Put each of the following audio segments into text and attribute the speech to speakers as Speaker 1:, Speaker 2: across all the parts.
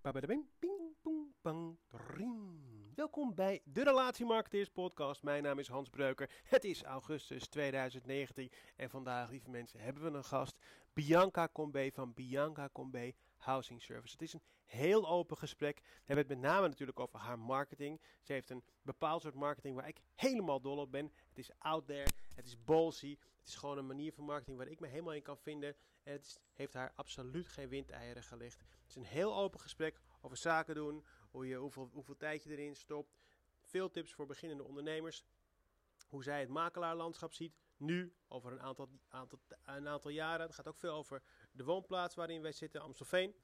Speaker 1: Babadabing, ping, pong, pang, ring. Welkom bij de Relatiemarketeers Podcast. Mijn naam is Hans Breuker. Het is augustus 2019 en vandaag, lieve mensen, hebben we een gast. Bianca Combe van Bianca Combe Housing Service. Het is een heel open gesprek. We hebben het met name natuurlijk over haar marketing. Ze heeft een bepaald soort marketing waar ik helemaal dol op ben. Het is out there, het is ballsy. Het is gewoon een manier van marketing waar ik me helemaal in kan vinden. En het is- heeft haar absoluut geen windeieren gelegd. Het is een heel open gesprek over zaken doen, hoe je, hoeveel, hoeveel tijd je erin stopt. Veel tips voor beginnende ondernemers. Hoe zij het makelaarlandschap ziet. Nu, over een aantal, aantal, een aantal jaren. Het gaat ook veel over de woonplaats waarin wij zitten, Amstelveen.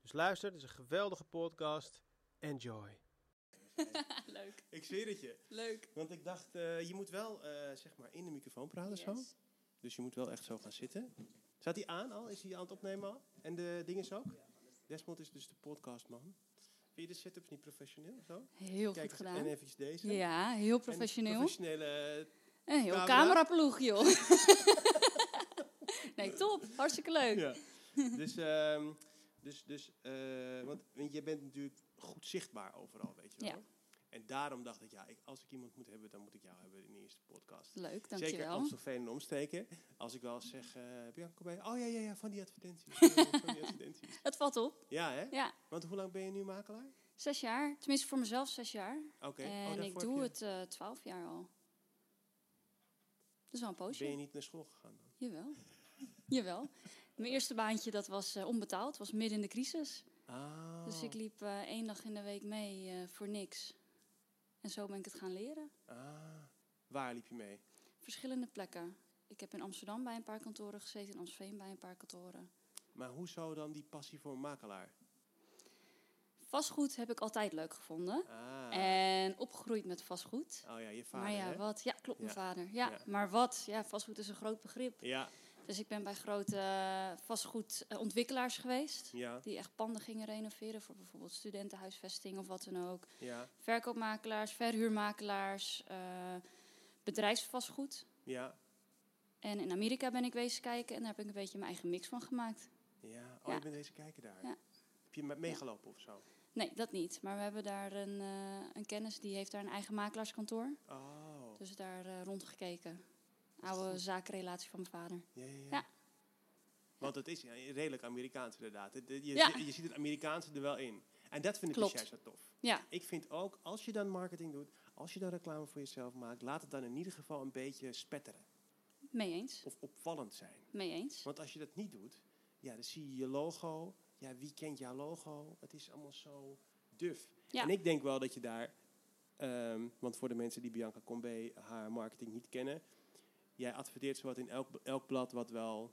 Speaker 1: Dus luister, het is een geweldige podcast. Enjoy.
Speaker 2: Leuk,
Speaker 1: Ik zweer het je.
Speaker 2: leuk.
Speaker 1: Want ik dacht, eh, je moet wel zeg maar in de microfoon praten
Speaker 2: Yes.
Speaker 1: Dus je moet wel echt zo gaan zitten. Staat hij aan al? Is hij aan het opnemen al? En de dinges ook? Desmond is dus de podcastman. Vind je de setups niet professioneel? Zo?
Speaker 2: Heel
Speaker 1: Kijk,
Speaker 2: goed gedaan.
Speaker 1: En eventjes deze.
Speaker 2: Ja, heel
Speaker 1: En Nou,
Speaker 2: professioneel.
Speaker 1: professionele...
Speaker 2: Een heel
Speaker 1: camera.
Speaker 2: cameraploeg, joh. nee, top. Hartstikke leuk.
Speaker 1: Ja. dus, ehm, dus, dus eh, want, want je bent natuurlijk goed zichtbaar overal, weet je wel.
Speaker 2: Ja.
Speaker 1: En daarom dacht ik, ja, ik, als ik iemand moet hebben, dan moet ik jou hebben in de eerste podcast.
Speaker 2: Leuk,
Speaker 1: Zeker
Speaker 2: dankjewel.
Speaker 1: Amstelveen en omsteken. Als ik wel eens zeg, eh Bianca, kom bij. Oh ja, ja, ja, van die advertenties. Ja, ja, van die advertenties.
Speaker 2: Het valt op.
Speaker 1: Ja, hè?
Speaker 2: Ja,
Speaker 1: Want hoe lang ben je nu makelaar?
Speaker 2: zes jaar. Tenminste, voor mezelf zes jaar.
Speaker 1: Oké. oh,
Speaker 2: En
Speaker 1: daarvoor
Speaker 2: ik
Speaker 1: heb
Speaker 2: doe
Speaker 1: je-
Speaker 2: het eh, twaalf jaar al. Dat is wel een poosje.
Speaker 1: Ben je niet naar school gegaan dan?
Speaker 2: Jawel. Jawel. Mijn eerste baantje, dat was eh, onbetaald. was midden in de crisis.
Speaker 1: Ah.
Speaker 2: Dus ik liep eh, één dag in de week mee eh, voor niks. En zo ben ik het gaan leren.
Speaker 1: ah. Waar liep je mee?
Speaker 2: Verschillende plekken. Ik heb in Amsterdam bij een paar kantoren gezeten, in Amstelveen bij een paar kantoren.
Speaker 1: Maar hoezo dan die passie voor makelaar?
Speaker 2: Vastgoed heb ik altijd leuk gevonden.
Speaker 1: Ah.
Speaker 2: En opgegroeid met vastgoed.
Speaker 1: oh ja, je vader,
Speaker 2: Eh, maar ja,
Speaker 1: hè?
Speaker 2: wat? Ja, klopt, mijn
Speaker 1: Ja.
Speaker 2: vader. Ja,
Speaker 1: Ja.
Speaker 2: maar wat? Ja, vastgoed is een groot begrip.
Speaker 1: Ja,
Speaker 2: Dus ik ben bij grote eh, vastgoedontwikkelaars geweest.
Speaker 1: ja,
Speaker 2: Die echt panden gingen renoveren voor bijvoorbeeld studentenhuisvesting of wat dan ook.
Speaker 1: ja,
Speaker 2: Verkoopmakelaars, verhuurmakelaars, eh, bedrijfsvastgoed.
Speaker 1: ja.
Speaker 2: En in Amerika ben ik wezen kijken en daar heb ik een beetje mijn eigen mix van gemaakt.
Speaker 1: Ja, oh,
Speaker 2: Ja.
Speaker 1: je bent deze kijken daar.
Speaker 2: Ja.
Speaker 1: Heb je met meegelopen of zo?
Speaker 2: Nee, dat niet. Maar we hebben daar een, eh, een kennis die heeft daar een eigen makelaarskantoor.
Speaker 1: Oh,
Speaker 2: Dus daar eh, rondgekeken. Oude zakenrelatie van mijn vader.
Speaker 1: ja, ja, ja.
Speaker 2: Ja.
Speaker 1: Want het is ja, redelijk Amerikaans inderdaad. Het- het- Je,
Speaker 2: Ja.
Speaker 1: zi- je ziet het Amerikaanse er wel in. En dat vind ik
Speaker 2: Klopt.
Speaker 1: dus juist zo tof.
Speaker 2: Ja,
Speaker 1: Ik vind ook, als je dan marketing doet, als je dan reclame voor jezelf maakt, laat het dan in ieder geval een beetje spetteren.
Speaker 2: mee eens.
Speaker 1: Of opvallend zijn.
Speaker 2: Mee eens.
Speaker 1: Want als je dat niet doet, ja, dan zie je je logo. Ja, wie kent jouw logo? Het is allemaal zo duf.
Speaker 2: Ja.
Speaker 1: En ik denk wel dat je daar, ehm, want voor de mensen die Bianca Combe haar marketing niet kennen, jij adverteert zowat in elk, elk blad wat wel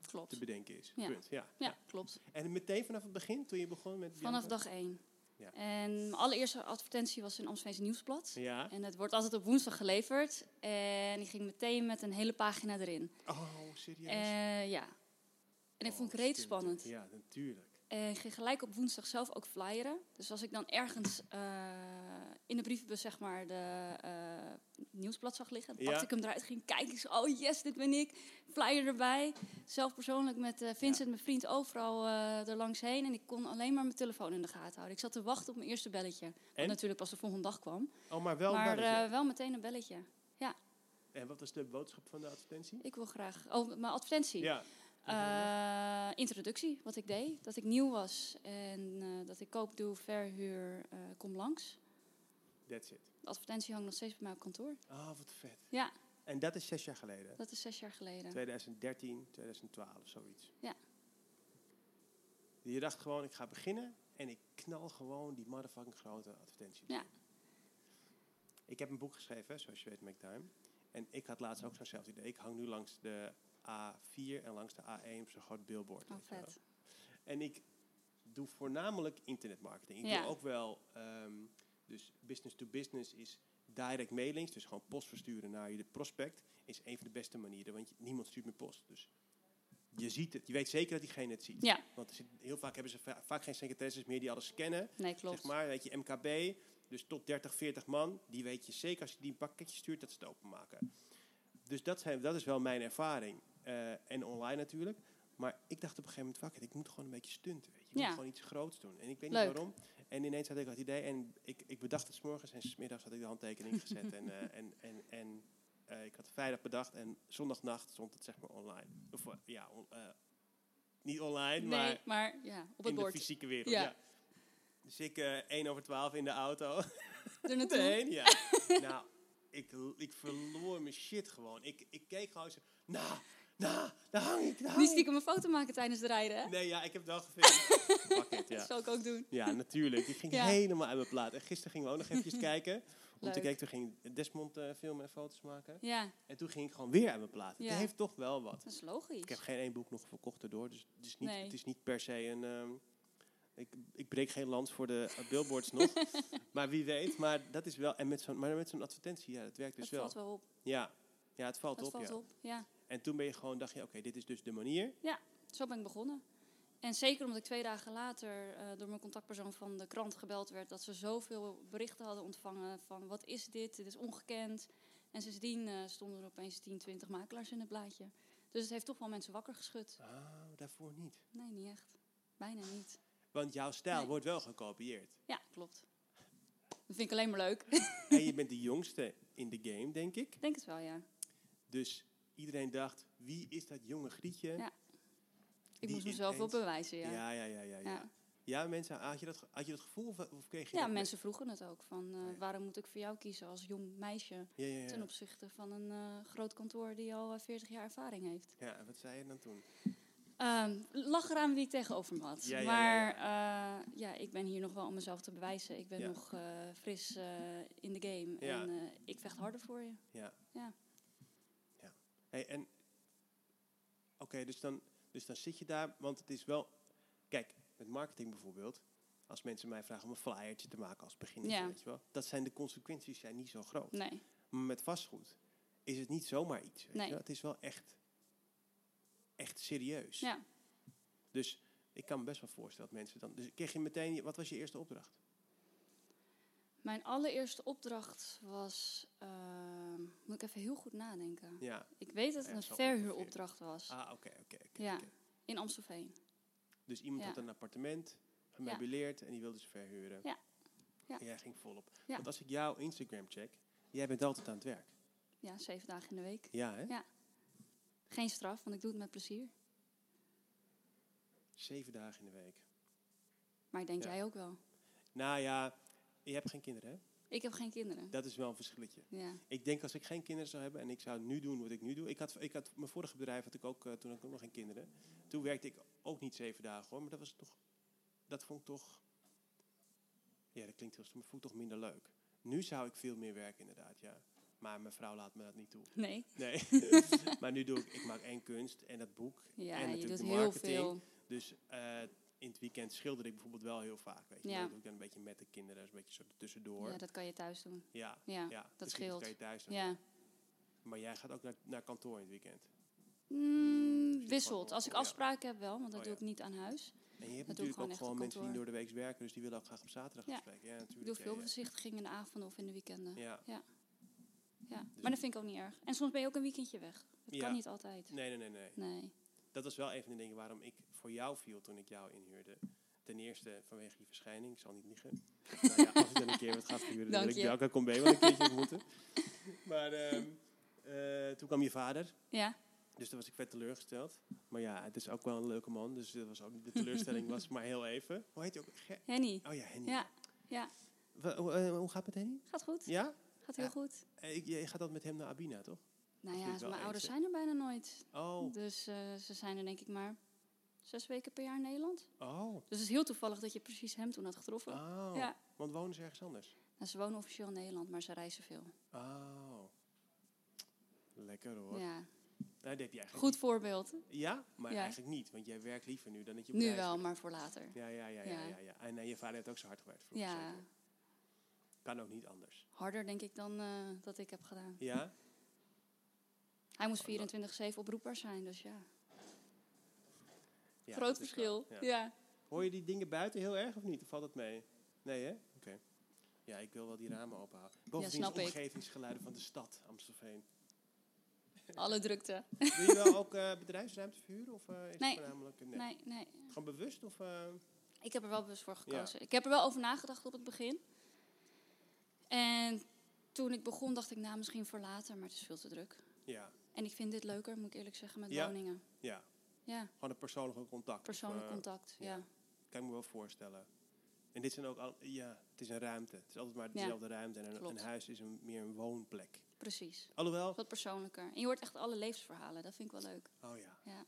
Speaker 1: te
Speaker 2: Klopt.
Speaker 1: bedenken is.
Speaker 2: Ja.
Speaker 1: Punt. Ja.
Speaker 2: Ja, klopt.
Speaker 1: En meteen vanaf het begin, toen je begon met
Speaker 2: Vanaf
Speaker 1: Bianca-
Speaker 2: dag één.
Speaker 1: Ja.
Speaker 2: En mijn allereerste advertentie was in Amsterdamse Nieuwsblad.
Speaker 1: Ja.
Speaker 2: En het wordt altijd op woensdag geleverd. En die ging meteen met een hele pagina erin.
Speaker 1: Oh, serieus?
Speaker 2: Eh, ja. En ik
Speaker 1: Oh,
Speaker 2: vond het reeds
Speaker 1: stimmt.
Speaker 2: spannend.
Speaker 1: Ja, natuurlijk.
Speaker 2: En Eh, ging gelijk op woensdag zelf ook flyeren. Dus als ik dan ergens eh, in de brievenbus zeg maar de eh, nieuwsblad zag liggen, dan
Speaker 1: Ja.
Speaker 2: pakte ik hem eruit, ging kijken, ik zo, oh yes, dit ben ik, flyer erbij. Zelf persoonlijk met eh, Vincent, mijn vriend, overal eh er langs heen. En ik kon alleen maar mijn telefoon in de gaten houden. Ik zat te wachten op mijn eerste belletje, wat
Speaker 1: En?
Speaker 2: natuurlijk pas de volgende dag kwam.
Speaker 1: Oh, maar wel
Speaker 2: maar
Speaker 1: maar,
Speaker 2: eh, wel meteen een belletje.
Speaker 1: En wat was de boodschap van de advertentie?
Speaker 2: Ik wil graag, oh, mijn advertentie.
Speaker 1: Ja.
Speaker 2: Eh, introductie, wat ik deed. Dat ik nieuw was en eh, dat ik koop doe, verhuur, eh, kom langs.
Speaker 1: That's it.
Speaker 2: De advertentie hangt nog steeds bij mij op kantoor.
Speaker 1: Ah, wat vet.
Speaker 2: Ja,
Speaker 1: En dat is zes jaar geleden.
Speaker 2: dat is zes jaar geleden.
Speaker 1: 2013, 2012, zoiets.
Speaker 2: Ja.
Speaker 1: Je dacht gewoon, ik ga beginnen en ik knal gewoon die motherfucking grote advertentie.
Speaker 2: Ja.
Speaker 1: erin. Ik heb een boek geschreven, hè, zoals je weet, Make Time. En ik had laatst ook zo'nzelfde idee. Ik hang nu langs de A4 en langs de A1 op zo'n groot billboard.
Speaker 2: Oh,
Speaker 1: weet je wel.
Speaker 2: vet.
Speaker 1: En ik doe voornamelijk internetmarketing. Ik
Speaker 2: Ja.
Speaker 1: doe ook wel, ehm, dus business to business is direct mailings, dus gewoon post versturen naar je prospect, is een van de beste manieren, want je- niemand stuurt meer post. Dus je ziet het, je weet zeker dat diegene het ziet.
Speaker 2: Ja,
Speaker 1: Want er zit- heel vaak hebben ze va- vaak geen secretaresses meer die alles scannen.
Speaker 2: nee, klopt.
Speaker 1: Zeg maar, weet je, MKB, dus tot 30, 40 man, die weet je zeker als je die een pakketje stuurt dat ze het openmaken. Dus dat, zijn, dat is wel mijn ervaring. Eh, en online natuurlijk. Maar ik dacht op een gegeven moment, fuck it, ik moet gewoon een beetje stunten, weet je. Je moet
Speaker 2: Ja.
Speaker 1: gewoon iets groots doen. En ik weet
Speaker 2: Leuk.
Speaker 1: niet waarom. En ineens had ik dat idee. En ik, ik bedacht het 's morgens en 's middags had ik de handtekening gezet. en eh, en, en, en eh, ik had het vrijdag bedacht en zondagnacht stond het zeg maar online. Of eh, ja, on- eh, niet online, maar
Speaker 2: Nee, maar ja, op het
Speaker 1: in de
Speaker 2: bord.
Speaker 1: fysieke wereld. Ja.
Speaker 2: Ja.
Speaker 1: Dus ik eh 1 over 12 in de auto.
Speaker 2: Er naartoe.
Speaker 1: Nee, ja. nou, ik, ik verloor mijn shit gewoon. Ik, ik keek gewoon zo. Nou, nou, daar hang ik. Daar hang
Speaker 2: Niet
Speaker 1: ik."
Speaker 2: stiekem een foto maken tijdens het rijden, hè?
Speaker 1: Nee, ja, ik heb het wel gefilmd. Fuck it,
Speaker 2: Dat
Speaker 1: ja.
Speaker 2: zou ik ook doen.
Speaker 1: Ja, natuurlijk. Die ging
Speaker 2: Ja.
Speaker 1: helemaal uit mijn plaat. En gisteren gingen we ook nog eventjes kijken. Om te
Speaker 2: Leuk.
Speaker 1: kijken, toen ging Desmond eh, filmen en foto's maken.
Speaker 2: Ja,
Speaker 1: En toen ging ik gewoon weer uit mijn plaat.
Speaker 2: Ja.
Speaker 1: Het heeft toch wel wat.
Speaker 2: dat is logisch.
Speaker 1: Ik heb geen één boek nog verkocht erdoor. Dus het is niet,
Speaker 2: Nee.
Speaker 1: het is niet per se een. ehm, ik, ik breek geen lans voor de eh, billboards nog. Maar wie weet. Maar dat is wel. En met zo'n, maar met zo'n advertentie, ja, dat werkt dus
Speaker 2: dat
Speaker 1: wel.
Speaker 2: valt wel op.
Speaker 1: Ja. ja, het valt
Speaker 2: Dat
Speaker 1: op.
Speaker 2: valt
Speaker 1: ja.
Speaker 2: op, ja.
Speaker 1: En toen ben je gewoon, dacht je, oké, dit is dus de manier.
Speaker 2: Zo ben ik begonnen. En zeker omdat ik twee dagen later eh, door mijn contactpersoon van de krant gebeld werd dat ze zoveel berichten hadden ontvangen van wat is dit, dit is ongekend. En sindsdien eh, stonden er opeens 10, 20 makelaars in het blaadje. Dus het heeft toch wel mensen wakker geschud.
Speaker 1: Oh, daarvoor niet.
Speaker 2: Nee, niet echt. Bijna niet.
Speaker 1: Want jouw stijl
Speaker 2: Nee.
Speaker 1: wordt wel gekopieerd.
Speaker 2: Ja, klopt. Dat vind ik alleen maar leuk.
Speaker 1: en je bent de jongste in de game, denk ik.
Speaker 2: Ik denk het wel, ja.
Speaker 1: Dus iedereen dacht, wie is dat jonge grietje?
Speaker 2: Ja, Ik
Speaker 1: Die
Speaker 2: moest mezelf wel
Speaker 1: ineens-
Speaker 2: bewijzen, ja. Ja,
Speaker 1: ja, ja, ja. ja, ja. ja. mensen, had je dat, ge- had je dat gevoel of, of kreeg je dat mee?
Speaker 2: mensen vroegen het ook van eh,
Speaker 1: Nee.
Speaker 2: waarom moet ik voor jou kiezen als jong meisje
Speaker 1: Ja, ja, ja.
Speaker 2: ten opzichte van een eh, groot kantoor die al eh, 40 jaar ervaring heeft.
Speaker 1: Ja, en wat zei je dan toen?
Speaker 2: Ehm lach eraan wie ik tegenover me had.
Speaker 1: Ja, ja, ja,
Speaker 2: maar ja, ja, ik ben hier nog wel om mezelf te bewijzen. Ik ben
Speaker 1: Ja.
Speaker 2: nog eh, fris eh, in de game.
Speaker 1: Ja.
Speaker 2: En eh, ik vecht harder voor je.
Speaker 1: Hey, en oké, dus, dan, dus dan zit je daar, want het is wel. Kijk, met marketing bijvoorbeeld. Als mensen mij vragen om een flyertje te maken als beginner,
Speaker 2: Ja.
Speaker 1: weet je wel. Dat zijn de consequenties zijn niet zo groot.
Speaker 2: Nee,
Speaker 1: Maar met vastgoed is het niet zomaar iets. Weet
Speaker 2: Nee.
Speaker 1: je wel? Het is wel echt, echt serieus.
Speaker 2: ja.
Speaker 1: Dus ik kan me best wel voorstellen dat mensen dan. Dus kreeg je meteen. je- Wat was je eerste opdracht?
Speaker 2: Mijn allereerste opdracht was... ehm, moet ik even heel goed nadenken.
Speaker 1: Ja.
Speaker 2: Ik weet dat het
Speaker 1: Ja,
Speaker 2: een
Speaker 1: zo
Speaker 2: verhuuropdracht was.
Speaker 1: Ah, oké, oké, oké.
Speaker 2: Ja.
Speaker 1: oké.
Speaker 2: In Amstelveen.
Speaker 1: Dus iemand
Speaker 2: Ja.
Speaker 1: had een appartement gemeubileerd en die wilde ze verhuren.
Speaker 2: Ja. Ja.
Speaker 1: En jij ging volop.
Speaker 2: Ja.
Speaker 1: Want als ik jouw Instagram check, jij bent altijd aan het werk.
Speaker 2: Ja, zeven dagen in de week.
Speaker 1: Ja, hè?
Speaker 2: Ja. Geen straf, want ik doe het met plezier.
Speaker 1: Zeven dagen in de week.
Speaker 2: Maar ik denk
Speaker 1: Ja.
Speaker 2: jij ook wel.
Speaker 1: Nou ja, je hebt geen kinderen, hè?
Speaker 2: Ik heb geen kinderen.
Speaker 1: Dat is wel een verschilletje.
Speaker 2: Ja.
Speaker 1: Ik denk als ik geen kinderen zou hebben en ik zou nu doen wat ik nu doe. Ik had, ik had mijn vorige bedrijf had ik ook, eh, toen had ik ook nog geen kinderen. Toen werkte ik ook niet zeven dagen hoor, maar dat was toch, dat vond ik toch, ja dat klinkt heel stom, maar vond ik toch minder leuk. Nu zou ik veel meer werken inderdaad, ja. Maar mijn vrouw laat me dat niet toe.
Speaker 2: Nee.
Speaker 1: Nee, maar nu doe ik, ik maak één kunst en dat boek
Speaker 2: Ja,
Speaker 1: en
Speaker 2: je
Speaker 1: natuurlijk
Speaker 2: doet
Speaker 1: de
Speaker 2: heel
Speaker 1: marketing.
Speaker 2: veel.
Speaker 1: Dus eh, in het weekend schilder ik bijvoorbeeld wel heel vaak, weet je.
Speaker 2: Ja.
Speaker 1: Maar Dat doe ik dan een beetje met de kinderen, een beetje zo tussendoor.
Speaker 2: Ja,
Speaker 1: Ja,
Speaker 2: dat kan je thuis doen.
Speaker 1: ja, Dus
Speaker 2: Ja, dat
Speaker 1: misschien
Speaker 2: scheelt.
Speaker 1: kan je thuis doen.
Speaker 2: Ja.
Speaker 1: Maar jij gaat ook naar, naar kantoor in het weekend.
Speaker 2: Mm,
Speaker 1: gewoon
Speaker 2: wisselt.
Speaker 1: wel-
Speaker 2: Als ik
Speaker 1: ja.
Speaker 2: afspraken heb wel, want dat
Speaker 1: Oh,
Speaker 2: doe
Speaker 1: ja.
Speaker 2: ik niet aan huis.
Speaker 1: En je hebt
Speaker 2: Dat doe ik
Speaker 1: natuurlijk
Speaker 2: gewoon
Speaker 1: ook
Speaker 2: echt
Speaker 1: gewoon
Speaker 2: op
Speaker 1: mensen die door
Speaker 2: kantoor.
Speaker 1: de week werken, dus die willen ook graag op zaterdag
Speaker 2: Ja.
Speaker 1: gesprekken. Ja, natuurlijk.
Speaker 2: Ik doe
Speaker 1: ja,
Speaker 2: veel
Speaker 1: ja.
Speaker 2: bezichtigingen in de avonden of in de weekenden. Ja.
Speaker 1: Ja.
Speaker 2: Maar dat vind ik ook niet erg. En soms ben je ook een weekendje weg. Dat
Speaker 1: Ja.
Speaker 2: kan niet altijd.
Speaker 1: Nee, nee, nee, nee.
Speaker 2: Nee.
Speaker 1: Dat was wel een van de dingen waarom ik voor jou viel toen ik jou inhuurde. Ten eerste vanwege je verschijning, ik zal niet liegen. nou ja, als ik dan een keer wat gaat gebeuren, dan
Speaker 2: Dank
Speaker 1: wil ik
Speaker 2: je.
Speaker 1: Belka Combe wel een keertje ontmoeten. Maar ehm, eh, toen kwam je vader,
Speaker 2: Ja,
Speaker 1: dus toen was ik vet teleurgesteld. Maar ja, het is ook wel een leuke man, dus dat was ook, de teleurstelling was maar heel even. Hoe heet hij ook? Ger-
Speaker 2: Henny.
Speaker 1: oh ja, Henny.
Speaker 2: Ja,
Speaker 1: Wa- hoe, eh, hoe gaat het met Henny?
Speaker 2: gaat goed.
Speaker 1: Ja?
Speaker 2: Gaat heel
Speaker 1: Ja.
Speaker 2: goed.
Speaker 1: Eh, Ik, je gaat altijd met hem naar Abina, toch?
Speaker 2: Nou
Speaker 1: vind ik
Speaker 2: ja,
Speaker 1: wel
Speaker 2: mijn ouders
Speaker 1: eens,
Speaker 2: zijn er bijna nooit.
Speaker 1: Oh,
Speaker 2: Dus eh, ze zijn er denk ik maar zes weken per jaar in Nederland.
Speaker 1: oh,
Speaker 2: Dus het is heel toevallig dat je precies hem toen had getroffen.
Speaker 1: oh.
Speaker 2: Ja.
Speaker 1: Want wonen ze ergens anders?
Speaker 2: Nou, ze wonen officieel in Nederland, maar ze reizen veel.
Speaker 1: Oh, lekker hoor.
Speaker 2: Ja.
Speaker 1: Nou, dat heb Oh, je eigenlijk
Speaker 2: Goed voorbeeld.
Speaker 1: Ja, maar
Speaker 2: Ja.
Speaker 1: eigenlijk niet, want jij werkt liever nu dan dat je op
Speaker 2: Nu
Speaker 1: reis
Speaker 2: wel,
Speaker 1: bent.
Speaker 2: maar voor later.
Speaker 1: Ja, ja, ja, ja,
Speaker 2: Ja.
Speaker 1: ja, ja. En eh, je vader heeft ook zo hard gewerkt vroeger.
Speaker 2: Ja,
Speaker 1: zeker. Kan ook niet anders.
Speaker 2: harder denk ik dan eh, dat ik heb gedaan.
Speaker 1: Ja?
Speaker 2: Hij moest
Speaker 1: Oh, dat-
Speaker 2: 24-7 oproepbaar zijn, dus ja.
Speaker 1: ja
Speaker 2: Groot
Speaker 1: dat is wel-
Speaker 2: verschil.
Speaker 1: ja.
Speaker 2: Ja.
Speaker 1: Hoor je die dingen buiten heel erg of niet? Of valt het mee? Nee, hè? Oké. Ja, ik wil wel die ramen openhouden. Bovendien
Speaker 2: snap
Speaker 1: de
Speaker 2: ik.
Speaker 1: omgevingsgeluiden van de stad Amstelveen.
Speaker 2: alle drukte.
Speaker 1: Wil je wel ook eh, bedrijfsruimte verhuren? Of eh, is
Speaker 2: Nee.
Speaker 1: het voornamelijk...
Speaker 2: Nee, nee.
Speaker 1: Gewoon bewust? Of, eh,
Speaker 2: Ik heb er wel bewust voor
Speaker 1: Ja.
Speaker 2: gekozen. Ik heb er wel over nagedacht op het begin. En toen ik begon dacht ik, nou misschien voor later, maar het is veel te druk.
Speaker 1: Ja,
Speaker 2: En ik vind dit leuker, moet ik eerlijk zeggen, met
Speaker 1: Ja.
Speaker 2: woningen.
Speaker 1: ja.
Speaker 2: Ja,
Speaker 1: Gewoon een persoonlijke contact.
Speaker 2: persoonlijk
Speaker 1: Eh,
Speaker 2: contact. Ja.
Speaker 1: ja. Kan ik me wel voorstellen. En dit zijn ook al, ja, het is een ruimte. Het is altijd maar
Speaker 2: Ja,
Speaker 1: dezelfde ruimte. En een,
Speaker 2: klopt.
Speaker 1: een huis is een, meer een woonplek.
Speaker 2: precies.
Speaker 1: Alhoewel,
Speaker 2: Wat persoonlijker. En je hoort echt alle levensverhalen, dat vind ik wel leuk.
Speaker 1: oh ja.
Speaker 2: Ja.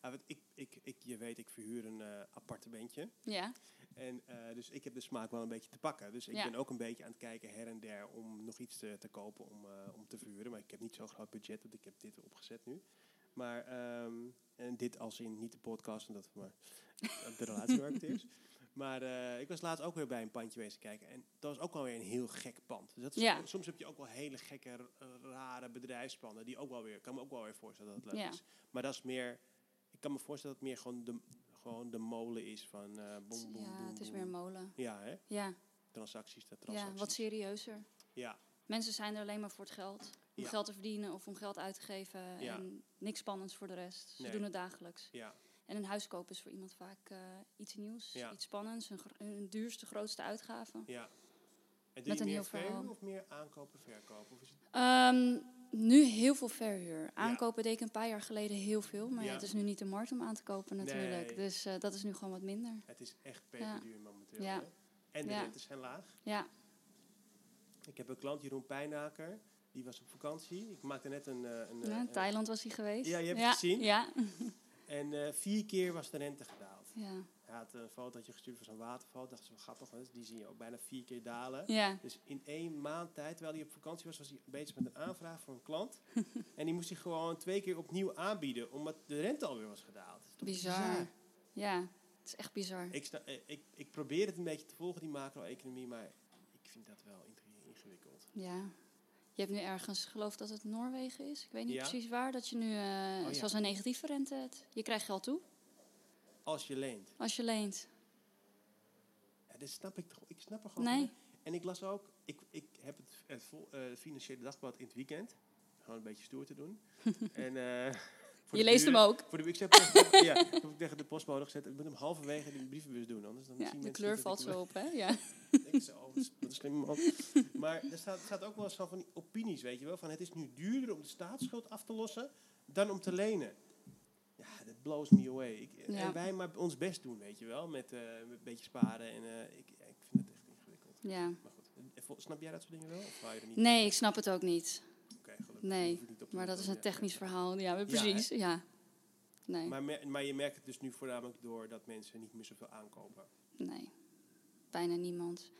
Speaker 1: Ah, want ik, ik, ik, je weet, ik verhuur een eh, appartementje.
Speaker 2: Ja,
Speaker 1: En eh, dus ik heb de smaak wel een beetje te pakken. Dus ik
Speaker 2: Ja.
Speaker 1: ben ook een beetje aan het kijken her en der om nog iets te, te kopen om, eh, om te verhuren. Maar ik heb niet zo'n groot budget, want ik heb dit opgezet nu. Maar, ehm, en dit als in niet de podcast, omdat we maar de relatiemarketeers. Maar eh, ik was laatst ook weer bij een pandje bezig kijken. En dat was ook wel weer een heel gek pand. Dus dat is-
Speaker 2: Ja.
Speaker 1: Soms heb je ook wel hele gekke, r- rare bedrijfspanden. Die ook wel weer, kan me ook wel weer voorstellen dat het leuk
Speaker 2: Ja.
Speaker 1: is. Maar dat is meer, ik kan me voorstellen dat het meer gewoon de, gewoon de molen is van eh boem, boem,
Speaker 2: ja
Speaker 1: boem,
Speaker 2: het is
Speaker 1: boem.
Speaker 2: weer een molen.
Speaker 1: Ja, hè?
Speaker 2: Ja.
Speaker 1: Transacties, dat
Speaker 2: ja,
Speaker 1: transacties.
Speaker 2: wat serieuzer.
Speaker 1: Ja,
Speaker 2: Mensen zijn er alleen maar voor het geld. Om
Speaker 1: Ja.
Speaker 2: geld te verdienen of om geld uit te geven.
Speaker 1: Ja.
Speaker 2: En niks spannends voor de rest. Ze
Speaker 1: Nee.
Speaker 2: doen het dagelijks.
Speaker 1: ja,
Speaker 2: En een huis kopen is voor iemand vaak eh, iets nieuws,
Speaker 1: Ja.
Speaker 2: iets spannends. Hun, gro- hun duurste, grootste uitgave.
Speaker 1: ja. En doe
Speaker 2: Met
Speaker 1: je
Speaker 2: een
Speaker 1: meer
Speaker 2: heel
Speaker 1: verhuur
Speaker 2: verhaal.
Speaker 1: of meer aankopen, verkopen? Of is het,
Speaker 2: Ehm, nu heel veel verhuur. Aankopen deed ik een paar jaar geleden heel veel. Maar ja,
Speaker 1: Ja.
Speaker 2: het is nu niet de markt om aan te kopen natuurlijk.
Speaker 1: Nee.
Speaker 2: Dus eh, dat is nu gewoon wat minder.
Speaker 1: het is echt peperduur momenteel.
Speaker 2: Ja.
Speaker 1: hè? En de
Speaker 2: Ja.
Speaker 1: rentes zijn laag.
Speaker 2: Ja,
Speaker 1: Ik heb een klant, Jeroen Pijnaker, die was op vakantie. Ik maakte net een... eh, een, eh,
Speaker 2: ja in
Speaker 1: een-
Speaker 2: nou, Thailand was hij geweest.
Speaker 1: Ja, je hebt het gezien.
Speaker 2: Ja,
Speaker 1: en eh, vier keer was de rente gedaald.
Speaker 2: ja.
Speaker 1: Hij had een fotootje gestuurd van zo'n waterval. Ik dacht, dat is wel grappig, want die zie je ook bijna vier keer dalen.
Speaker 2: ja.
Speaker 1: Dus in één maand tijd, terwijl hij op vakantie was, was hij bezig met een aanvraag voor een klant. en die moest hij gewoon twee keer opnieuw aanbieden, omdat de rente alweer was gedaald. Dat is toch
Speaker 2: Bizar. Ja, het is echt bizar.
Speaker 1: Ik, sta- eh, ik, ik probeer het een beetje te volgen, die macro-economie, maar ik vind dat wel int- ingewikkeld.
Speaker 2: Ja. Je hebt nu ergens, geloof dat het Noorwegen is, ik weet niet
Speaker 1: Ja.
Speaker 2: precies waar, dat je nu, eh,
Speaker 1: Oh ja.
Speaker 2: zoals een negatieve rente hebt. Je krijgt geld toe
Speaker 1: Als je leent.
Speaker 2: als je leent.
Speaker 1: Ja, dat snap ik toch? Ik snap er gewoon
Speaker 2: Nee.
Speaker 1: niet. En ik las ook, ik, ik heb het, het vol- eh, financiële dagblad in het weekend. Gewoon een beetje stoer te doen. en, eh, voor
Speaker 2: je
Speaker 1: de
Speaker 2: leest hem
Speaker 1: buren-
Speaker 2: ook.
Speaker 1: Voor de, ik, heb, tegen- ja, ik heb ook tegen de postbode gezet, ik moet hem halverwege in de brievenbus doen. Anders dan
Speaker 2: Ja,
Speaker 1: zien
Speaker 2: de
Speaker 1: mensen
Speaker 2: kleur
Speaker 1: niet dat
Speaker 2: valt
Speaker 1: ik
Speaker 2: zo op, hè? Ja.
Speaker 1: Ik denk zo, oh, wat een slimme man. Maar er staat, staat ook wel eens van, van die opinies, weet je wel. Van het is nu duurder om de staatsschuld af te lossen dan om te lenen. Ja, dat blows me away. Ik,
Speaker 2: Ja.
Speaker 1: En wij maar ons best doen, weet je wel. Met, eh, met een beetje sparen. En eh, ik, ik vind het echt ingewikkeld.
Speaker 2: ja.
Speaker 1: Maar goed, eh, vol- snap jij dat soort dingen wel? Of wou je er niet?
Speaker 2: Nee, ik snap het ook niet.
Speaker 1: Oké, gelukkig.
Speaker 2: Nee,
Speaker 1: hoef ik niet op te
Speaker 2: Maar dat is
Speaker 1: komen.
Speaker 2: een
Speaker 1: Ja.
Speaker 2: technisch verhaal. Ja,
Speaker 1: hè?
Speaker 2: precies. Ja. Nee,
Speaker 1: Maar, mer- maar je merkt het dus nu voornamelijk door dat mensen niet meer zoveel aankopen.
Speaker 2: nee. Bijna niemand.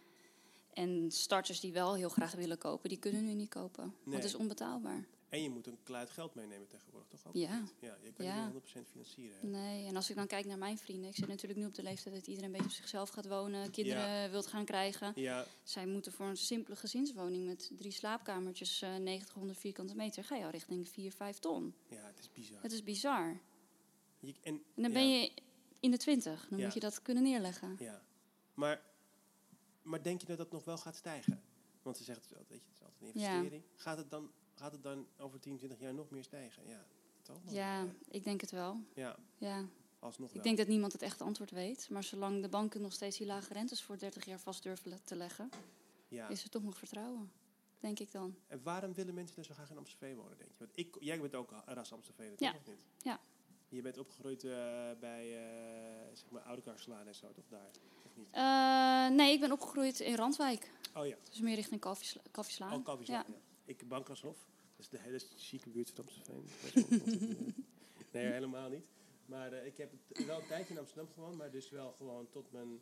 Speaker 2: En starters die wel heel graag willen kopen, die kunnen nu niet kopen. Want
Speaker 1: Nee.
Speaker 2: het is onbetaalbaar.
Speaker 1: En je moet een kluit geld meenemen tegenwoordig, toch? Ook?
Speaker 2: Ja.
Speaker 1: Ja, je kan
Speaker 2: Ja.
Speaker 1: niet meer 100% financieren. hè?
Speaker 2: Nee, en als ik dan kijk naar mijn vrienden, ik zit natuurlijk nu op de leeftijd dat iedereen een beetje op zichzelf gaat wonen, kinderen wilt gaan krijgen.
Speaker 1: Ja,
Speaker 2: Zij moeten voor een simpele gezinswoning met drie slaapkamertjes, eh 900 vierkante meter, ga je al richting 4, 5 ton.
Speaker 1: ja, het is bizar.
Speaker 2: Het is bizar.
Speaker 1: Je- en,
Speaker 2: En dan
Speaker 1: ja.
Speaker 2: ben je in de twintig, dan
Speaker 1: Ja.
Speaker 2: moet je dat kunnen neerleggen.
Speaker 1: Ja, maar, maar denk je dat dat nog wel gaat stijgen? Want ze zegt, het is altijd, weet je, het is altijd een
Speaker 2: Ja.
Speaker 1: investering. Gaat, het dan, gaat het dan over 10, 20 jaar nog meer stijgen? Ja, toch? eh,
Speaker 2: Ja, ik denk het wel.
Speaker 1: ja
Speaker 2: Ja.
Speaker 1: alsnog wel.
Speaker 2: Ik denk dat niemand het echte antwoord weet, maar zolang de banken nog steeds die lage rentes voor 30 jaar vast durven le- te leggen,
Speaker 1: ja.
Speaker 2: is er toch nog vertrouwen, denk ik dan.
Speaker 1: En waarom willen mensen dan zo graag in Amsterdam wonen, denk je? Want ik, jij bent ook een ras Amsterdam,
Speaker 2: Ja.
Speaker 1: toch? Of niet?
Speaker 2: Ja.
Speaker 1: Je bent opgegroeid eh, bij, eh zeg maar, Oudekarselaan en zo, toch? Daar, of niet?
Speaker 2: Eh, nee, ik ben opgegroeid in Randwijk.
Speaker 1: Oh ja,
Speaker 2: Dus meer richting Kalfjesla- Kalfjeslaan.
Speaker 1: ook Kalfjeslaan,
Speaker 2: Ja.
Speaker 1: ja. Ik Bankashof. Dat is de hele chique buurt van Amsterdam. Ik weet wel of dat, eh, nee, helemaal niet. Maar eh, ik heb het wel een tijdje in Amsterdam gewoond, maar dus wel gewoon tot mijn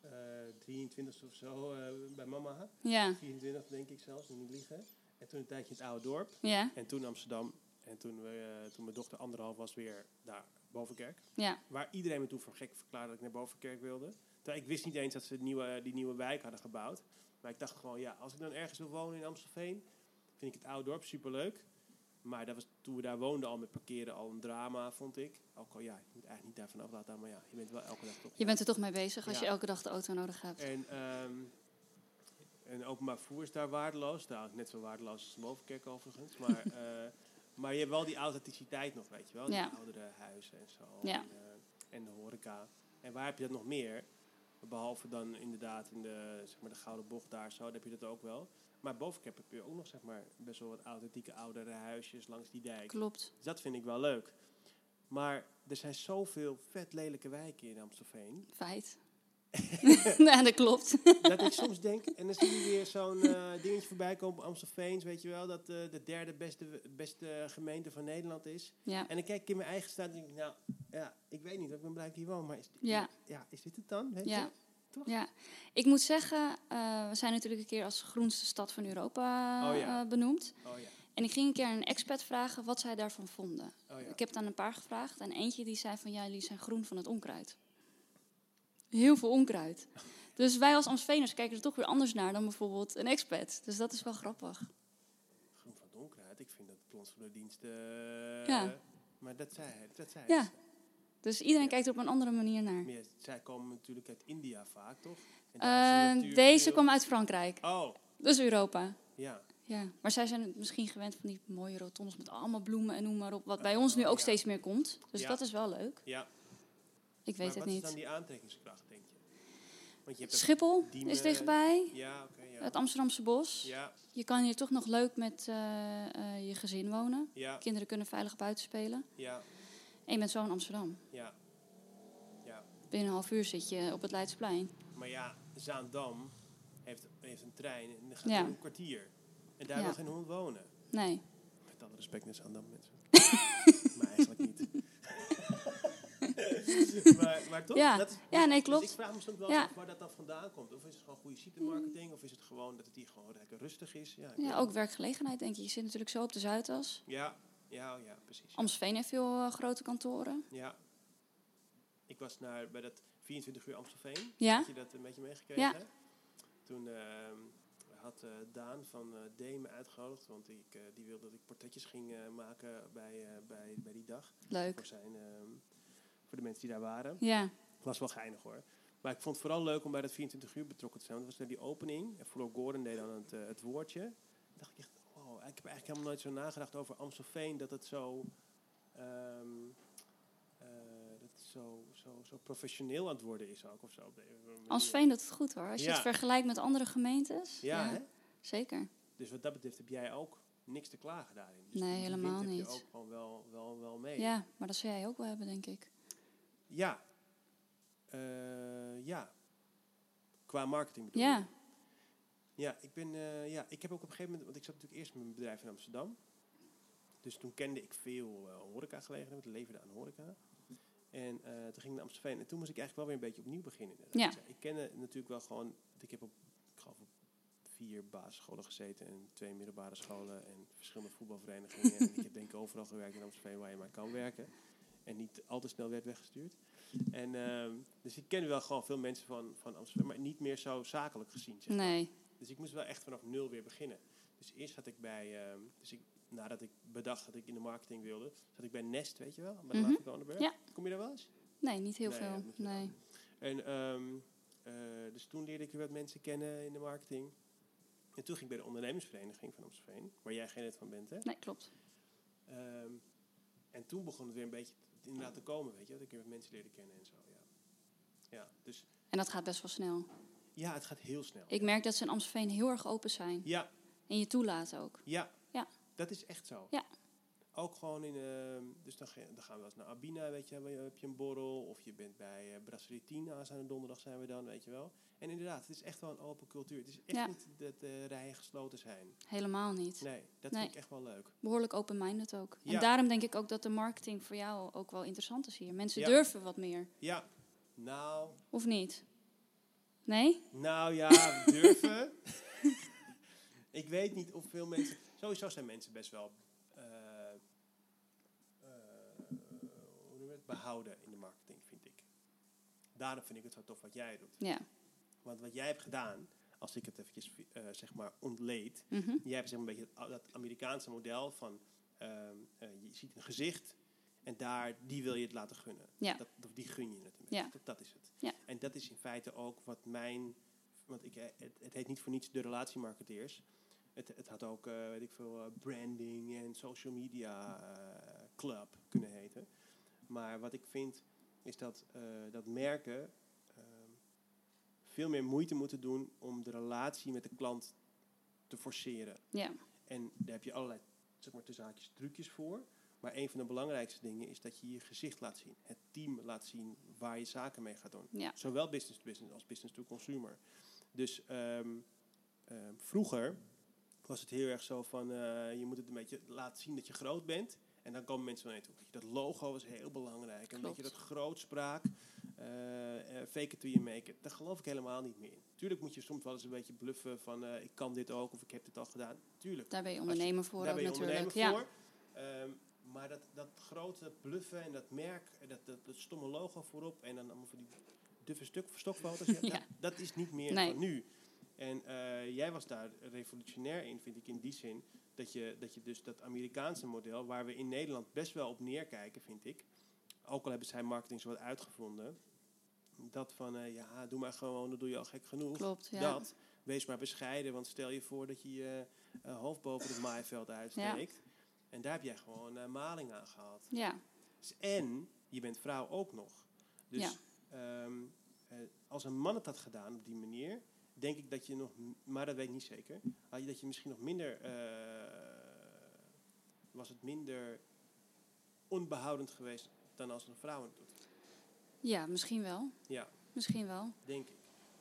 Speaker 1: eh 23 of zo eh, bij mama.
Speaker 2: Ja,
Speaker 1: 24 denk ik zelfs, moet niet liegen. En toen een tijdje in het oude dorp.
Speaker 2: ja,
Speaker 1: En toen Amsterdam. En toen, we, eh, toen mijn dochter anderhalf was weer daar, Bovenkerk.
Speaker 2: ja,
Speaker 1: Waar iedereen me toen voor gek verklaarde dat ik naar Bovenkerk wilde. Terwijl ik wist niet eens dat ze het nieuwe, die nieuwe wijk hadden gebouwd. Maar ik dacht gewoon, ja, als ik dan ergens wil wonen in Amstelveen, vind ik het oude dorp superleuk. Maar dat was, toen we daar woonden al met parkeren al een drama, vond ik. Ook al, ja, je moet eigenlijk niet daarvan aflaten, maar ja, je bent wel elke dag toch.
Speaker 2: je bent er toch mee bezig als
Speaker 1: Ja.
Speaker 2: je elke dag de auto nodig hebt.
Speaker 1: En, ehm en openbaar vervoer is daar waardeloos. Nou, net zo waardeloos als Bovenkerk overigens. Maar, eh, maar je hebt wel die authenticiteit nog, weet je wel.
Speaker 2: Ja.
Speaker 1: Die oudere huizen en zo.
Speaker 2: Ja.
Speaker 1: En, eh, en de horeca. En waar heb je dat nog meer? Behalve dan inderdaad in de, zeg maar, de Gouden Bocht daar zo, dan heb je dat ook wel. Maar bovenkap heb je ook nog zeg maar, best wel wat authentieke oudere huisjes langs die dijk.
Speaker 2: Klopt.
Speaker 1: Dus dat vind ik wel leuk. Maar er zijn zoveel vet lelijke wijken in Amstelveen.
Speaker 2: Feit. nou, dat klopt.
Speaker 1: dat ik soms denk, en dan zie je weer zo'n eh, dingetje voorbij komen op Amstelveens, weet je wel, dat eh, de derde beste, beste gemeente van Nederland is.
Speaker 2: Ja.
Speaker 1: En dan kijk ik in mijn eigen stad en denk ik, nou, ja, ik weet niet, ik ben blij dat ik hier woon, maar is,
Speaker 2: Ja.
Speaker 1: is dit het dan? Weet
Speaker 2: Ja.
Speaker 1: Je? toch?
Speaker 2: ja. Ik moet zeggen, eh, we zijn natuurlijk een keer als groenste stad van Europa
Speaker 1: Oh ja.
Speaker 2: eh, benoemd.
Speaker 1: Oh ja,
Speaker 2: En ik ging een keer aan een expat vragen wat zij daarvan vonden.
Speaker 1: oh ja.
Speaker 2: Ik heb het aan een paar gevraagd. En eentje die zei van, ja, jullie zijn groen van het onkruid. Heel veel onkruid. Dus wij als Amstelveners kijken er toch weer anders naar dan bijvoorbeeld een expat. Dus dat is wel grappig.
Speaker 1: Groen van Donkruid, ik vind dat plons voor de dienst.
Speaker 2: Ja.
Speaker 1: Maar dat zei hij, dat zei
Speaker 2: Ja. Dus iedereen
Speaker 1: Ja.
Speaker 2: kijkt er op een andere manier naar.
Speaker 1: hij. Ja, zij komen natuurlijk uit India vaak, toch? En daar is de
Speaker 2: Eh,
Speaker 1: natuur
Speaker 2: deze
Speaker 1: veel-
Speaker 2: kwam uit Frankrijk.
Speaker 1: Oh,
Speaker 2: Dus Europa.
Speaker 1: ja.
Speaker 2: Ja, maar zij zijn het misschien gewend van die mooie rotondes met allemaal bloemen en noem maar op. Wat bij ons nu ook
Speaker 1: Oh, ja.
Speaker 2: steeds meer komt. Dus
Speaker 1: Ja.
Speaker 2: dat is wel leuk.
Speaker 1: ja.
Speaker 2: Ik
Speaker 1: maar
Speaker 2: weet
Speaker 1: wat
Speaker 2: het
Speaker 1: is dan
Speaker 2: niet.
Speaker 1: die aantrekkingskracht, denk je? Want je hebt dat-
Speaker 2: Schiphol
Speaker 1: Diemen.
Speaker 2: is dichtbij.
Speaker 1: Ja, oké, ja.
Speaker 2: Het Amsterdamse bos.
Speaker 1: Ja,
Speaker 2: Je kan hier toch nog leuk met eh, eh, je gezin wonen.
Speaker 1: ja,
Speaker 2: Kinderen kunnen veilig buiten spelen.
Speaker 1: ja,
Speaker 2: En je bent zo in Amsterdam.
Speaker 1: ja. Ja,
Speaker 2: Binnen een half uur zit je op het Leidsplein.
Speaker 1: maar ja, Zaandam heeft, heeft een trein en dan gaat
Speaker 2: Ja.
Speaker 1: er een kwartier. En daar
Speaker 2: Ja.
Speaker 1: wil geen hond wonen.
Speaker 2: Nee.
Speaker 1: Met alle respect naar Zaandam, mensen. maar eigenlijk niet. maar, maar toch?
Speaker 2: Ja.
Speaker 1: dat is-
Speaker 2: Ja, nee,
Speaker 1: dus
Speaker 2: klopt.
Speaker 1: ik vraag me soms wel
Speaker 2: Ja.
Speaker 1: af waar dat dan vandaan komt. Of is het gewoon goede sitemarketing? Of is het gewoon dat het hier gewoon lekker rustig is? Ja, ik weet
Speaker 2: Ja,
Speaker 1: het
Speaker 2: ook
Speaker 1: niet.
Speaker 2: werkgelegenheid denk ik. Je zit natuurlijk zo op de Zuidas.
Speaker 1: Ja, ja, oh ja, precies.
Speaker 2: Amstelveen heeft veel eh, grote kantoren.
Speaker 1: Ja. Ik was naar, bij dat 24 uur Amstelveen.
Speaker 2: Ja?
Speaker 1: Heb je dat een beetje meegekregen?
Speaker 2: Ja.
Speaker 1: hè? Toen ehm, had eh, Daan van eh D me uitgenodigd, want ik, eh, die wilde dat ik portretjes ging eh, maken bij, eh, bij, bij die dag.
Speaker 2: Leuk.
Speaker 1: Voor, zijn, ehm, voor de mensen die daar waren.
Speaker 2: Ja.
Speaker 1: was wel geinig hoor. Maar ik vond het vooral leuk om bij dat 24 uur betrokken te zijn. Want dat was net die opening. En Floor Gordon deed dan het, eh, het woordje. Toen dacht ik echt, wow, ik heb eigenlijk helemaal nooit zo nagedacht over Amstelveen. Dat het zo, ehm, eh, dat het zo, zo, zo professioneel aan het worden is ook. Of zo. op de een of andere manier.
Speaker 2: Amstelveen doet het goed hoor. Als je
Speaker 1: Ja.
Speaker 2: het vergelijkt met andere gemeentes.
Speaker 1: Ja, hè?
Speaker 2: zeker.
Speaker 1: Dus wat dat betreft heb jij ook niks te klagen daarin. Dus
Speaker 2: Nee,
Speaker 1: die wind
Speaker 2: helemaal
Speaker 1: heb
Speaker 2: niet.
Speaker 1: je ook gewoon wel, wel, wel mee.
Speaker 2: Ja, maar dat zou jij ook wel hebben, denk ik.
Speaker 1: Ja. Eh, ja. Qua marketing bedoel je?
Speaker 2: Ja,
Speaker 1: Ja, ik ben, eh, ja, ik heb ook op een gegeven moment, want ik zat natuurlijk eerst met mijn bedrijf in Amsterdam. Dus toen kende ik veel eh horecagelegenheden, het leverde aan horeca. En eh, toen ging ik naar Amstelveen en toen moest ik eigenlijk wel weer een beetje opnieuw beginnen. inderdaad. Ik kende natuurlijk wel gewoon, want ik heb op, ik geloof op vier basisscholen gezeten en twee middelbare scholen en verschillende voetbalverenigingen. en ik heb denk ik overal gewerkt in Amstelveen waar je maar kan werken. En niet al te snel werd weggestuurd. En, ehm, dus ik kende wel gewoon veel mensen van, van Amsterdam, maar niet meer zo zakelijk gezien. Zeg maar.
Speaker 2: nee.
Speaker 1: Dus ik moest wel echt vanaf nul weer beginnen. Dus eerst had ik bij, ehm, dus ik, nadat ik bedacht dat ik in de marketing wilde, zat ik bij Nest, weet je wel, bij de
Speaker 2: Mhm.
Speaker 1: Lage Kronenberg.
Speaker 2: Ja.
Speaker 1: Kom je daar wel eens?
Speaker 2: Nee, niet heel
Speaker 1: Nee, ja,
Speaker 2: veel.
Speaker 1: moet je
Speaker 2: Nee.
Speaker 1: En ehm, eh, dus toen leerde ik weer wat mensen kennen in de marketing. En toen ging ik bij de ondernemersvereniging van Amstelveen, waar jij geen lid van bent, hè?
Speaker 2: nee, klopt.
Speaker 1: Ehm, en toen begon het weer een beetje t- inderdaad te komen, weet je, dat ik weer wat mensen leerde kennen en zo, ja. Ja, dus
Speaker 2: En dat gaat best wel snel.
Speaker 1: ja, het gaat heel snel.
Speaker 2: Ik merk dat ze in Amstelveen heel erg open zijn.
Speaker 1: Ja,
Speaker 2: En je toelaat ook.
Speaker 1: Ja.
Speaker 2: Ja.
Speaker 1: Dat is echt zo.
Speaker 2: Ja.
Speaker 1: Ook gewoon in, ehm, dus dan, ge- dan gaan we wel eens naar Abina, weet je, heb je- heb je een borrel. Of je bent bij eh Brasserie 10, aanstaande donderdag zijn we dan, weet je wel. En inderdaad, het is echt wel een open cultuur. Het is echt
Speaker 2: Ja.
Speaker 1: niet dat de rijen gesloten zijn.
Speaker 2: Helemaal niet.
Speaker 1: Nee, dat
Speaker 2: Nee.
Speaker 1: vind ik echt wel leuk.
Speaker 2: Behoorlijk open-minded ook. En
Speaker 1: Ja.
Speaker 2: daarom denk ik ook dat de marketing voor jou ook wel interessant is hier. Mensen
Speaker 1: Ja.
Speaker 2: durven wat meer.
Speaker 1: Ja, nou,
Speaker 2: Of niet? Nee?
Speaker 1: nou ja, durven. ik weet niet of veel mensen... Sowieso zijn mensen best wel eh, eh, hoe noem je het? behouden in de marketing, vind ik. Daarom vind ik het zo tof wat jij doet.
Speaker 2: Ja.
Speaker 1: Want wat jij hebt gedaan, als ik het eventjes eh, zeg maar ontleed.
Speaker 2: Mhm.
Speaker 1: Jij hebt zeg maar een beetje dat- dat Amerikaanse model van ehm, eh, je ziet een gezicht en daar, die wil je het laten gunnen.
Speaker 2: Ja.
Speaker 1: Dat, of die gun je het een
Speaker 2: Ja.
Speaker 1: beetje. Dat, dat is het.
Speaker 2: Ja.
Speaker 1: En dat is in feite ook wat mijn, want ik, eh, het, het heet niet voor niets de relatiemarketeers. Het, het had ook, eh, weet ik veel, eh, branding en social media eh, club kunnen heten. Maar wat ik vind is dat, eh, dat merken ehm, veel meer moeite moeten doen om de relatie met de klant te forceren.
Speaker 2: Ja.
Speaker 1: En daar heb je allerlei, zeg maar tussen haakjes, trucjes voor. Maar een van de belangrijkste dingen is dat je je gezicht laat zien. Het team laat zien waar je zaken mee gaat doen.
Speaker 2: Ja.
Speaker 1: Zowel business to business als business to consumer. Dus ehm, ehm, vroeger was het heel erg zo van, eh, je moet het een beetje laten zien dat je groot bent. En dan komen mensen naar je toe. Weet je, Dat logo is heel belangrijk. En een
Speaker 2: Klopt.
Speaker 1: beetje dat grootspraak. eh, eh, fake it till you make it. Daar geloof ik helemaal niet meer in. Tuurlijk moet je soms wel eens een beetje bluffen van, eh, ik kan dit ook of ik heb dit al gedaan. Tuurlijk.
Speaker 2: Daar ben je ondernemer voor
Speaker 1: Daar
Speaker 2: ook
Speaker 1: ben je
Speaker 2: natuurlijk.
Speaker 1: ondernemer
Speaker 2: Ja.
Speaker 1: voor. Ehm, maar dat, dat grote dat bluffen en dat merk, en dat, dat, dat stomme logo voorop en dan allemaal van die duffe stuk, stokfoto's, ja,
Speaker 2: Ja.
Speaker 1: Dat, dat is niet meer
Speaker 2: Nee.
Speaker 1: van nu. En eh, jij was daar revolutionair in, vind ik, in die zin. Dat je, dat je dus dat Amerikaanse model, waar we in Nederland best wel op neerkijken, vind ik. Ook al hebben zij marketing zo wat uitgevonden. Dat van, eh, ja, doe maar gewoon, dan doe je al gek genoeg.
Speaker 2: Klopt. Ja.
Speaker 1: Dat. Wees maar bescheiden, want stel je voor dat je je eh, hoofd boven het maaiveld uitsteekt. En daar heb jij gewoon eh, maling aan gehad.
Speaker 2: Ja.
Speaker 1: Dus en je bent vrouw ook nog. Dus
Speaker 2: Ja.
Speaker 1: ehm, eh, als een man het had gedaan op die manier, denk ik dat je nog, m- maar dat weet ik niet zeker, had je dat je misschien nog minder, eh, was het minder onbehoudend geweest dan als een vrouw het doet.
Speaker 2: ja, misschien wel.
Speaker 1: Ja.
Speaker 2: Misschien wel.
Speaker 1: Denk ik.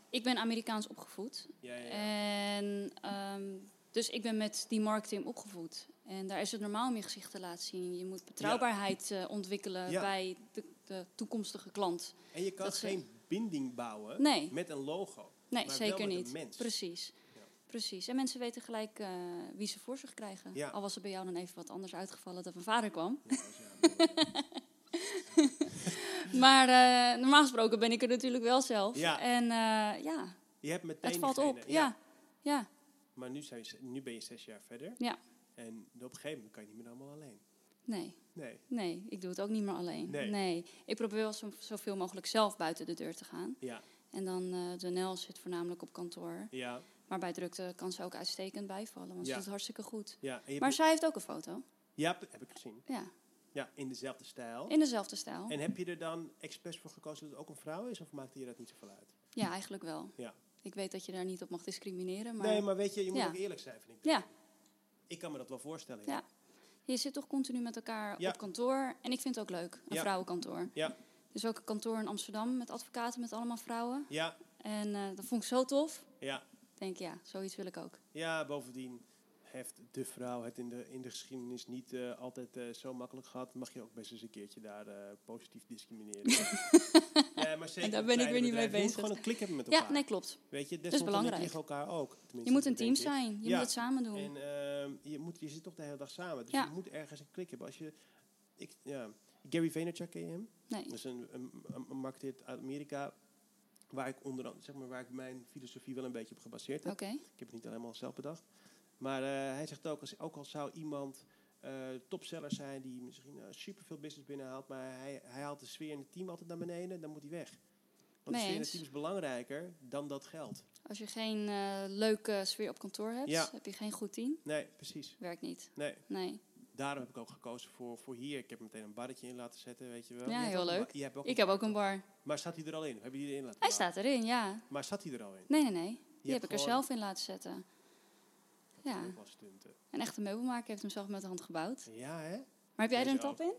Speaker 2: Ik ben Amerikaans opgevoed.
Speaker 1: Ja, ja,
Speaker 2: Eh,
Speaker 1: ja.
Speaker 2: En ehm, dus ik ben met die marketing opgevoed. En daar is het normaal om je gezicht te laten zien. Je moet betrouwbaarheid eh, ontwikkelen
Speaker 1: Ja.
Speaker 2: bij de, de toekomstige klant.
Speaker 1: En je kan
Speaker 2: dat ze-
Speaker 1: geen binding bouwen
Speaker 2: Nee,
Speaker 1: met een logo.
Speaker 2: nee
Speaker 1: maar
Speaker 2: zeker
Speaker 1: wel met een
Speaker 2: niet.
Speaker 1: mens.
Speaker 2: Precies.
Speaker 1: Ja.
Speaker 2: Precies. En mensen weten gelijk eh, wie ze voor zich krijgen.
Speaker 1: Ja.
Speaker 2: Al was er bij jou dan even wat anders uitgevallen dat mijn vader kwam.
Speaker 1: Ja, dat is ja, mooi.
Speaker 2: Maar eh, normaal gesproken ben ik er natuurlijk wel zelf.
Speaker 1: Ja.
Speaker 2: En eh, ja,
Speaker 1: Je hebt meteen
Speaker 2: het valt op.
Speaker 1: diegene-
Speaker 2: Ja. Ja.
Speaker 1: Maar nu, zijn, ze- nu ben je zes jaar verder.
Speaker 2: Ja.
Speaker 1: En op een gegeven moment kan je niet meer allemaal alleen.
Speaker 2: nee.
Speaker 1: Nee.
Speaker 2: Nee, ik doe het ook niet meer alleen.
Speaker 1: Nee.
Speaker 2: Nee. Ik probeer wel zo, zoveel mogelijk zelf buiten de deur te gaan.
Speaker 1: Ja.
Speaker 2: En dan, eh de Nel zit voornamelijk op kantoor.
Speaker 1: Ja.
Speaker 2: Maar bij drukte kan ze ook uitstekend bijvallen, want
Speaker 1: Ja.
Speaker 2: ze doet het hartstikke goed.
Speaker 1: Ja. En je
Speaker 2: Maar
Speaker 1: hebt-
Speaker 2: zij heeft ook een foto.
Speaker 1: ja, p- heb ik gezien.
Speaker 2: Ja,
Speaker 1: Ja, in dezelfde stijl.
Speaker 2: in dezelfde stijl.
Speaker 1: Oh. En heb je er dan expres voor gekozen dat het ook een vrouw is? Of maakte je dat niet zoveel uit?
Speaker 2: Ja, eigenlijk wel.
Speaker 1: Ja.
Speaker 2: Ik weet dat je daar niet op mag discrimineren, maar
Speaker 1: nee, maar weet je, je moet
Speaker 2: Ja.
Speaker 1: ook eerlijk zijn, vind ik.
Speaker 2: Ja.
Speaker 1: Ik kan me dat wel voorstellen.
Speaker 2: Ja. je zit toch continu met elkaar
Speaker 1: Ja.
Speaker 2: op kantoor. En ik vind het ook leuk, een
Speaker 1: Ja.
Speaker 2: vrouwenkantoor.
Speaker 1: Ja.
Speaker 2: Dus ook een kantoor in Amsterdam met advocaten, met allemaal vrouwen.
Speaker 1: Ja.
Speaker 2: En eh, dat vond ik zo tof.
Speaker 1: Ja.
Speaker 2: Ik denk, ja, zoiets wil ik ook.
Speaker 1: Ja, bovendien heeft de vrouw het in de, in de geschiedenis niet eh, altijd eh, zo makkelijk gehad. Mag je ook best eens een keertje daar eh, positief discrimineren. nee, maar zeker
Speaker 2: En daar
Speaker 1: in
Speaker 2: ben ik
Speaker 1: kleine
Speaker 2: weer niet
Speaker 1: bedrijven.
Speaker 2: mee
Speaker 1: Je moet
Speaker 2: bezig.
Speaker 1: gewoon een klik hebben met elkaar.
Speaker 2: Ja, nee, klopt.
Speaker 1: Weet je,
Speaker 2: is
Speaker 1: desondanks
Speaker 2: belangrijk.
Speaker 1: liggen elkaar ook. Tenminste,
Speaker 2: Je moet een
Speaker 1: dat
Speaker 2: team
Speaker 1: denk ik.
Speaker 2: zijn.
Speaker 1: Ja.
Speaker 2: Je moet het samen doen.
Speaker 1: En ehm, je, moet, je zit toch de hele dag samen. Dus
Speaker 2: Ja.
Speaker 1: je moet ergens een klik hebben. Als je, ik, ja, Gary Vaynerchuk ken je hem?
Speaker 2: nee.
Speaker 1: Dat is een, een, een een marketeer uit Amerika. Waar ik onder andere, zeg maar, waar ik mijn filosofie wel een beetje op gebaseerd
Speaker 2: Oké.
Speaker 1: heb. Ik heb het niet helemaal zelf bedacht. Maar eh, hij zegt ook, als, ook al zou iemand eh, topseller zijn die misschien eh, superveel business binnenhaalt, maar hij, hij haalt de sfeer in het team altijd naar beneden, dan moet hij weg. Want de
Speaker 2: Mee
Speaker 1: sfeer in het
Speaker 2: eens.
Speaker 1: team is belangrijker dan dat geld.
Speaker 2: Als je geen eh, leuke sfeer op kantoor hebt,
Speaker 1: Ja.
Speaker 2: heb je geen goed team.
Speaker 1: Nee, precies.
Speaker 2: Werkt niet.
Speaker 1: Nee,
Speaker 2: Nee.
Speaker 1: daarom heb ik ook gekozen voor, voor hier. Ik heb er meteen een barretje in laten zetten, weet je wel.
Speaker 2: Ja,
Speaker 1: Je hebt
Speaker 2: heel
Speaker 1: ook een
Speaker 2: leuk.
Speaker 1: ba- je hebt ook
Speaker 2: Ik
Speaker 1: een
Speaker 2: heb ook een bar.
Speaker 1: bar. Maar staat hij er al in? Of heb je die erin laten
Speaker 2: Hij
Speaker 1: bouwen?
Speaker 2: staat erin, ja.
Speaker 1: Maar staat hij er al in?
Speaker 2: Nee, nee, nee. Die
Speaker 1: hebt
Speaker 2: heb ik er
Speaker 1: gewoon-
Speaker 2: zelf in laten zetten. Ja,
Speaker 1: Dat was stunten.
Speaker 2: een echte meubelmaker heeft hem zelf met de hand gebouwd.
Speaker 1: Ja, hè?
Speaker 2: Maar heb jij er
Speaker 1: Deze
Speaker 2: een tap in?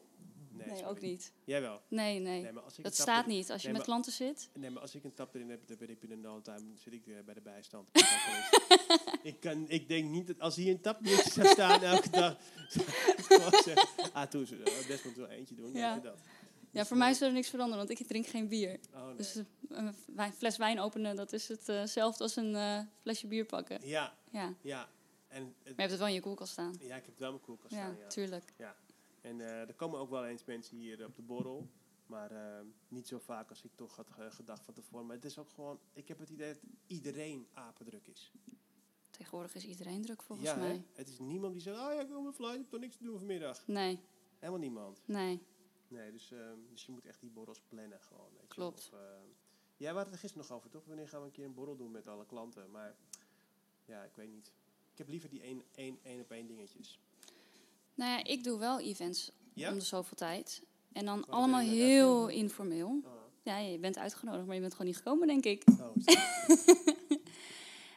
Speaker 1: Nee,
Speaker 2: Nee,
Speaker 1: sorry.
Speaker 2: ook niet.
Speaker 1: Jij wel.
Speaker 2: Nee, nee.
Speaker 1: Nee, maar als ik
Speaker 2: Dat
Speaker 1: een tap
Speaker 2: staat
Speaker 1: erin-
Speaker 2: niet. Als je
Speaker 1: Nee,
Speaker 2: met
Speaker 1: maar-
Speaker 2: klanten zit.
Speaker 1: Nee, maar als ik een tap erin heb, dan ben ik binnen no time zit ik eh, bij de bijstand. Dat kan wel eens. ik, kan, ik denk niet dat als hier een tap neer zou staan elke dag. zou ik gewoon zeggen, ah, toen ze eh, Desmond wil eentje doen.
Speaker 2: Ja.
Speaker 1: Nee, dat.
Speaker 2: Ja, voor mij zou er niks veranderen, want ik drink geen bier.
Speaker 1: Oh, nee.
Speaker 2: Dus eh, een wij- fles wijn openen, dat is het, eh, hetzelfde als een eh, flesje bier pakken.
Speaker 1: Ja,
Speaker 2: Ja. Maar
Speaker 1: ja. En het-
Speaker 2: je hebt het wel in je koelkast staan.
Speaker 1: ja, ik heb het wel in mijn koelkast
Speaker 2: Ja,
Speaker 1: staan. Ja.
Speaker 2: tuurlijk.
Speaker 1: En eh, er komen ook wel eens mensen hier op de borrel. Maar eh, niet zo vaak als ik toch had eh, gedacht van tevoren. Maar het is ook gewoon, ik heb het idee dat iedereen apendruk is.
Speaker 2: Tegenwoordig is iedereen druk volgens
Speaker 1: ja, hè?
Speaker 2: mij.
Speaker 1: het is niemand die zegt, oh ja, ik wil mijn flight, ik heb toch niks te doen vanmiddag.
Speaker 2: Nee,
Speaker 1: Helemaal niemand.
Speaker 2: nee.
Speaker 1: Nee, dus, ehm, dus je moet echt die borrels plannen gewoon. Weet je.
Speaker 2: Klopt.
Speaker 1: Of, ehm, jij had het er gisteren nog over, toch? Wanneer gaan we een keer een borrel doen met alle klanten? Maar ja, ik weet niet. Ik heb liever die één, één, één op één dingetjes.
Speaker 2: Nou ja, ik doe wel events
Speaker 1: Ja?
Speaker 2: om de zoveel tijd. En dan
Speaker 1: doe
Speaker 2: allemaal
Speaker 1: je dat?
Speaker 2: heel informeel.
Speaker 1: Ah,
Speaker 2: Ja, je bent uitgenodigd, maar je bent gewoon niet gekomen, denk ik.
Speaker 1: Oh, is dat-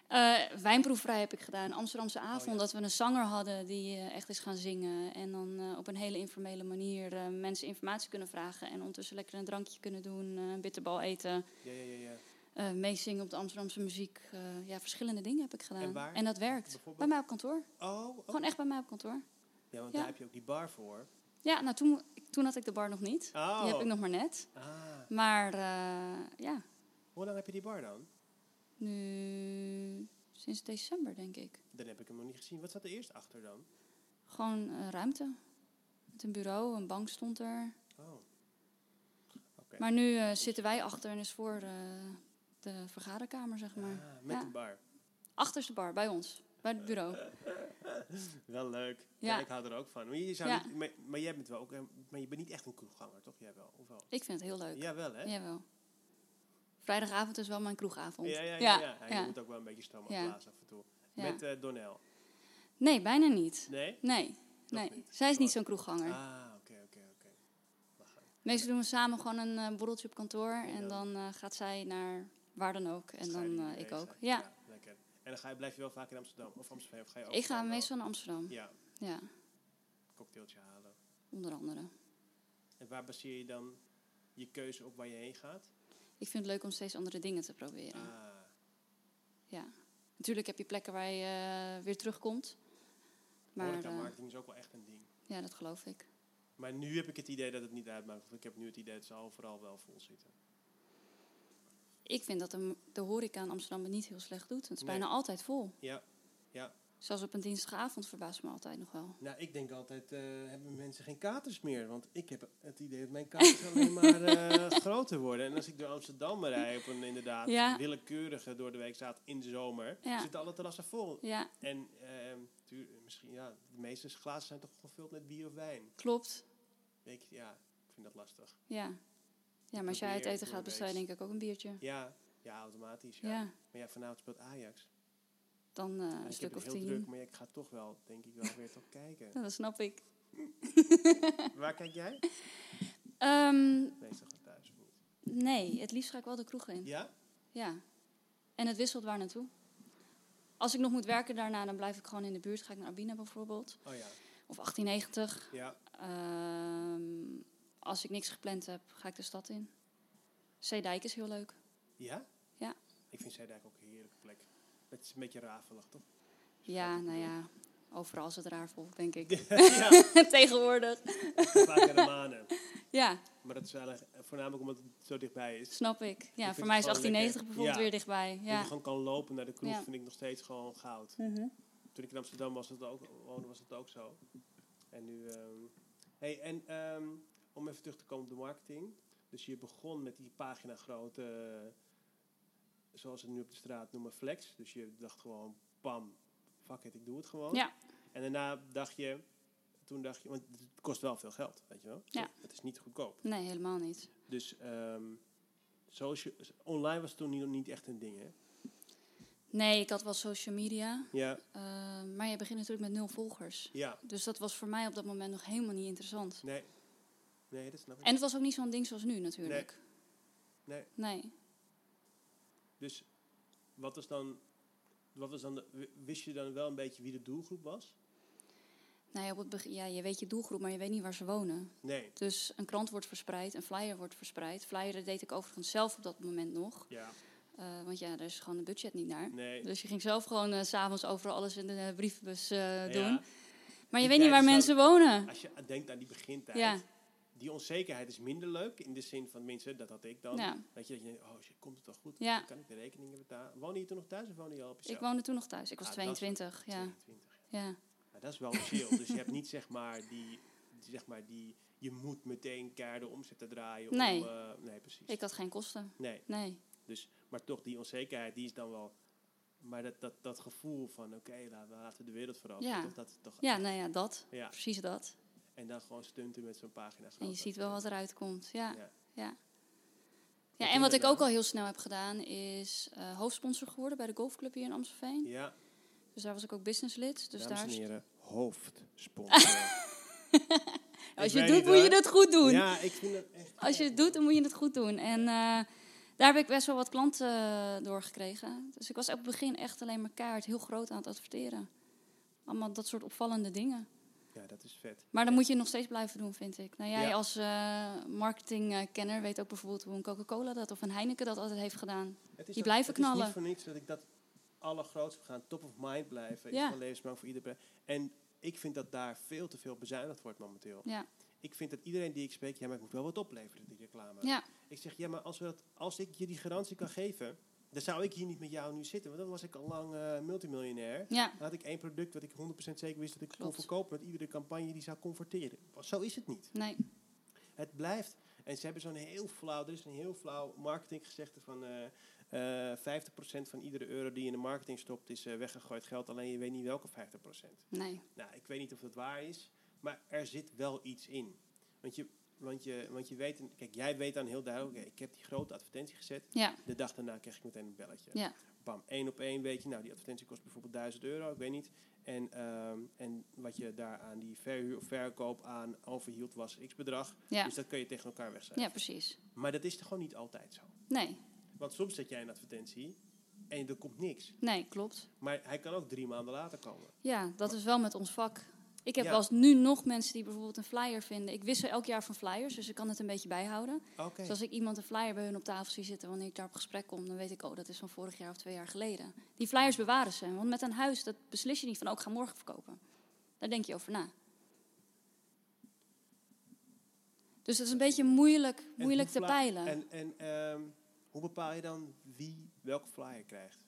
Speaker 2: Eh, wijnproeverij heb ik gedaan. Amsterdamse avond.
Speaker 1: ja.
Speaker 2: Dat we een zanger hadden die eh, echt is gaan zingen. En dan eh, op een hele informele manier eh, mensen informatie kunnen vragen. En ondertussen lekker een drankje kunnen doen. eh, een bitterbal eten.
Speaker 1: ja, ja, ja, ja.
Speaker 2: eh, meezingen op de Amsterdamse muziek. eh, ja, verschillende dingen heb ik gedaan.
Speaker 1: En waar?
Speaker 2: dat werkt.
Speaker 1: Bijvoorbeeld?
Speaker 2: Bij mij op kantoor.
Speaker 1: Oh, oh.
Speaker 2: Gewoon echt bij mij op kantoor.
Speaker 1: ja, want
Speaker 2: ja.
Speaker 1: daar heb je ook die bar voor.
Speaker 2: Ja, nou toen, toen had ik de bar nog niet.
Speaker 1: Oh.
Speaker 2: Die heb ik nog maar net.
Speaker 1: Ah.
Speaker 2: Maar eh, ja,
Speaker 1: Hoe lang heb je die bar dan?
Speaker 2: nu sinds december denk ik.
Speaker 1: Dan heb ik hem nog niet gezien. Wat zat er eerst achter dan?
Speaker 2: Gewoon eh, ruimte. Met een bureau, een bank stond er.
Speaker 1: Oh. Oké.
Speaker 2: Maar nu eh, zitten wij achter en is voor eh, de vergaderkamer, zeg maar.
Speaker 1: Ah, met
Speaker 2: ja.
Speaker 1: de bar.
Speaker 2: Achterste bar, bij ons. Bij het bureau.
Speaker 1: Wel leuk. Ja.
Speaker 2: Ja.
Speaker 1: ik hou er ook van. Maar, je zou
Speaker 2: Ja.
Speaker 1: niet- maar, maar jij bent wel ook, eh, maar je bent niet echt een kroegganger, toch? Jij wel? Of wel?
Speaker 2: Ik vind het heel leuk.
Speaker 1: Ja, wel hè?
Speaker 2: Jawel. Vrijdagavond is wel mijn kroegavond.
Speaker 1: Ja, ja, ja. ja. je
Speaker 2: ja.
Speaker 1: moet ook wel een beetje stroom
Speaker 2: Ja.
Speaker 1: afblazen af en toe.
Speaker 2: Ja.
Speaker 1: Met eh Donnell.
Speaker 2: Nee, bijna niet.
Speaker 1: Nee?
Speaker 2: Nee, nee.
Speaker 1: niet.
Speaker 2: Zij is niet
Speaker 1: Mooi.
Speaker 2: zo'n kroegganger.
Speaker 1: Ah, oké, oké, oké. Lachen.
Speaker 2: Meestal doen we samen gewoon een eh, borreltje op kantoor.
Speaker 1: Ja.
Speaker 2: En dan eh, gaat zij naar waar dan ook. En
Speaker 1: Dus ga je
Speaker 2: dan
Speaker 1: er
Speaker 2: eh,
Speaker 1: niet
Speaker 2: ik
Speaker 1: mee
Speaker 2: ook.
Speaker 1: zijn.
Speaker 2: Ja,
Speaker 1: Lekker. En dan ga je, blijf je wel vaak in Amsterdam of Amsterdam? Of ga je ook
Speaker 2: ik ga
Speaker 1: wel-
Speaker 2: meestal naar Amsterdam.
Speaker 1: Ja,
Speaker 2: Ja,
Speaker 1: cocktailtje halen.
Speaker 2: onder andere.
Speaker 1: En waar baseer je dan je keuze op waar je heen gaat?
Speaker 2: Ik vind het leuk om steeds andere dingen te proberen.
Speaker 1: Ah,
Speaker 2: Ja. Natuurlijk heb je plekken waar je eh, weer terugkomt. Maar
Speaker 1: horeca
Speaker 2: eh,
Speaker 1: marketing is ook wel echt een ding.
Speaker 2: ja, dat geloof ik.
Speaker 1: Maar nu heb ik het idee dat het niet uitmaakt. Want ik heb nu het idee dat ze overal wel vol zitten.
Speaker 2: Ik vind dat de, de horeca in Amsterdam het niet heel slecht doet. Het is
Speaker 1: Nee.
Speaker 2: bijna altijd vol.
Speaker 1: Ja, ja.
Speaker 2: Zelfs op een dinsdagavond verbaast me altijd nog wel.
Speaker 1: Nou, ik denk altijd, eh, hebben mensen geen katers meer? Want ik heb het idee dat mijn katers alleen maar eh, groter worden. En als ik door Amsterdam rijd op een inderdaad
Speaker 2: Ja.
Speaker 1: willekeurige door de week staat in de zomer,
Speaker 2: Ja.
Speaker 1: zitten alle terrassen vol.
Speaker 2: Ja,
Speaker 1: En ehm, tuur- misschien, ja, de meeste glazen zijn toch gevuld met bier of wijn.
Speaker 2: klopt.
Speaker 1: Weet je, ja, ik vind dat lastig.
Speaker 2: Ja. Ja, maar als jij uit
Speaker 1: probeer
Speaker 2: eten gaat, bestel je
Speaker 1: doorweeks.
Speaker 2: denk ik ook een biertje.
Speaker 1: Ja, ja, automatisch. Ja.
Speaker 2: Ja,
Speaker 1: Maar ja, vanavond speelt Ajax.
Speaker 2: dan eh,
Speaker 1: En
Speaker 2: een
Speaker 1: ik heb
Speaker 2: stuk
Speaker 1: het
Speaker 2: of
Speaker 1: heel druk,
Speaker 2: tien.
Speaker 1: maar ja, ik ga toch wel, denk ik, wel weer toch kijken.
Speaker 2: Ja, dat snap ik.
Speaker 1: Waar kijk jij?
Speaker 2: Ehm,
Speaker 1: Meestal gaat thuis of niet.
Speaker 2: nee, het liefst ga ik wel de kroeg in.
Speaker 1: Ja?
Speaker 2: Ja. En het wisselt waar naartoe. Als ik nog moet werken daarna, dan blijf ik gewoon in de buurt. Ga ik naar Abina bijvoorbeeld.
Speaker 1: Oh ja.
Speaker 2: Of 1890.
Speaker 1: Ja.
Speaker 2: Ehm, als ik niks gepland heb, ga ik de stad in. Zeedijk is heel leuk.
Speaker 1: Ja?
Speaker 2: Ja.
Speaker 1: Ik vind Zeedijk ook een heerlijke plek. Het is een beetje rafelig, toch?
Speaker 2: Ja, nou ja. Overal is het raar volk, denk ik.
Speaker 1: ja,
Speaker 2: Tegenwoordig.
Speaker 1: vaak Ramanen.
Speaker 2: Ja,
Speaker 1: Maar dat is eigenlijk voornamelijk omdat het zo dichtbij is.
Speaker 2: snap ik. Ja,
Speaker 1: vind
Speaker 2: voor mij
Speaker 1: het
Speaker 2: is
Speaker 1: gewoon
Speaker 2: 1890
Speaker 1: lekker.
Speaker 2: bijvoorbeeld
Speaker 1: Ja.
Speaker 2: weer dichtbij.
Speaker 1: Dat je
Speaker 2: Ja.
Speaker 1: gewoon kan lopen naar de kroeg
Speaker 2: Ja. Mhm.
Speaker 1: vind ik nog steeds gewoon goud. Toen ik in Amsterdam was, dat ook, woonde, was dat ook zo. En nu... ehm, hey, en ehm, om even terug te komen op de marketing. Dus je begon met die pagina grote, zoals ze het nu op de straat noemen, flex. Dus je dacht gewoon, bam, fuck it, ik doe het gewoon.
Speaker 2: Ja.
Speaker 1: En daarna dacht je, toen dacht je, want het kost wel veel geld, weet je wel.
Speaker 2: Ja.
Speaker 1: Het is niet goedkoop.
Speaker 2: Nee, helemaal niet.
Speaker 1: Dus ehm, social, online was toen niet, niet echt een ding, hè?
Speaker 2: Nee, ik had wel social media.
Speaker 1: Ja,
Speaker 2: eh, maar je begint natuurlijk met nul volgers.
Speaker 1: ja,
Speaker 2: Dus dat was voor mij op dat moment nog helemaal niet interessant.
Speaker 1: nee. Nee, dat snap ik.
Speaker 2: En het was ook niet zo'n ding zoals nu natuurlijk.
Speaker 1: Nee.
Speaker 2: Nee.
Speaker 1: Dus wat was dan, wat was dan de- wist je dan wel een beetje wie de doelgroep was?
Speaker 2: Nou ja, op het begin- ja, je weet je doelgroep, maar je weet niet waar ze wonen.
Speaker 1: Nee.
Speaker 2: Dus een krant wordt verspreid, een flyer wordt verspreid. Flyer deed ik overigens zelf op dat moment nog.
Speaker 1: Ja,
Speaker 2: eh, want ja, daar is gewoon het budget niet naar.
Speaker 1: nee.
Speaker 2: Dus je ging zelf gewoon eh, s s'avonds overal alles in de eh, brievenbus eh, doen.
Speaker 1: Ja,
Speaker 2: Maar je
Speaker 1: Die
Speaker 2: weet niet waar
Speaker 1: tijd
Speaker 2: mensen
Speaker 1: zou-
Speaker 2: wonen.
Speaker 1: Nou als je denkt aan die begintijd,
Speaker 2: Ja,
Speaker 1: die onzekerheid is minder leuk. In de zin van mensen, dat had ik dan.
Speaker 2: ja.
Speaker 1: Dat je, dat je denkt, oh shit, komt het wel goed?
Speaker 2: Ja.
Speaker 1: Kan ik de rekeningen betalen? Woonde je toen nog thuis of woonde je al op
Speaker 2: Ik
Speaker 1: jezelf?
Speaker 2: woonde toen nog thuis. Ik was
Speaker 1: Ah, dat is-
Speaker 2: 22. Ja.
Speaker 1: 22.
Speaker 2: ja.
Speaker 1: Maar dat is wel chill. dus je hebt niet zeg maar die, die, zeg maar die, je moet meteen keiharde omzet te draaien.
Speaker 2: Nee.
Speaker 1: Om, eh, nee, precies.
Speaker 2: Ik had geen kosten.
Speaker 1: nee,
Speaker 2: Nee.
Speaker 1: dus, maar toch die onzekerheid, die is dan wel, maar dat, dat, dat gevoel van oké, laten we- laten we de wereld veranderen.
Speaker 2: Ja.
Speaker 1: toch? Dat is toch,
Speaker 2: Ja, nou ja, dat.
Speaker 1: Ja.
Speaker 2: Precies dat.
Speaker 1: En dan gewoon stunten met zo'n pagina.
Speaker 2: En je ziet wel wat eruit komt. Ja.
Speaker 1: Ja.
Speaker 2: ja.
Speaker 1: Wat
Speaker 2: Ja,
Speaker 1: doe
Speaker 2: en wat
Speaker 1: je
Speaker 2: ik
Speaker 1: dan?
Speaker 2: ook al heel snel heb gedaan is eh, hoofdsponsor geworden bij de golfclub hier in Amstelveen.
Speaker 1: Ja,
Speaker 2: Dus daar was ik ook businesslid. Dus
Speaker 1: dames
Speaker 2: daar
Speaker 1: en
Speaker 2: is-
Speaker 1: heren, hoofdsponsor. Ik
Speaker 2: Als je het
Speaker 1: weet
Speaker 2: doet,
Speaker 1: niet,
Speaker 2: moet je
Speaker 1: hoor.
Speaker 2: het goed doen.
Speaker 1: Ja, ik vind dat echt.
Speaker 2: Als je het doet, dan moet je het goed doen. En eh, daar heb ik best wel wat klanten doorgekregen. Dus ik was op het begin echt alleen maar kaart heel groot aan het adverteren. Allemaal dat soort opvallende dingen.
Speaker 1: Ja, dat is vet.
Speaker 2: Maar dan moet je nog steeds blijven doen, vind ik. Nou, jij
Speaker 1: Ja.
Speaker 2: als eh, marketingkenner weet ook bijvoorbeeld hoe een Coca-Cola dat of een Heineken dat altijd heeft gedaan.
Speaker 1: Het is
Speaker 2: Die
Speaker 1: ook-
Speaker 2: blijven
Speaker 1: Het is
Speaker 2: knallen.
Speaker 1: niet voor niets dat ik dat allergrootste we gaan top of mind blijven. Is
Speaker 2: Ja.
Speaker 1: van levensbelang voor iedereen. En ik vind dat daar veel te veel bezuinigd wordt momenteel.
Speaker 2: Ja.
Speaker 1: Ik vind dat iedereen die ik spreek, ja, maar het moet wel wat opleveren, die reclame.
Speaker 2: Ja,
Speaker 1: Ik zeg, ja, maar als, we dat, als ik je die garantie kan geven, dan zou ik hier niet met jou nu zitten. Want dan was ik al lang eh, multimiljonair.
Speaker 2: ja.
Speaker 1: Dan had ik één product wat ik 100% zeker wist dat ik kon
Speaker 2: Klopt.
Speaker 1: verkopen met iedere campagne die zou converteren. Zo is het niet.
Speaker 2: Nee.
Speaker 1: Het blijft. En ze hebben zo'n heel flauw, er is een heel flauw marketinggezegde van eh, eh, 50% van iedere euro die je in de marketing stopt is eh, weggegooid geld. Alleen je weet niet welke 50%.
Speaker 2: Nee.
Speaker 1: Nou, ik weet niet of dat waar is, maar er zit wel iets in. Want je, want je, want je weet, kijk, jij weet dan heel duidelijk, oké, ik heb die grote advertentie gezet.
Speaker 2: Ja.
Speaker 1: De dag daarna kreeg ik meteen een belletje.
Speaker 2: Ja.
Speaker 1: Bam, één op één weet je, nou, die advertentie kost bijvoorbeeld 1000 euro, ik weet niet. En, ehm, en wat je daar aan die verhuur of verkoop aan overhield was x bedrag.
Speaker 2: Ja.
Speaker 1: Dus dat kun je tegen elkaar wegzetten.
Speaker 2: Ja, precies.
Speaker 1: Maar dat is toch gewoon niet altijd zo.
Speaker 2: Nee.
Speaker 1: Want soms zet jij een advertentie en er komt niks.
Speaker 2: Nee, klopt.
Speaker 1: Maar hij kan ook drie maanden later komen.
Speaker 2: Ja, dat is wel met ons vak. Ik heb
Speaker 1: Ja.
Speaker 2: wel eens nu nog mensen die bijvoorbeeld een flyer vinden. Ik wissel elk jaar van flyers, dus ik kan het een beetje bijhouden.
Speaker 1: Oké.
Speaker 2: Dus als ik iemand een flyer bij hun op tafel zie zitten wanneer ik daar op gesprek kom, dan weet ik, oh, dat is van vorig jaar of twee jaar geleden. Die flyers bewaren ze. Want met een huis, dat beslis je niet van, ook ga morgen verkopen. Daar denk je over na. Dus het is een beetje moeilijk,
Speaker 1: En
Speaker 2: moeilijk
Speaker 1: hoe
Speaker 2: te
Speaker 1: fly-
Speaker 2: peilen.
Speaker 1: En, en ehm, hoe bepaal je dan wie welke flyer krijgt?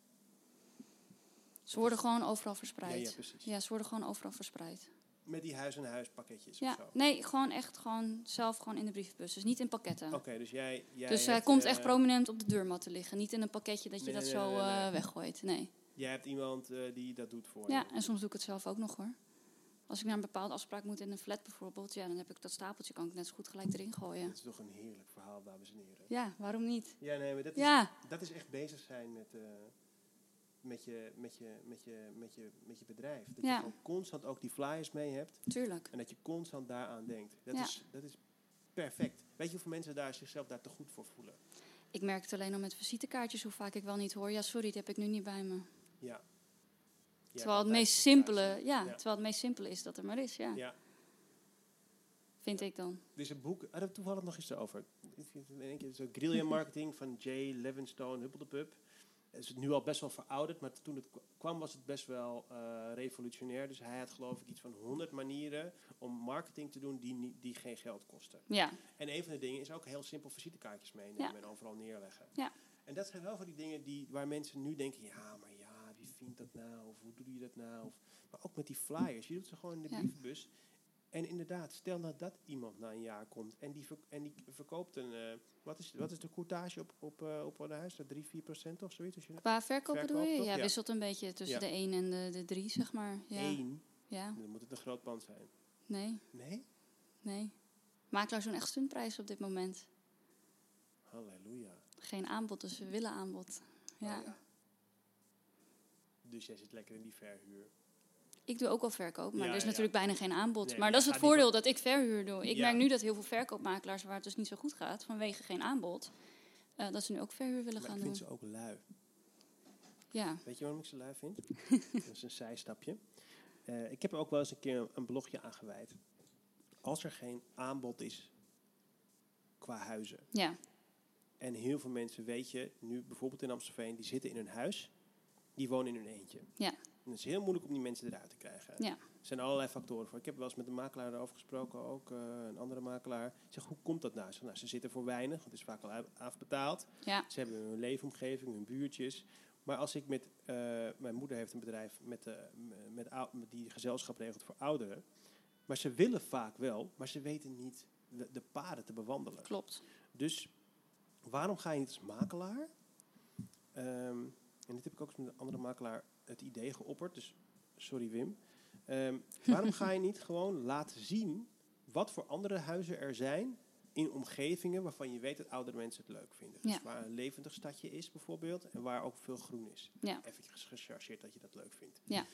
Speaker 2: ze worden gewoon overal
Speaker 1: Ja,
Speaker 2: verspreid.
Speaker 1: ja,
Speaker 2: ja.
Speaker 1: precies.
Speaker 2: ze worden gewoon overal verspreid.
Speaker 1: Met die huis-en-huis pakketjes
Speaker 2: Ja,
Speaker 1: of zo.
Speaker 2: nee, gewoon echt gewoon zelf gewoon in de brievenbus. Dus niet in pakketten.
Speaker 1: Oké, dus jij, jij
Speaker 2: dus hij
Speaker 1: hebt,
Speaker 2: komt
Speaker 1: eh,
Speaker 2: echt prominent op de deurmat te liggen. Niet in een pakketje dat je
Speaker 1: Nee,
Speaker 2: dat
Speaker 1: nee,
Speaker 2: zo
Speaker 1: nee, nee.
Speaker 2: eh, weggooit. Nee.
Speaker 1: Jij hebt iemand eh, die dat doet voor
Speaker 2: Ja,
Speaker 1: je.
Speaker 2: en soms doe ik het zelf ook nog hoor. Als ik naar een bepaalde afspraak moet in een flat bijvoorbeeld, ja, dan heb ik dat stapeltje, kan ik net zo goed gelijk erin gooien.
Speaker 1: Dat is toch een heerlijk verhaal, dames en heren.
Speaker 2: Ja, waarom niet?
Speaker 1: Ja, nee, maar dat is,
Speaker 2: Ja,
Speaker 1: dat is echt bezig zijn met, eh, met, je, met, je, met, je, met, je, met je bedrijf. Dat je
Speaker 2: Ja.
Speaker 1: gewoon constant ook die flyers mee hebt
Speaker 2: tuurlijk.
Speaker 1: en dat je constant daaraan denkt. Dat,
Speaker 2: Ja.
Speaker 1: is, dat is perfect. Weet je hoeveel mensen daar zichzelf daar te goed voor voelen?
Speaker 2: Ik merk het alleen al met visitekaartjes hoe vaak ik wel niet hoor. Ja, sorry, die heb ik nu niet bij me.
Speaker 1: Ja. Jij
Speaker 2: terwijl
Speaker 1: kan
Speaker 2: het meest
Speaker 1: daar-
Speaker 2: simpele, ja,
Speaker 1: Ja.
Speaker 2: terwijl het meest simpele is dat er maar is, ja.
Speaker 1: Ja.
Speaker 2: Vind ik dan.
Speaker 1: Er is een boek, ah, daar heb ik toevallig nog eens over. Ik vind het In één keer zo Guerrilla Marketing van Jay Levinstone, Huppeldepup. Het is nu al best wel verouderd, maar toen het kwa- kwam was het best wel eh, revolutionair. Dus hij had geloof ik iets van 100 manieren om marketing te doen die, niet- die geen geld kosten.
Speaker 2: Ja,
Speaker 1: En een van de dingen is ook heel simpel visitekaartjes meenemen
Speaker 2: Ja.
Speaker 1: en overal neerleggen.
Speaker 2: Ja.
Speaker 1: En dat zijn wel van die dingen die, waar mensen nu denken, ja, maar ja, wie vindt dat nou? Of hoe doe je dat nou? Of, maar ook met die flyers, je doet ze gewoon in de
Speaker 2: Ja.
Speaker 1: brievenbus. En inderdaad, stel nou dat iemand na een jaar komt en die, ver- en die verkoopt een, eh, wat, is, wat is de courtage op, op, eh, op een huis? Dat 3, 4 procent of zoiets? Als je nou
Speaker 2: qua verkopen
Speaker 1: Verkoop,
Speaker 2: doe je?
Speaker 1: toch?
Speaker 2: Ja,
Speaker 1: Ja.
Speaker 2: wisselt een beetje tussen
Speaker 1: Ja.
Speaker 2: de 1 en de, de 3, zeg maar. Ja.
Speaker 1: één,
Speaker 2: ja,
Speaker 1: dan moet het een groot pand zijn.
Speaker 2: nee,
Speaker 1: Nee?
Speaker 2: nee. Makelaars doen echt stuntprijs op dit moment.
Speaker 1: Halleluja.
Speaker 2: Geen aanbod, dus we willen aanbod.
Speaker 1: Oh
Speaker 2: ja.
Speaker 1: ja. Dus jij zit lekker in die verhuur.
Speaker 2: Ik doe ook wel verkoop, maar
Speaker 1: Ja,
Speaker 2: er is
Speaker 1: ja, ja.
Speaker 2: natuurlijk bijna geen aanbod.
Speaker 1: Nee,
Speaker 2: maar
Speaker 1: je
Speaker 2: dat is het
Speaker 1: gaat niet
Speaker 2: voordeel dat ik verhuur doe. Ik
Speaker 1: Ja.
Speaker 2: merk nu dat heel veel verkoopmakelaars, waar het dus niet zo goed gaat, vanwege geen aanbod, eh, dat ze nu ook verhuur willen
Speaker 1: Maar ik
Speaker 2: gaan
Speaker 1: vind ze
Speaker 2: doen.
Speaker 1: ook lui.
Speaker 2: Ja,
Speaker 1: Weet je waarom ik ze lui vind? dat is een zijstapje. Eh, ik heb er ook wel eens een keer een, een blogje aan gewijd. Als er geen aanbod is qua huizen.
Speaker 2: ja,
Speaker 1: En heel veel mensen, weet je, nu bijvoorbeeld in Amstelveen, die zitten in hun huis. Die wonen in hun eentje.
Speaker 2: Ja.
Speaker 1: En het is heel moeilijk om die mensen eruit te krijgen.
Speaker 2: Ja.
Speaker 1: Er zijn allerlei factoren voor. Ik heb wel eens met een makelaar erover gesproken, ook eh, een andere makelaar. Ik zeg, hoe komt dat nou? Ik zeg, nou, ze zitten voor weinig, want het is vaak al uit- afbetaald.
Speaker 2: ja,
Speaker 1: Ze hebben hun leefomgeving, hun buurtjes. Maar als ik met... eh, mijn moeder heeft een bedrijf met, eh, m- met, ou- met die gezelschap regelt voor ouderen. Maar ze willen vaak wel, maar ze weten niet de, de paden te bewandelen.
Speaker 2: klopt.
Speaker 1: Dus waarom ga je niet als makelaar? Ehm, en dit heb ik ook eens met een andere makelaar het idee geopperd. Dus sorry Wim. Ehm, waarom ga je niet gewoon laten zien wat voor andere huizen er zijn in omgevingen waarvan je weet dat oudere mensen het leuk vinden? Dus
Speaker 2: Ja.
Speaker 1: waar een levendig stadje is bijvoorbeeld en waar ook veel groen is.
Speaker 2: Ja.
Speaker 1: Even gechargeerd dat je dat leuk vindt.
Speaker 2: Ja.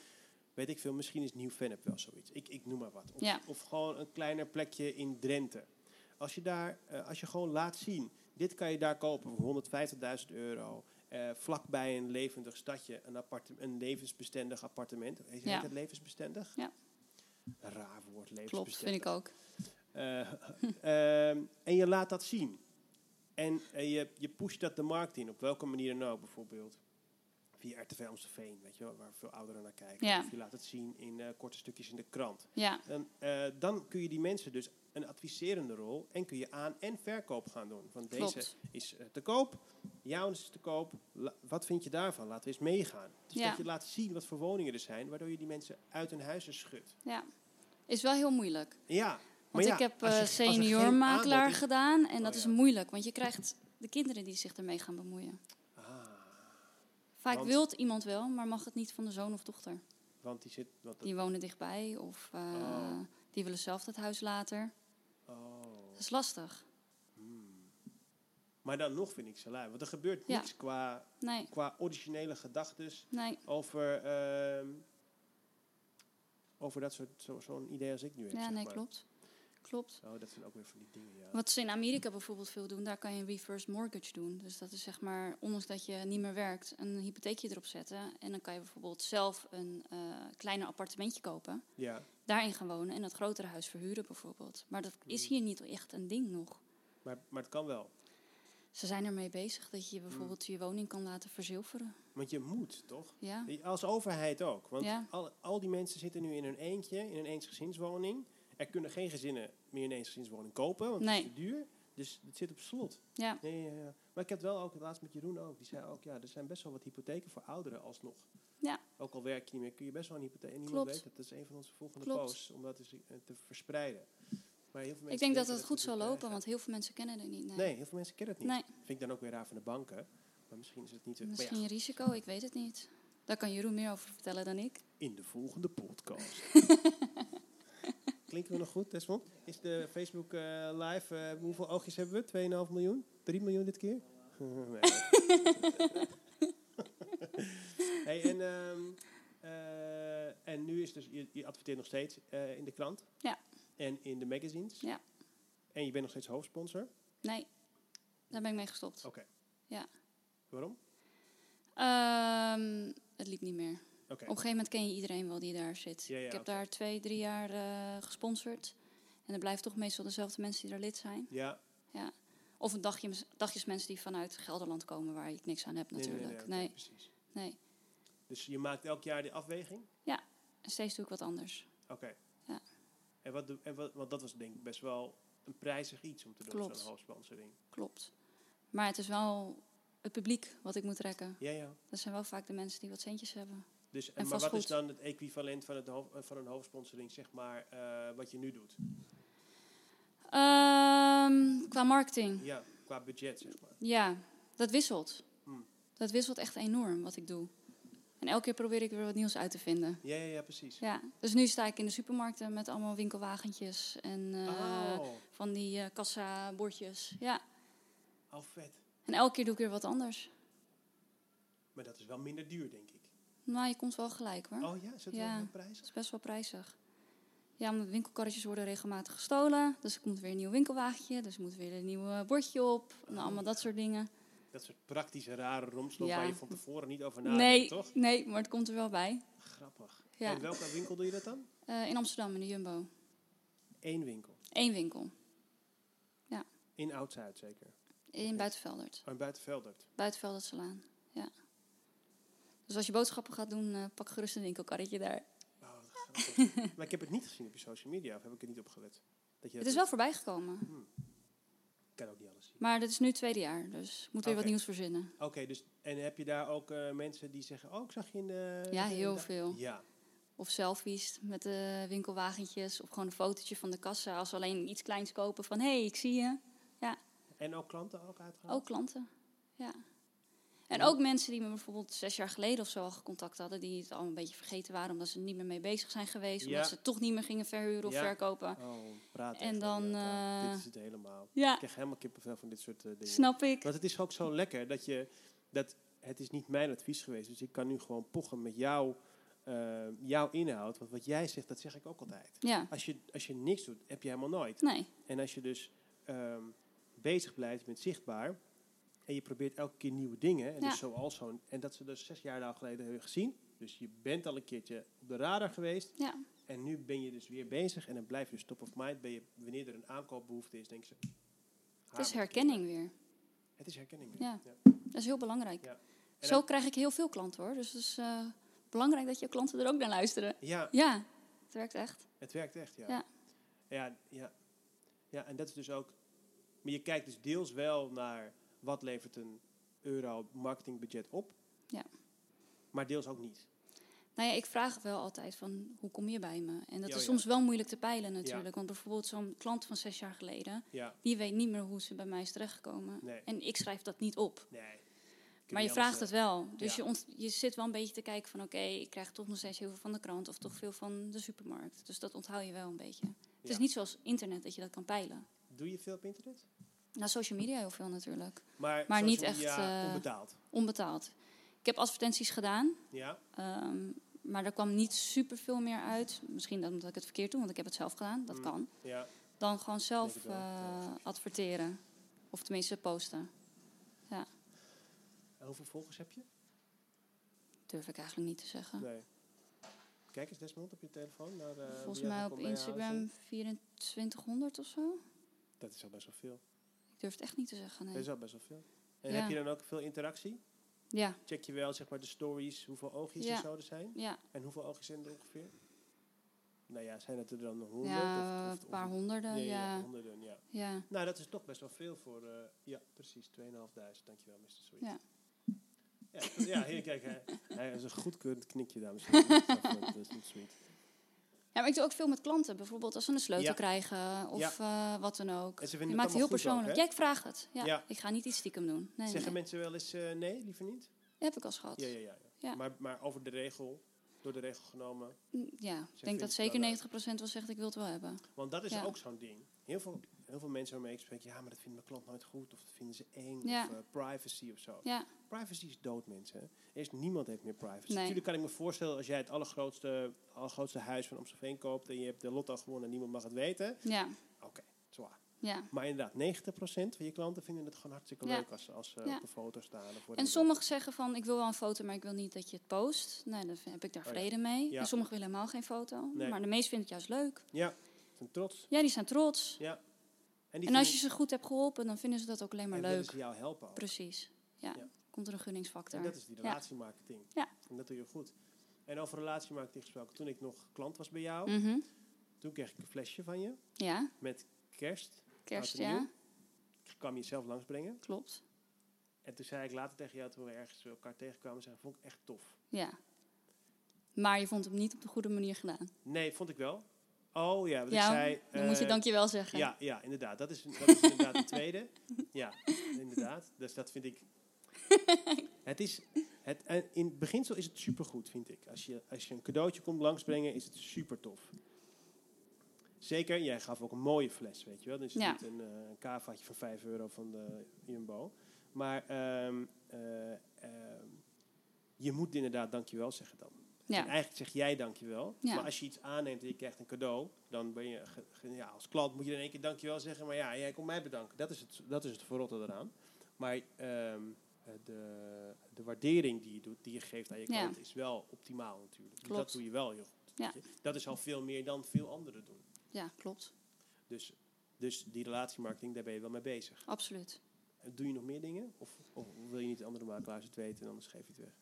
Speaker 1: Weet ik veel, misschien is Nieuw-Vennep wel zoiets. Ik, ik noem maar wat. Of,
Speaker 2: Ja.
Speaker 1: of gewoon een kleiner plekje in Drenthe. Als je, daar, eh, als je gewoon laat zien, dit kan je daar kopen voor 150.000 euro. eh, vlakbij een levendig stadje, een, aparte- een levensbestendig appartement. Heet
Speaker 2: Ja.
Speaker 1: het levensbestendig?
Speaker 2: Ja.
Speaker 1: Raar woord,
Speaker 2: Klopt,
Speaker 1: levensbestendig.
Speaker 2: vind ik ook.
Speaker 1: Eh, ehm, en je laat dat zien. En eh, je, je pusht dat de markt in, op welke manier dan ook, bijvoorbeeld. Via RTV Amstelveen, weet je wel, waar veel ouderen naar kijken.
Speaker 2: Ja.
Speaker 1: Of je laat het zien in eh, korte stukjes in de krant.
Speaker 2: Ja,
Speaker 1: En, eh, dan kun je die mensen dus een adviserende rol en kun je aan- en verkoop gaan doen. Want deze
Speaker 2: klopt.
Speaker 1: is eh, te koop, jouw is te koop. La- wat vind je daarvan? Laten we eens meegaan. Dus
Speaker 2: Ja.
Speaker 1: dat je laat zien wat voor woningen er zijn, waardoor je die mensen uit hun huizen schudt.
Speaker 2: Ja. Is wel heel moeilijk.
Speaker 1: Ja, maar
Speaker 2: Want
Speaker 1: ja,
Speaker 2: ik heb
Speaker 1: als je-
Speaker 2: eh,
Speaker 1: als er geen aanbod
Speaker 2: seniormakelaar
Speaker 1: is-
Speaker 2: gedaan en
Speaker 1: Oh,
Speaker 2: dat is
Speaker 1: ja.
Speaker 2: moeilijk, want je krijgt de kinderen die zich ermee gaan bemoeien.
Speaker 1: Ah.
Speaker 2: Vaak
Speaker 1: Want-
Speaker 2: wilt iemand wel, maar mag het niet van de zoon of dochter.
Speaker 1: Want die zit. Want dat,
Speaker 2: Die wonen dichtbij of eh,
Speaker 1: Oh.
Speaker 2: die willen zelf dat huis later.
Speaker 1: oh.
Speaker 2: Dat is lastig.
Speaker 1: hmm. Maar dan nog vind ik ze lui. Want er gebeurt
Speaker 2: Ja.
Speaker 1: niks qua,
Speaker 2: Nee,
Speaker 1: qua originele gedachtes
Speaker 2: nee,
Speaker 1: over. ehm, over dat soort. zo- Zo'n idee als ik nu heb.
Speaker 2: ja,
Speaker 1: zeg
Speaker 2: nee,
Speaker 1: maar.
Speaker 2: klopt. Klopt.
Speaker 1: Oh, dat zijn ook weer van die dingen. Ja.
Speaker 2: Wat ze in Amerika bijvoorbeeld veel doen, daar kan je een reverse mortgage doen. Dus dat is zeg maar, ondanks dat je niet meer werkt, een hypotheekje erop zetten. En dan kan je bijvoorbeeld zelf een eh, kleiner appartementje kopen,
Speaker 1: ja.
Speaker 2: daarin gaan wonen en dat grotere huis verhuren bijvoorbeeld. Maar dat is
Speaker 1: Hmm.
Speaker 2: hier niet echt een ding nog.
Speaker 1: Maar, maar het kan wel.
Speaker 2: Ze zijn ermee bezig dat je bijvoorbeeld
Speaker 1: Hmm.
Speaker 2: je woning kan laten verzilveren.
Speaker 1: Want je moet toch?
Speaker 2: Ja,
Speaker 1: Als overheid ook. Want
Speaker 2: Ja.
Speaker 1: al, al die mensen zitten nu in hun eentje, in een eensgezinswoning. Er kunnen geen gezinnen meer een eensgezinswoning kopen, want het
Speaker 2: Nee.
Speaker 1: is te duur. Dus het zit op slot.
Speaker 2: ja,
Speaker 1: Nee, ja, ja. maar ik heb wel ook het laatst met Jeroen ook. Die zei ook, ja, er zijn best wel wat hypotheken voor ouderen alsnog.
Speaker 2: Ja.
Speaker 1: Ook al werk je niet meer, kun je best wel een hypotheek. En niemand
Speaker 2: Klopt.
Speaker 1: weet dat. Dat is een van onze volgende
Speaker 2: Klopt.
Speaker 1: posts, om dat eens eh, te verspreiden. Maar heel veel mensen
Speaker 2: ik denk dat
Speaker 1: denken
Speaker 2: het goed zal
Speaker 1: natuurlijk,
Speaker 2: lopen, want heel veel mensen kennen het niet.
Speaker 1: eh,
Speaker 2: Nee,
Speaker 1: Nee, heel veel mensen kennen het niet.
Speaker 2: Nee.
Speaker 1: Vind ik dan ook weer raar van de banken. Maar misschien is het niet... Maar
Speaker 2: misschien
Speaker 1: ja,
Speaker 2: risico, ik weet het niet. Daar kan Jeroen meer over vertellen dan ik.
Speaker 1: in de volgende podcast. Klinken we nog goed, Desmond? Is de Facebook eh, live... eh, hoeveel oogjes hebben we? 2,5 miljoen? 3 miljoen dit keer? Nee. Hey, en, ehm, eh, en nu is dus, je, je adverteert nog steeds eh, in de krant.
Speaker 2: Ja.
Speaker 1: En in de magazines.
Speaker 2: Ja.
Speaker 1: En je bent nog steeds hoofdsponsor.
Speaker 2: Nee, daar ben ik mee gestopt.
Speaker 1: Oké.
Speaker 2: Ja.
Speaker 1: Waarom?
Speaker 2: Ehm, het liep niet meer.
Speaker 1: Oké.
Speaker 2: Op een gegeven moment ken je iedereen wel die daar zit.
Speaker 1: Ja, ja,
Speaker 2: ik heb
Speaker 1: oké.
Speaker 2: daar twee, drie jaar eh, gesponsord. En er blijven toch meestal dezelfde mensen die daar lid zijn.
Speaker 1: Ja,
Speaker 2: Of een dagje, dagjes mensen die vanuit Gelderland komen waar ik niks aan heb
Speaker 1: nee, nee, nee, nee,
Speaker 2: natuurlijk.
Speaker 1: oké,
Speaker 2: Nee, nee,
Speaker 1: precies. Dus je maakt elk jaar die afweging?
Speaker 2: En steeds doe ik wat anders.
Speaker 1: Oké.
Speaker 2: Ja.
Speaker 1: En, wat, doe- en wat, want dat was denk ik best wel een prijzig iets om te doen,
Speaker 2: Klopt.
Speaker 1: zo'n hoofdsponsoring.
Speaker 2: Klopt. Maar het is wel het publiek wat ik moet trekken.
Speaker 1: Ja, ja.
Speaker 2: Dat zijn wel vaak de mensen die wat centjes hebben.
Speaker 1: Dus,
Speaker 2: En
Speaker 1: maar wat is
Speaker 2: vastgoed.
Speaker 1: dan het equivalent van, het hoofd, van een hoofdsponsoring, zeg maar, eh, wat je nu doet?
Speaker 2: Mhm. Ehm, qua marketing.
Speaker 1: Ja, qua budget, zeg maar.
Speaker 2: Ja, dat wisselt.
Speaker 1: Hmm.
Speaker 2: Dat wisselt echt enorm wat ik doe. En elke keer probeer ik weer wat nieuws uit te vinden.
Speaker 1: Ja, ja, ja precies.
Speaker 2: Ja, dus nu sta ik in de supermarkten met allemaal winkelwagentjes en eh,
Speaker 1: oh,
Speaker 2: van die eh, kassa-bordjes. Ja,
Speaker 1: al oh, vet.
Speaker 2: en elke keer doe ik weer wat anders.
Speaker 1: Maar dat is wel minder duur, denk ik.
Speaker 2: Maar je komt wel gelijk hoor.
Speaker 1: Oh ja, is dat
Speaker 2: Ja.
Speaker 1: wel een
Speaker 2: Het
Speaker 1: prijs?
Speaker 2: is best wel prijzig. Ja, omdat winkelkarretjes worden regelmatig gestolen. Dus er komt weer een nieuw winkelwagentje. Dus er moet weer een nieuw eh, bordje op. En
Speaker 1: Oh,
Speaker 2: allemaal dat soort dingen.
Speaker 1: Dat soort praktische, rare romslomp
Speaker 2: Ja.
Speaker 1: waar je van tevoren niet over nadenkt,
Speaker 2: Nee,
Speaker 1: toch? Oh.
Speaker 2: nee, maar het komt er wel bij.
Speaker 1: Grappig.
Speaker 2: Ja.
Speaker 1: En welke winkel doe je dat dan?
Speaker 2: Eh, in Amsterdam, in de Jumbo.
Speaker 1: Eén winkel.
Speaker 2: Eén winkel.
Speaker 1: In Oud-Zuid zeker.
Speaker 2: In Buitenveldert.
Speaker 1: Oh, in Buitenveldert.
Speaker 2: Buitenveldertselaan. Ja. Dus als je boodschappen gaat doen, eh, pak gerust een winkelkarretje daar.
Speaker 1: Oh, wat grappig. maar ik heb het niet gezien op je social media, of heb ik er niet op gelet? Dat je
Speaker 2: Het
Speaker 1: dat
Speaker 2: is
Speaker 1: doet.
Speaker 2: wel voorbij gekomen.
Speaker 1: Ik kan ook niet alles zien.
Speaker 2: Maar dit is nu het tweede jaar, dus moet weer
Speaker 1: Oké.
Speaker 2: wat nieuws verzinnen.
Speaker 1: Oké, dus en heb je daar ook eh, mensen die zeggen, oh, ik zag je in de...
Speaker 2: Ja,
Speaker 1: in de-
Speaker 2: heel veel.
Speaker 1: Ja,
Speaker 2: Of selfies met de winkelwagentjes. Of gewoon een fotootje van de kassa. Als we alleen iets kleins kopen van, hé, hey, ik zie je.
Speaker 1: en ook klanten ook uitgehaald?
Speaker 2: Ook klanten. Ja. En
Speaker 1: Ja.
Speaker 2: ook mensen die me bijvoorbeeld zes jaar geleden of zo al contact hadden. Die het al een beetje vergeten waren omdat ze er niet meer mee bezig zijn geweest.
Speaker 1: Ja.
Speaker 2: Omdat ze het toch niet meer gingen verhuren of
Speaker 1: Ja.
Speaker 2: verkopen.
Speaker 1: Oh, praat
Speaker 2: En
Speaker 1: even
Speaker 2: dan,
Speaker 1: niet, ja.
Speaker 2: eh,
Speaker 1: Dit is het helemaal. Ik
Speaker 2: Ja,
Speaker 1: krijg helemaal kippenvel van dit soort eh, dingen.
Speaker 2: snap ik.
Speaker 1: Want het is ook zo lekker dat je... Dat, het is niet mijn advies geweest, dus ik kan nu gewoon pochen met jou eh, jouw inhoud, want wat jij zegt, dat zeg ik ook altijd.
Speaker 2: Ja,
Speaker 1: Als je, als je niks doet, heb je helemaal nooit.
Speaker 2: nee.
Speaker 1: En als je dus ehm, bezig blijft, je bent zichtbaar. En je probeert elke keer nieuwe dingen. En,
Speaker 2: Ja.
Speaker 1: dus zoals zo'n, en dat ze dus zes jaar nou geleden hebben gezien. Dus je bent al een keertje op de radar geweest.
Speaker 2: Ja,
Speaker 1: En nu ben je dus weer bezig. En dan blijf je dus top of mind. Ben je, wanneer er een aankoopbehoefte is, denk ze.
Speaker 2: het is herkenning weer.
Speaker 1: Het is herkenning.
Speaker 2: Ja. Dat is heel belangrijk.
Speaker 1: Ja. En
Speaker 2: Zo
Speaker 1: dan-
Speaker 2: krijg ik heel veel klanten hoor. Dus het is eh, belangrijk dat je klanten er ook naar luisteren.
Speaker 1: ja,
Speaker 2: Ja, het werkt echt.
Speaker 1: Het werkt echt, ja.
Speaker 2: Ja.
Speaker 1: Ja, ja. Ja, en dat is dus ook... Maar je kijkt dus deels wel naar wat levert een euro marketingbudget op.
Speaker 2: Ja.
Speaker 1: Maar deels ook niet.
Speaker 2: Nou ja, ik vraag wel altijd van hoe kom je bij me? En dat
Speaker 1: Ja,
Speaker 2: is
Speaker 1: ja.
Speaker 2: soms wel moeilijk te peilen natuurlijk. Want bijvoorbeeld zo'n klant van zes jaar geleden,
Speaker 1: Ja,
Speaker 2: die weet niet meer hoe ze bij mij is terechtgekomen.
Speaker 1: Nee.
Speaker 2: En ik schrijf dat niet op.
Speaker 1: nee. Kun
Speaker 2: Maar je
Speaker 1: niet
Speaker 2: vraagt het
Speaker 1: alles,
Speaker 2: wel. Dus
Speaker 1: ja.
Speaker 2: je, ont- je zit wel een beetje te kijken van oké, ik krijg toch nog steeds heel veel van de krant of
Speaker 1: Mm.
Speaker 2: toch veel van de supermarkt. Dus dat onthoud je wel een beetje. Het
Speaker 1: Ja.
Speaker 2: is niet zoals internet dat je dat kan peilen.
Speaker 1: eh, Doe je veel op internet?
Speaker 2: Nou, social media heel veel natuurlijk.
Speaker 1: Maar,
Speaker 2: Maar niet
Speaker 1: social media,
Speaker 2: echt, eh,
Speaker 1: onbetaald.
Speaker 2: Onbetaald. Ik heb advertenties gedaan,
Speaker 1: Ja,
Speaker 2: ehm, maar er kwam niet super veel meer uit. Misschien dat omdat ik het verkeerd doe, want ik heb het zelf gedaan. Dat
Speaker 1: Mm.
Speaker 2: kan.
Speaker 1: ja.
Speaker 2: Dan gewoon zelf
Speaker 1: Denk het wel,
Speaker 2: eh,
Speaker 1: trouwens.
Speaker 2: adverteren. Of tenminste posten.
Speaker 1: En hoeveel volgers heb je?
Speaker 2: Durf ik eigenlijk niet te zeggen.
Speaker 1: Nee. Kijk eens Desmond op je telefoon. Naar, eh, wie
Speaker 2: Volgens
Speaker 1: jij
Speaker 2: mij
Speaker 1: ook
Speaker 2: op
Speaker 1: al bij je huis
Speaker 2: Instagram 2400 of zo.
Speaker 1: hebt. Dat is al best wel veel.
Speaker 2: Ik durf het echt niet te zeggen.
Speaker 1: Dat
Speaker 2: Nee.
Speaker 1: is al best wel veel. En
Speaker 2: Ja.
Speaker 1: heb je dan ook veel interactie?
Speaker 2: Ja,
Speaker 1: Check je wel zeg maar de stories, hoeveel oogjes
Speaker 2: Ja.
Speaker 1: er zouden zijn?
Speaker 2: ja.
Speaker 1: En hoeveel oogjes zijn er ongeveer? Nou ja, zijn het er dan honderd?
Speaker 2: ja
Speaker 1: of, of,
Speaker 2: een paar honderden.
Speaker 1: Nee,
Speaker 2: ja. Ja,
Speaker 1: honderden, ja. Nou, dat is toch best wel veel voor... eh, ja, precies, 2.500. Dankjewel, Mr. Sweet.
Speaker 2: Ja.
Speaker 1: Ja, dat- ja, hier, kijk. Hij, hij is een goedkeurend knikje, dames en heren. Dat is wel- Dat is niet sweet.
Speaker 2: Ja, maar ik doe ook veel met klanten. Bijvoorbeeld als ze een sleutel
Speaker 1: Ja.
Speaker 2: krijgen of eh, wat dan ook.
Speaker 1: En ze vinden het
Speaker 2: Je
Speaker 1: allemaal
Speaker 2: maakt het
Speaker 1: goed
Speaker 2: heel
Speaker 1: ook,
Speaker 2: persoonlijk.
Speaker 1: hè?
Speaker 2: ja, ik vraag het. Ja,
Speaker 1: Ja.
Speaker 2: Ik ga niet iets stiekem doen. Nee,
Speaker 1: Zeggen
Speaker 2: nee.
Speaker 1: mensen wel eens eh, nee, liever niet?
Speaker 2: heb ik al gehad.
Speaker 1: Ja,
Speaker 2: Ja,
Speaker 1: ja, ja. ja.
Speaker 2: Ja.
Speaker 1: Maar, maar over de regel, door de regel genomen.
Speaker 2: Mm, ik
Speaker 1: vinden
Speaker 2: denk
Speaker 1: het
Speaker 2: dat
Speaker 1: wel eh, leuk.
Speaker 2: zeker 90% wel zegt ik wil het wel hebben.
Speaker 1: Want dat is
Speaker 2: Ja.
Speaker 1: ook zo'n ding. Heel veel, heel veel mensen waarmee ik spreek, ja, maar dat vindt mijn klant nooit goed. Of dat vinden ze eng.
Speaker 2: Ja.
Speaker 1: Of eh, privacy of zo.
Speaker 2: Ja,
Speaker 1: Privacy is dood, mensen. hè. Er is niemand heeft meer privacy.
Speaker 2: Nee.
Speaker 1: Natuurlijk kan ik me voorstellen als jij het allergrootste, allergrootste huis van Amstelveen koopt en je hebt de lotto gewonnen en niemand mag het weten.
Speaker 2: ja,
Speaker 1: Oké, zwaar.
Speaker 2: ja.
Speaker 1: Maar inderdaad, 90% van je klanten vinden het gewoon hartstikke
Speaker 2: Ja.
Speaker 1: leuk als, als ze
Speaker 2: Ja.
Speaker 1: op een foto staan. Of
Speaker 2: En
Speaker 1: whatever.
Speaker 2: sommigen zeggen van ik wil wel een foto, maar ik wil niet dat je het post. Nee, dan heb ik daar
Speaker 1: Oh ja.
Speaker 2: vrede mee.
Speaker 1: Ja.
Speaker 2: En sommigen willen helemaal geen foto.
Speaker 1: Nee.
Speaker 2: Maar de meesten vinden het juist leuk.
Speaker 1: Ja, ze zijn trots.
Speaker 2: Ja, die zijn trots.
Speaker 1: Ja. die
Speaker 2: En als je
Speaker 1: vinden-
Speaker 2: ze goed hebt geholpen, dan vinden ze dat ook alleen maar
Speaker 1: en willen
Speaker 2: leuk.
Speaker 1: ze jou helpen ook.
Speaker 2: Precies. Ja.
Speaker 1: Ja.
Speaker 2: komt er een
Speaker 1: En
Speaker 2: gunningsfactor.
Speaker 1: dat is die relatiemarketing.
Speaker 2: Ja.
Speaker 1: En dat doe je goed. En over relatiemarketing gesproken, toen ik nog klant was bij jou,
Speaker 2: Mhm.
Speaker 1: toen kreeg ik een flesje van je
Speaker 2: Ja,
Speaker 1: met kerst.
Speaker 2: kerst,
Speaker 1: Oud en nieuw.
Speaker 2: ja,
Speaker 1: Ik kwam je zelf langsbrengen.
Speaker 2: klopt.
Speaker 1: En toen zei ik later tegen jou, toen we ergens elkaar tegenkwamen, zei, ik, vond ik echt tof.
Speaker 2: Ja. Maar je vond hem niet op de goede manier gedaan.
Speaker 1: Nee, vond ik wel. Oh ja, wat
Speaker 2: ja,
Speaker 1: ik zei...
Speaker 2: dan moet je
Speaker 1: eh,
Speaker 2: dankjewel zeggen.
Speaker 1: Ja, ja, inderdaad. Dat is, dat is inderdaad de tweede. Ja, inderdaad. Dus dat vind ik... Het is... Het, en in het beginsel is het supergoed, vind ik. Als je, als je een cadeautje komt langsbrengen, is het super tof. Zeker, jij gaf ook een mooie fles, weet je wel. Dan is het
Speaker 2: Ja.
Speaker 1: niet een, eh, een kavaatje van 5 euro van de Jumbo. Maar ehm, eh, ehm, je moet inderdaad dankjewel zeggen dan. En
Speaker 2: ja.
Speaker 1: eigenlijk zeg jij dankjewel.
Speaker 2: Ja.
Speaker 1: Maar als je iets aanneemt en je krijgt een cadeau, dan ben je ge- ge- ja, als klant moet je in één keer dankjewel zeggen. Maar ja, jij komt mij bedanken. Dat is het, dat is het verrotte eraan. Maar ehm, eh, de, de waardering die je, doet, die je geeft aan je
Speaker 2: Ja.
Speaker 1: klant is wel optimaal natuurlijk. Dus dat
Speaker 2: Klopt.
Speaker 1: doe je wel heel goed.
Speaker 2: Ja.
Speaker 1: weet je. Dat is al veel meer dan veel anderen doen.
Speaker 2: Ja, klopt.
Speaker 1: Dus, dus die relatiemarketing, daar ben je wel mee bezig.
Speaker 2: Absoluut.
Speaker 1: Eh, Doe je nog meer dingen? Of, of wil je niet de andere makelaars het weten en anders geef je het weg?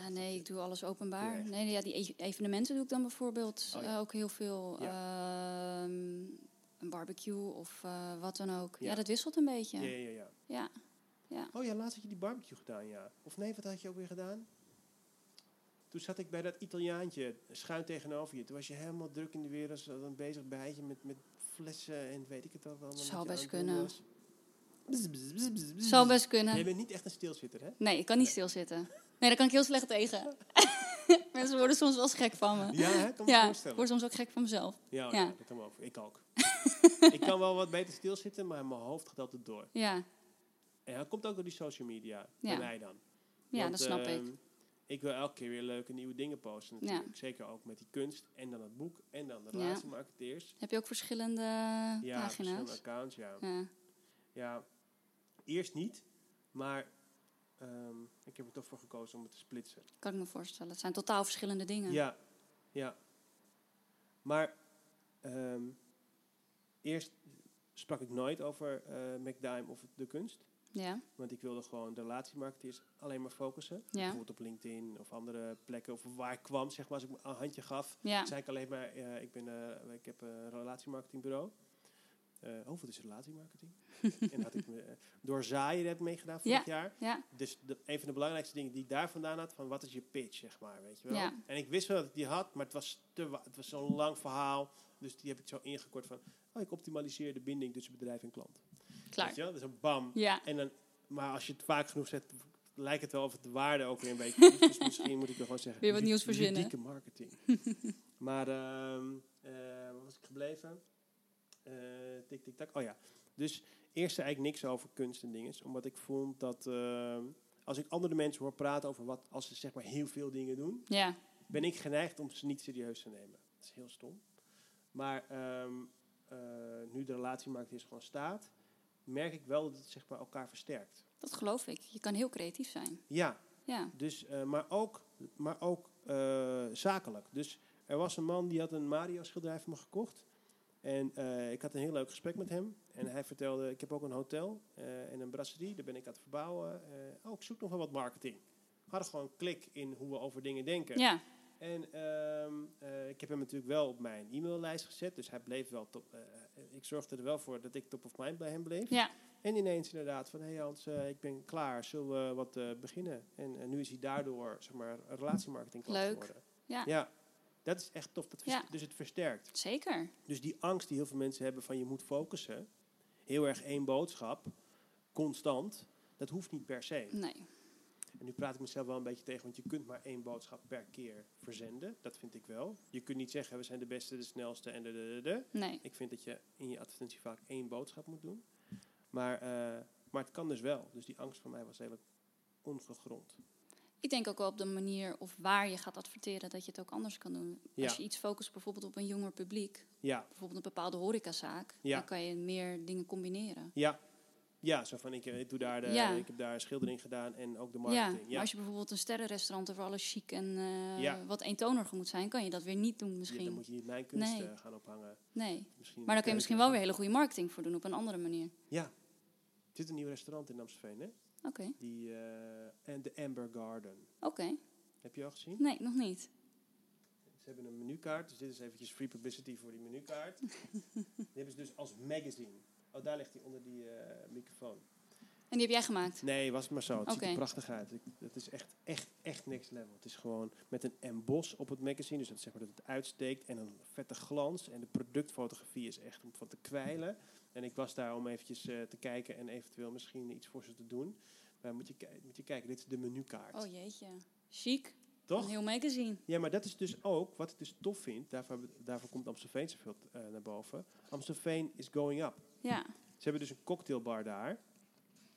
Speaker 2: Nou, nee, ik doe alles openbaar.
Speaker 1: Nee.
Speaker 2: Nee, ja, die e- evenementen doe ik dan bijvoorbeeld
Speaker 1: Oh ja.
Speaker 2: eh, ook heel veel. Ehm, een barbecue of eh, wat dan ook. Ja.
Speaker 1: Ja.
Speaker 2: dat wisselt een beetje.
Speaker 1: ja, ja. ja.
Speaker 2: Ja.
Speaker 1: Oh ja, laatst had je die barbecue gedaan, ja. Of nee, wat had je ook weer gedaan? Toen zat ik bij dat Italiaantje schuin tegenover je. Toen was je helemaal druk in de weer als een bezig bijtje met, met flessen en weet ik het al wel.
Speaker 2: Zou best kunnen. Zou best
Speaker 1: Jij
Speaker 2: kunnen.
Speaker 1: bent niet echt een stilzitter, hè?
Speaker 2: Nee, ik kan niet stilzitten. Nee, daar kan ik heel slecht tegen. Mensen worden soms wel eens gek van me.
Speaker 1: Ja, hè? kan me
Speaker 2: Ja, ik
Speaker 1: voorstellen.
Speaker 2: word soms ook gek van mezelf.
Speaker 1: Ja, oh
Speaker 2: ja.
Speaker 1: ja, dat kan me over. Ik ook. ik kan wel wat beter stilzitten, maar mijn hoofd gaat altijd door.
Speaker 2: Ja,
Speaker 1: En dat komt ook door die social media, bij
Speaker 2: Ja.
Speaker 1: mij dan.
Speaker 2: ja
Speaker 1: Want,
Speaker 2: dat snap
Speaker 1: ehm,
Speaker 2: ik.
Speaker 1: ik wil elke keer weer leuke nieuwe dingen posten natuurlijk. Zeker ook met die kunst en dan het boek en dan de
Speaker 2: Ja.
Speaker 1: relatiemarketeers.
Speaker 2: Heb je ook verschillende eh,
Speaker 1: Ja, verschillende
Speaker 2: pagina's?
Speaker 1: accounts, ja.
Speaker 2: Ja.
Speaker 1: Ja, eerst niet, maar ehm, ik heb er toch voor gekozen om het te splitsen.
Speaker 2: Kan ik me voorstellen. Het zijn totaal verschillende dingen.
Speaker 1: Ja, ja. Maar ehm, eerst sprak ik nooit over eh McDime of de kunst.
Speaker 2: Ja.
Speaker 1: Want ik wilde gewoon de relatiemarketeers alleen maar focussen.
Speaker 2: Ja.
Speaker 1: Bijvoorbeeld op LinkedIn of andere plekken. Of waar ik kwam, zeg maar, als ik een handje gaf.
Speaker 2: Ja.
Speaker 1: zei ik alleen maar, eh, ik, ben, eh, ik heb een relatiemarketingbureau. Eh oh, wat is relatiemarketing? en had ik me, eh, door zaaien heb ik meegedaan vorig jaar.
Speaker 2: Ja.
Speaker 1: Dus de, een van de belangrijkste dingen die ik daar vandaan had, van wat is je pitch, zeg maar, weet je wel.
Speaker 2: Ja.
Speaker 1: En ik wist wel dat ik die had, maar het was, te wa- het was zo'n lang verhaal. Dus die heb ik zo ingekort van, oh, ik optimaliseer de binding tussen bedrijf en klant. Weet
Speaker 2: Klaar.
Speaker 1: je wel, dus een bam.
Speaker 2: Ja.
Speaker 1: En dan, maar als je het vaak genoeg zet, lijkt het wel of het de waarde ook weer een beetje is. Dus misschien moet ik er gewoon zeggen.
Speaker 2: Weer wat
Speaker 1: lu-
Speaker 2: nieuws verzinnen.
Speaker 1: Ludieke marketing. maar, ehm eh, waar was ik gebleven? Eh, tik, tik, tak. Oh ja. Dus eerst zei ik niks over kunst en dinges. Omdat ik vond dat... ehm, als ik andere mensen hoor praten over wat... Als ze zeg maar heel veel dingen doen
Speaker 2: Ja.
Speaker 1: ben ik geneigd om ze niet serieus te nemen. Dat is heel stom. Maar ehm, eh, nu de relatiemarkt is gewoon staat, merk ik wel dat het zeg maar, elkaar versterkt.
Speaker 2: Dat geloof ik. Je kan heel creatief zijn.
Speaker 1: Ja,
Speaker 2: Ja.
Speaker 1: dus, eh, maar ook, maar ook eh, zakelijk. Dus er was een man die had een Mario schilderij van me gekocht. En eh, ik had een heel leuk gesprek met hem. En hij vertelde, ik heb ook een hotel eh, en een brasserie. Daar ben ik aan het verbouwen. Eh, oh, ik zoek nog wel wat marketing. We hadden gewoon klik in hoe we over dingen denken.
Speaker 2: Ja.
Speaker 1: En ehm, eh, ik heb hem natuurlijk wel op mijn e-maillijst gezet. Dus hij bleef wel top. eh, ik zorgde er wel voor dat ik top of mind bij hem bleef.
Speaker 2: Ja.
Speaker 1: En ineens inderdaad van, hé hey Hans, eh, ik ben klaar. Zullen we wat eh, beginnen? En eh, nu is hij daardoor, zeg maar, een relatiemarketing
Speaker 2: Leuk.
Speaker 1: geworden.
Speaker 2: Ja.
Speaker 1: ja. Dat is echt tof. Dat vers-
Speaker 2: Ja.
Speaker 1: Dus het versterkt.
Speaker 2: Zeker.
Speaker 1: Dus die angst die heel veel mensen hebben van je moet focussen. Heel erg één boodschap. Constant. Dat hoeft niet per se.
Speaker 2: Nee.
Speaker 1: En nu praat ik mezelf wel een beetje tegen, want je kunt maar één boodschap per keer verzenden. Dat vind ik wel. Je kunt niet zeggen, we zijn de beste, de snelste en de de de de.
Speaker 2: Nee.
Speaker 1: Ik vind dat je in je advertentie vaak één boodschap moet doen. Maar, eh, maar het kan dus wel. Dus die angst van mij was eigenlijk ongegrond.
Speaker 2: Ik denk ook wel op de manier of waar je gaat adverteren dat je het ook anders kan doen.
Speaker 1: Ja.
Speaker 2: Als je iets focust bijvoorbeeld op een jonger publiek,
Speaker 1: Ja,
Speaker 2: bijvoorbeeld een bepaalde horecazaak,
Speaker 1: Ja.
Speaker 2: dan kan je meer dingen combineren.
Speaker 1: ja. Ja, zo van, ik, eh, doe daar de,
Speaker 2: Ja.
Speaker 1: ik heb daar een schildering gedaan en ook de
Speaker 2: Ja,
Speaker 1: marketing.
Speaker 2: maar
Speaker 1: Ja,
Speaker 2: als je bijvoorbeeld een sterrenrestaurant waar alles chic en eh,
Speaker 1: Ja.
Speaker 2: wat eentoneriger moet zijn, kan je dat weer niet doen
Speaker 1: Ja,
Speaker 2: misschien.
Speaker 1: dan moet je niet mijn kunst
Speaker 2: Nee.
Speaker 1: eh, gaan ophangen.
Speaker 2: Nee.
Speaker 1: Misschien
Speaker 2: Maar dan kun je
Speaker 1: keuken.
Speaker 2: misschien wel weer hele goede marketing voor doen op een andere manier.
Speaker 1: Ja. Er zit een nieuw restaurant in Amstelveen, hè?
Speaker 2: Oké,
Speaker 1: Die, eh, en de Amber Garden.
Speaker 2: oké.
Speaker 1: Heb je al gezien?
Speaker 2: Nee, nog niet.
Speaker 1: Ze hebben een menukaart, dus dit is eventjes free publicity voor die menukaart. die hebben ze dus als magazine. Oh, daar ligt hij onder die eh, microfoon.
Speaker 2: En die heb jij gemaakt?
Speaker 1: Nee, was het maar zo. Het ziet
Speaker 2: Oké.
Speaker 1: er prachtig uit. Ik- Het is echt, echt, echt next level. Het is gewoon met een emboss op het magazine, dus dat, zeg maar dat het uitsteekt en een vette glans. En de productfotografie is echt om van te kwijlen. En ik was daar om eventjes eh, te kijken en eventueel misschien iets voor ze te doen. Maar moet je, ki- moet je kijken, dit is de menukaart.
Speaker 2: Oh jeetje. Chic.
Speaker 1: Toch?
Speaker 2: Een heel magazine.
Speaker 1: Ja, maar dat is dus ook wat ik dus tof vind. Daarvoor, hebben- daarvoor komt Amstelveen zoveel eh, naar boven. Amstelveen is going up.
Speaker 2: Ja.
Speaker 1: Ze hebben dus een cocktailbar daar.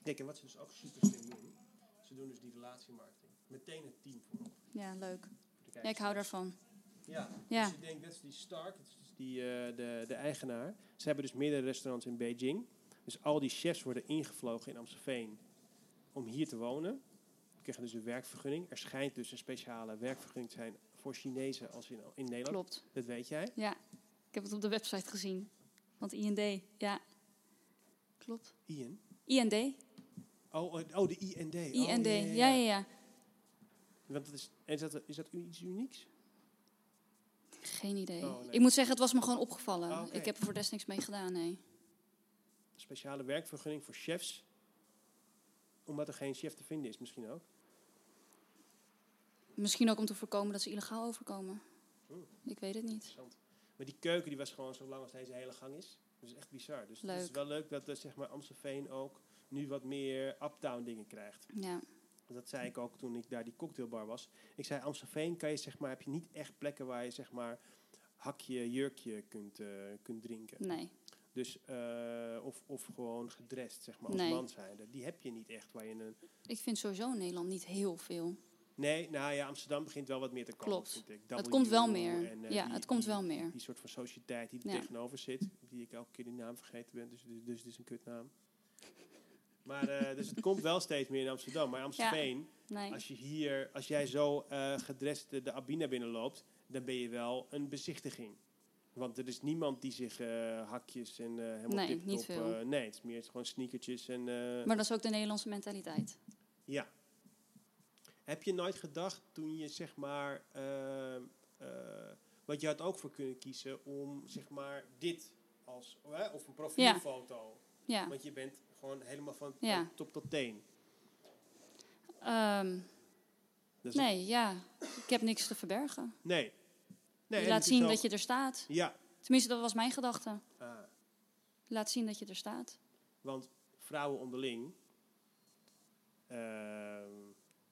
Speaker 1: Kijk, en wat ze dus ook super slim doen. Ze doen dus die relatiemarketing. Meteen het team voorop.
Speaker 2: Ja, leuk.
Speaker 1: Voor de
Speaker 2: Ja, ik
Speaker 1: kijkers.
Speaker 2: hou daarvan.
Speaker 1: Ja,
Speaker 2: Ja.
Speaker 1: dus ik denk dat is die Stark, dat is dus die, eh, de, de eigenaar. Ze hebben dus meerdere restaurants in Beijing. Dus al die chefs worden ingevlogen in Amstelveen om hier te wonen. Ze krijgen dus een werkvergunning. Er schijnt dus een speciale werkvergunning te zijn voor Chinezen als in, in Nederland.
Speaker 2: Klopt.
Speaker 1: Dat weet jij.
Speaker 2: Ja, ik heb het op de website gezien. Want IND, ja. Klopt.
Speaker 1: Ian.
Speaker 2: IND?
Speaker 1: Oh, eh, oh de IND. Oh,
Speaker 2: IND, ja, ja, ja.
Speaker 1: Want dat is, is, dat, is dat u- iets unieks?
Speaker 2: Geen idee.
Speaker 1: Oh, nee.
Speaker 2: Ik moet zeggen, het was me gewoon opgevallen.
Speaker 1: Ah, oké.
Speaker 2: Ik heb er voor des niks mee gedaan, nee.
Speaker 1: Een speciale werkvergunning voor chefs. Omdat er geen chef te vinden is, misschien ook.
Speaker 2: Misschien ook om te voorkomen dat ze illegaal overkomen.
Speaker 1: Oeh.
Speaker 2: Ik weet het niet.
Speaker 1: Hm, Interessant. Maar die keuken die was gewoon zo lang als deze hele gang is. Dat is echt bizar. Dus het is
Speaker 2: Leuk.
Speaker 1: wel leuk dat eh, zeg maar Amstelveen ook nu wat meer uptown dingen krijgt.
Speaker 2: Ja,
Speaker 1: Dat zei ik ook toen ik daar die cocktailbar was. Ik zei, Amstelveen kan je, zeg maar, heb je niet echt plekken waar je zeg maar, hakje, jurkje kunt, eh, kunt drinken.
Speaker 2: nee.
Speaker 1: Dus, eh, of, of gewoon gedrest, zeg maar, als
Speaker 2: Nee.
Speaker 1: man zijnde. Die heb je niet echt waar je een...
Speaker 2: Ik vind sowieso in Nederland niet heel veel.
Speaker 1: Nee, nou ja, Amsterdam begint wel wat meer te komen,
Speaker 2: Klopt.
Speaker 1: vind ik.
Speaker 2: Het
Speaker 1: W
Speaker 2: komt wel
Speaker 1: en,
Speaker 2: meer.
Speaker 1: eh,
Speaker 2: Ja,
Speaker 1: die-
Speaker 2: het komt
Speaker 1: die-
Speaker 2: wel meer.
Speaker 1: Die soort van sociëteit die er
Speaker 2: Ja.
Speaker 1: tegenover zit, die ik elke keer die naam vergeten ben, dus, dus, dus het is een kutnaam. Maar eh, dus het komt wel steeds meer in Amsterdam. Maar Amstelveen,
Speaker 2: Nee.
Speaker 1: als je hier, als jij zo eh gedrest de, de Abina binnenloopt, dan ben je wel een bezichtiging. Want er is niemand die zich eh, hakjes en eh helemaal
Speaker 2: Nee,
Speaker 1: tip-top,
Speaker 2: niet veel.
Speaker 1: eh, nee, het is meer gewoon sneakertjes en eh,
Speaker 2: Maar dat is ook de Nederlandse mentaliteit.
Speaker 1: ja. Heb je nooit gedacht toen je zeg maar. ehm, eh, want je had ook voor kunnen kiezen om zeg maar dit als. hè, of een profielfoto.
Speaker 2: Ja.
Speaker 1: Want je bent gewoon helemaal van
Speaker 2: Ja.
Speaker 1: top tot teen.
Speaker 2: Ehm,
Speaker 1: Dat is-
Speaker 2: nee, ja. Ik heb niks te verbergen.
Speaker 1: Nee. nee
Speaker 2: Je
Speaker 1: en
Speaker 2: laat
Speaker 1: het is
Speaker 2: zien
Speaker 1: ook-
Speaker 2: dat je er staat.
Speaker 1: Ja.
Speaker 2: Tenminste, dat was mijn gedachte.
Speaker 1: Ah,
Speaker 2: Laat zien dat je er staat.
Speaker 1: want vrouwen onderling. ehm,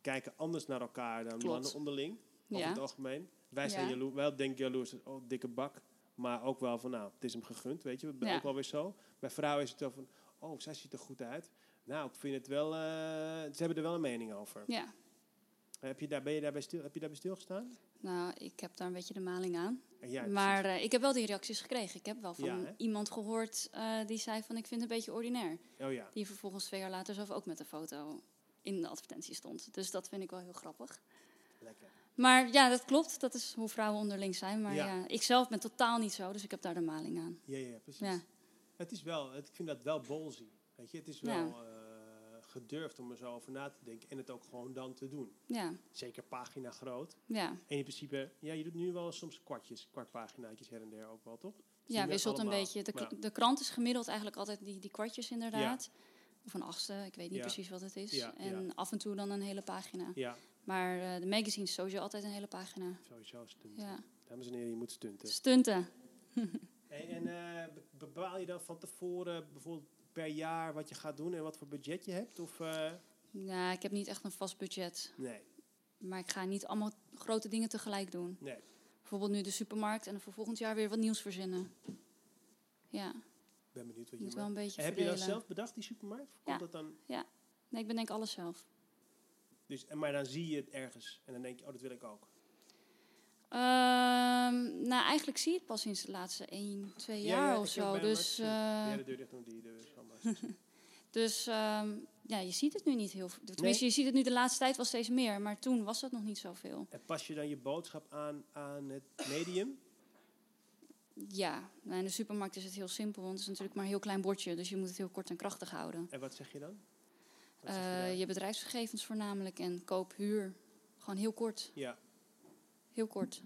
Speaker 1: kijken anders naar elkaar dan
Speaker 2: Klopt.
Speaker 1: mannen onderling. Over
Speaker 2: Ja.
Speaker 1: het algemeen. Wij zijn
Speaker 2: Ja.
Speaker 1: jaloers, wel denk ik jaloers, oh, dikke bak. Maar ook wel van, nou, het is hem gegund, weet je. Dat ben
Speaker 2: Ja.
Speaker 1: ook wel weer zo. Bij vrouwen is het wel van, oh, zij ziet er goed uit. Nou, ik vind het wel, eh, ze hebben er wel een mening over.
Speaker 2: Ja.
Speaker 1: Heb je daar, ben je daarbij stil, heb je daarbij stilgestaan?
Speaker 2: Nou, ik heb daar een beetje de maling aan.
Speaker 1: Eh, Ja,
Speaker 2: maar eh, ik heb wel die reacties gekregen. Ik heb wel van
Speaker 1: Ja, hè?
Speaker 2: iemand gehoord eh, die zei van ik vind het een beetje ordinair.
Speaker 1: precies. Oh ja.
Speaker 2: Die vervolgens twee jaar later zelf ook met de foto in de advertentie stond. Dus dat vind ik wel heel grappig.
Speaker 1: Lekker.
Speaker 2: Maar ja, dat klopt. Dat is hoe vrouwen onderling zijn. Maar
Speaker 1: Ja.
Speaker 2: ja, ik zelf ben totaal niet zo. Dus ik heb daar de maling aan.
Speaker 1: Ja, ja, precies.
Speaker 2: Ja.
Speaker 1: Het is wel, het, ik vind dat wel ballsy. Weet je, het is wel
Speaker 2: Ja.
Speaker 1: eh, gedurfd om er zo over na te denken en het ook gewoon dan te doen.
Speaker 2: Ja,
Speaker 1: Zeker pagina groot.
Speaker 2: ja.
Speaker 1: En in principe, ja, je doet nu wel soms kwartjes, kwartpaginaatjes her en der ook wel, toch? Zien
Speaker 2: ja
Speaker 1: we
Speaker 2: wisselt een
Speaker 1: allemaal.
Speaker 2: beetje. De, k-
Speaker 1: Ja.
Speaker 2: de krant is gemiddeld eigenlijk altijd die, die kwartjes inderdaad. Of een achtste, ik weet niet
Speaker 1: Ja.
Speaker 2: precies wat het is.
Speaker 1: Ja,
Speaker 2: en af en toe dan een hele pagina.
Speaker 1: Ja,
Speaker 2: Maar eh, de magazine is sowieso altijd een hele pagina.
Speaker 1: sowieso stunten.
Speaker 2: Ja.
Speaker 1: Dames en heren, je moet stunten.
Speaker 2: Stunten.
Speaker 1: Hey, en eh, be- bepaal je dan van tevoren bijvoorbeeld per jaar wat je gaat doen en wat voor budget je hebt? Of eh,
Speaker 2: Ja, ik heb niet echt een vast budget.
Speaker 1: nee,
Speaker 2: Maar ik ga niet allemaal grote dingen tegelijk doen.
Speaker 1: nee.
Speaker 2: Bijvoorbeeld nu de supermarkt en dan voor volgend jaar weer wat nieuws verzinnen. Ja,
Speaker 1: Ik ben benieuwd wat je
Speaker 2: moet wel
Speaker 1: maakt.
Speaker 2: een beetje
Speaker 1: En Heb je dat
Speaker 2: verdelen.
Speaker 1: zelf bedacht, die supermarkt? Of
Speaker 2: Ja.
Speaker 1: komt dat dan?
Speaker 2: Nee, ik bedenk alles zelf.
Speaker 1: Dus, en maar dan zie je het ergens en dan denk je, oh, dat wil ik ook.
Speaker 2: Ehm, nou, eigenlijk zie je het pas sinds de laatste 1, 2
Speaker 1: Ja,
Speaker 2: jaar
Speaker 1: ja,
Speaker 2: of
Speaker 1: ik heb
Speaker 2: zo.
Speaker 1: bijna
Speaker 2: Dus,
Speaker 1: nooit
Speaker 2: eh,
Speaker 1: ja, de deur dicht doen die deur. is allemaal zo.
Speaker 2: dus ehm, ja, je ziet het nu niet heel veel. Tenminste, je ziet het nu de laatste tijd wel steeds meer. Maar toen was dat nog niet zoveel.
Speaker 1: en pas je dan je boodschap aan aan het medium?
Speaker 2: Ja, nou, in de supermarkt is het heel simpel. Want het is natuurlijk maar een heel klein bordje. Dus je moet het heel kort en krachtig houden.
Speaker 1: En wat zeg je dan? Wat zeg je
Speaker 2: Eh,
Speaker 1: dan?
Speaker 2: je bedrijfsgegevens voornamelijk en koop, huur. Gewoon heel kort.
Speaker 1: Ja,
Speaker 2: Heel kort.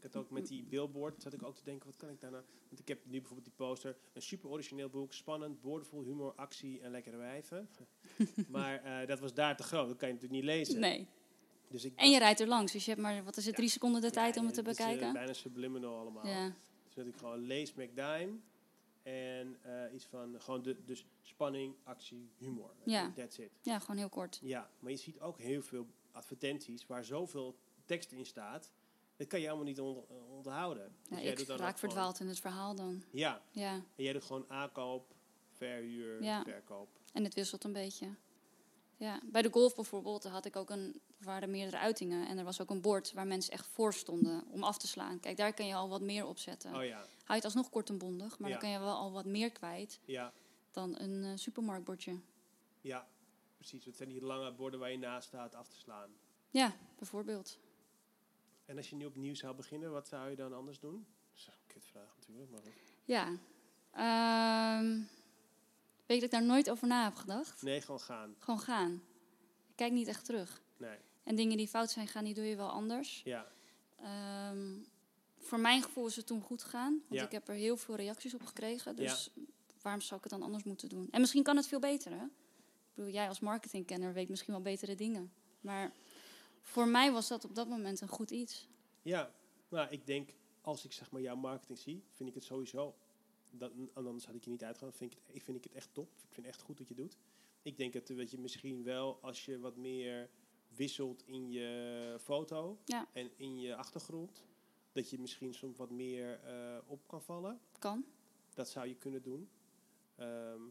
Speaker 1: ik had ook met die billboard, zat ik ook te denken, wat kan ik daarna... Want ik heb nu bijvoorbeeld die poster, een super origineel boek, spannend, boordevol humor, actie en lekkere wijven. maar eh, dat was daar te groot, dat kan je natuurlijk niet lezen.
Speaker 2: Nee.
Speaker 1: Dus ik
Speaker 2: En je rijdt er langs. Dus je hebt maar, wat is het,
Speaker 1: Ja.
Speaker 2: drie seconden de
Speaker 1: Ja,
Speaker 2: tijd om
Speaker 1: ja,
Speaker 2: het te
Speaker 1: is, eh,
Speaker 2: bekijken?
Speaker 1: bijna subliminal allemaal.
Speaker 2: Ja.
Speaker 1: Dus dat ik gewoon lees McDime en eh, iets van, gewoon de, dus spanning, actie, humor. weet je,
Speaker 2: Ja.
Speaker 1: That's it.
Speaker 2: ja, gewoon heel kort.
Speaker 1: Ja, maar je ziet ook heel veel advertenties waar zoveel tekst in staat. Dat kan je allemaal niet on- onthouden. Dus
Speaker 2: Ja,
Speaker 1: jij
Speaker 2: ik
Speaker 1: doet dan
Speaker 2: raak
Speaker 1: ook gewoon-
Speaker 2: verdwaald in het verhaal dan.
Speaker 1: Ja,
Speaker 2: Ja,
Speaker 1: en jij doet gewoon aankoop, verhuur,
Speaker 2: Ja.
Speaker 1: verkoop.
Speaker 2: en het wisselt een beetje. Ja, bij de golf bijvoorbeeld daar had ik ook een, er waren meerdere uitingen. En er was ook een bord waar mensen echt voor stonden om af te slaan. Kijk, daar kan je al wat meer op zetten.
Speaker 1: Oh ja,
Speaker 2: Hou je het alsnog kort en bondig, maar
Speaker 1: Ja.
Speaker 2: dan kan je wel al wat meer kwijt
Speaker 1: ja,
Speaker 2: dan een eh, supermarktbordje.
Speaker 1: ja, precies. Het zijn die lange borden waar je naast staat af te slaan.
Speaker 2: Ja, bijvoorbeeld.
Speaker 1: En als je nu opnieuw zou beginnen, wat zou je dan anders doen? Dat is een kutvraag natuurlijk, maar... goed.
Speaker 2: Ja. Ehm, weet je dat ik daar nooit over na heb gedacht?
Speaker 1: Nee, gewoon gaan.
Speaker 2: Gewoon gaan. Ik kijk niet echt terug.
Speaker 1: Nee,
Speaker 2: En dingen die fout zijn gaan, die doe je wel anders.
Speaker 1: ja,
Speaker 2: Ehm, voor mijn gevoel is het toen goed gegaan. Want
Speaker 1: Ja.
Speaker 2: ik heb er heel veel reacties op gekregen. Dus waarom zou ik het dan anders moeten doen? En misschien kan het veel beter, hè? Ik bedoel, jij als marketingkenner weet misschien wel betere dingen. Maar voor mij was dat op dat moment een goed iets.
Speaker 1: ja. Nou, ik denk, als ik zeg maar jouw marketing zie, vind ik het sowieso... Dan, anders had ik je niet uitgegaan. Vind ik, het, ik vind ik het echt top. Ik vind het echt goed wat je doet. Ik denk dat, eh, dat je misschien wel, als je wat meer wisselt in je foto
Speaker 2: Ja.
Speaker 1: en in je achtergrond, dat je misschien soms wat meer eh, op kan vallen.
Speaker 2: Kan.
Speaker 1: Dat zou je kunnen doen. Ehm,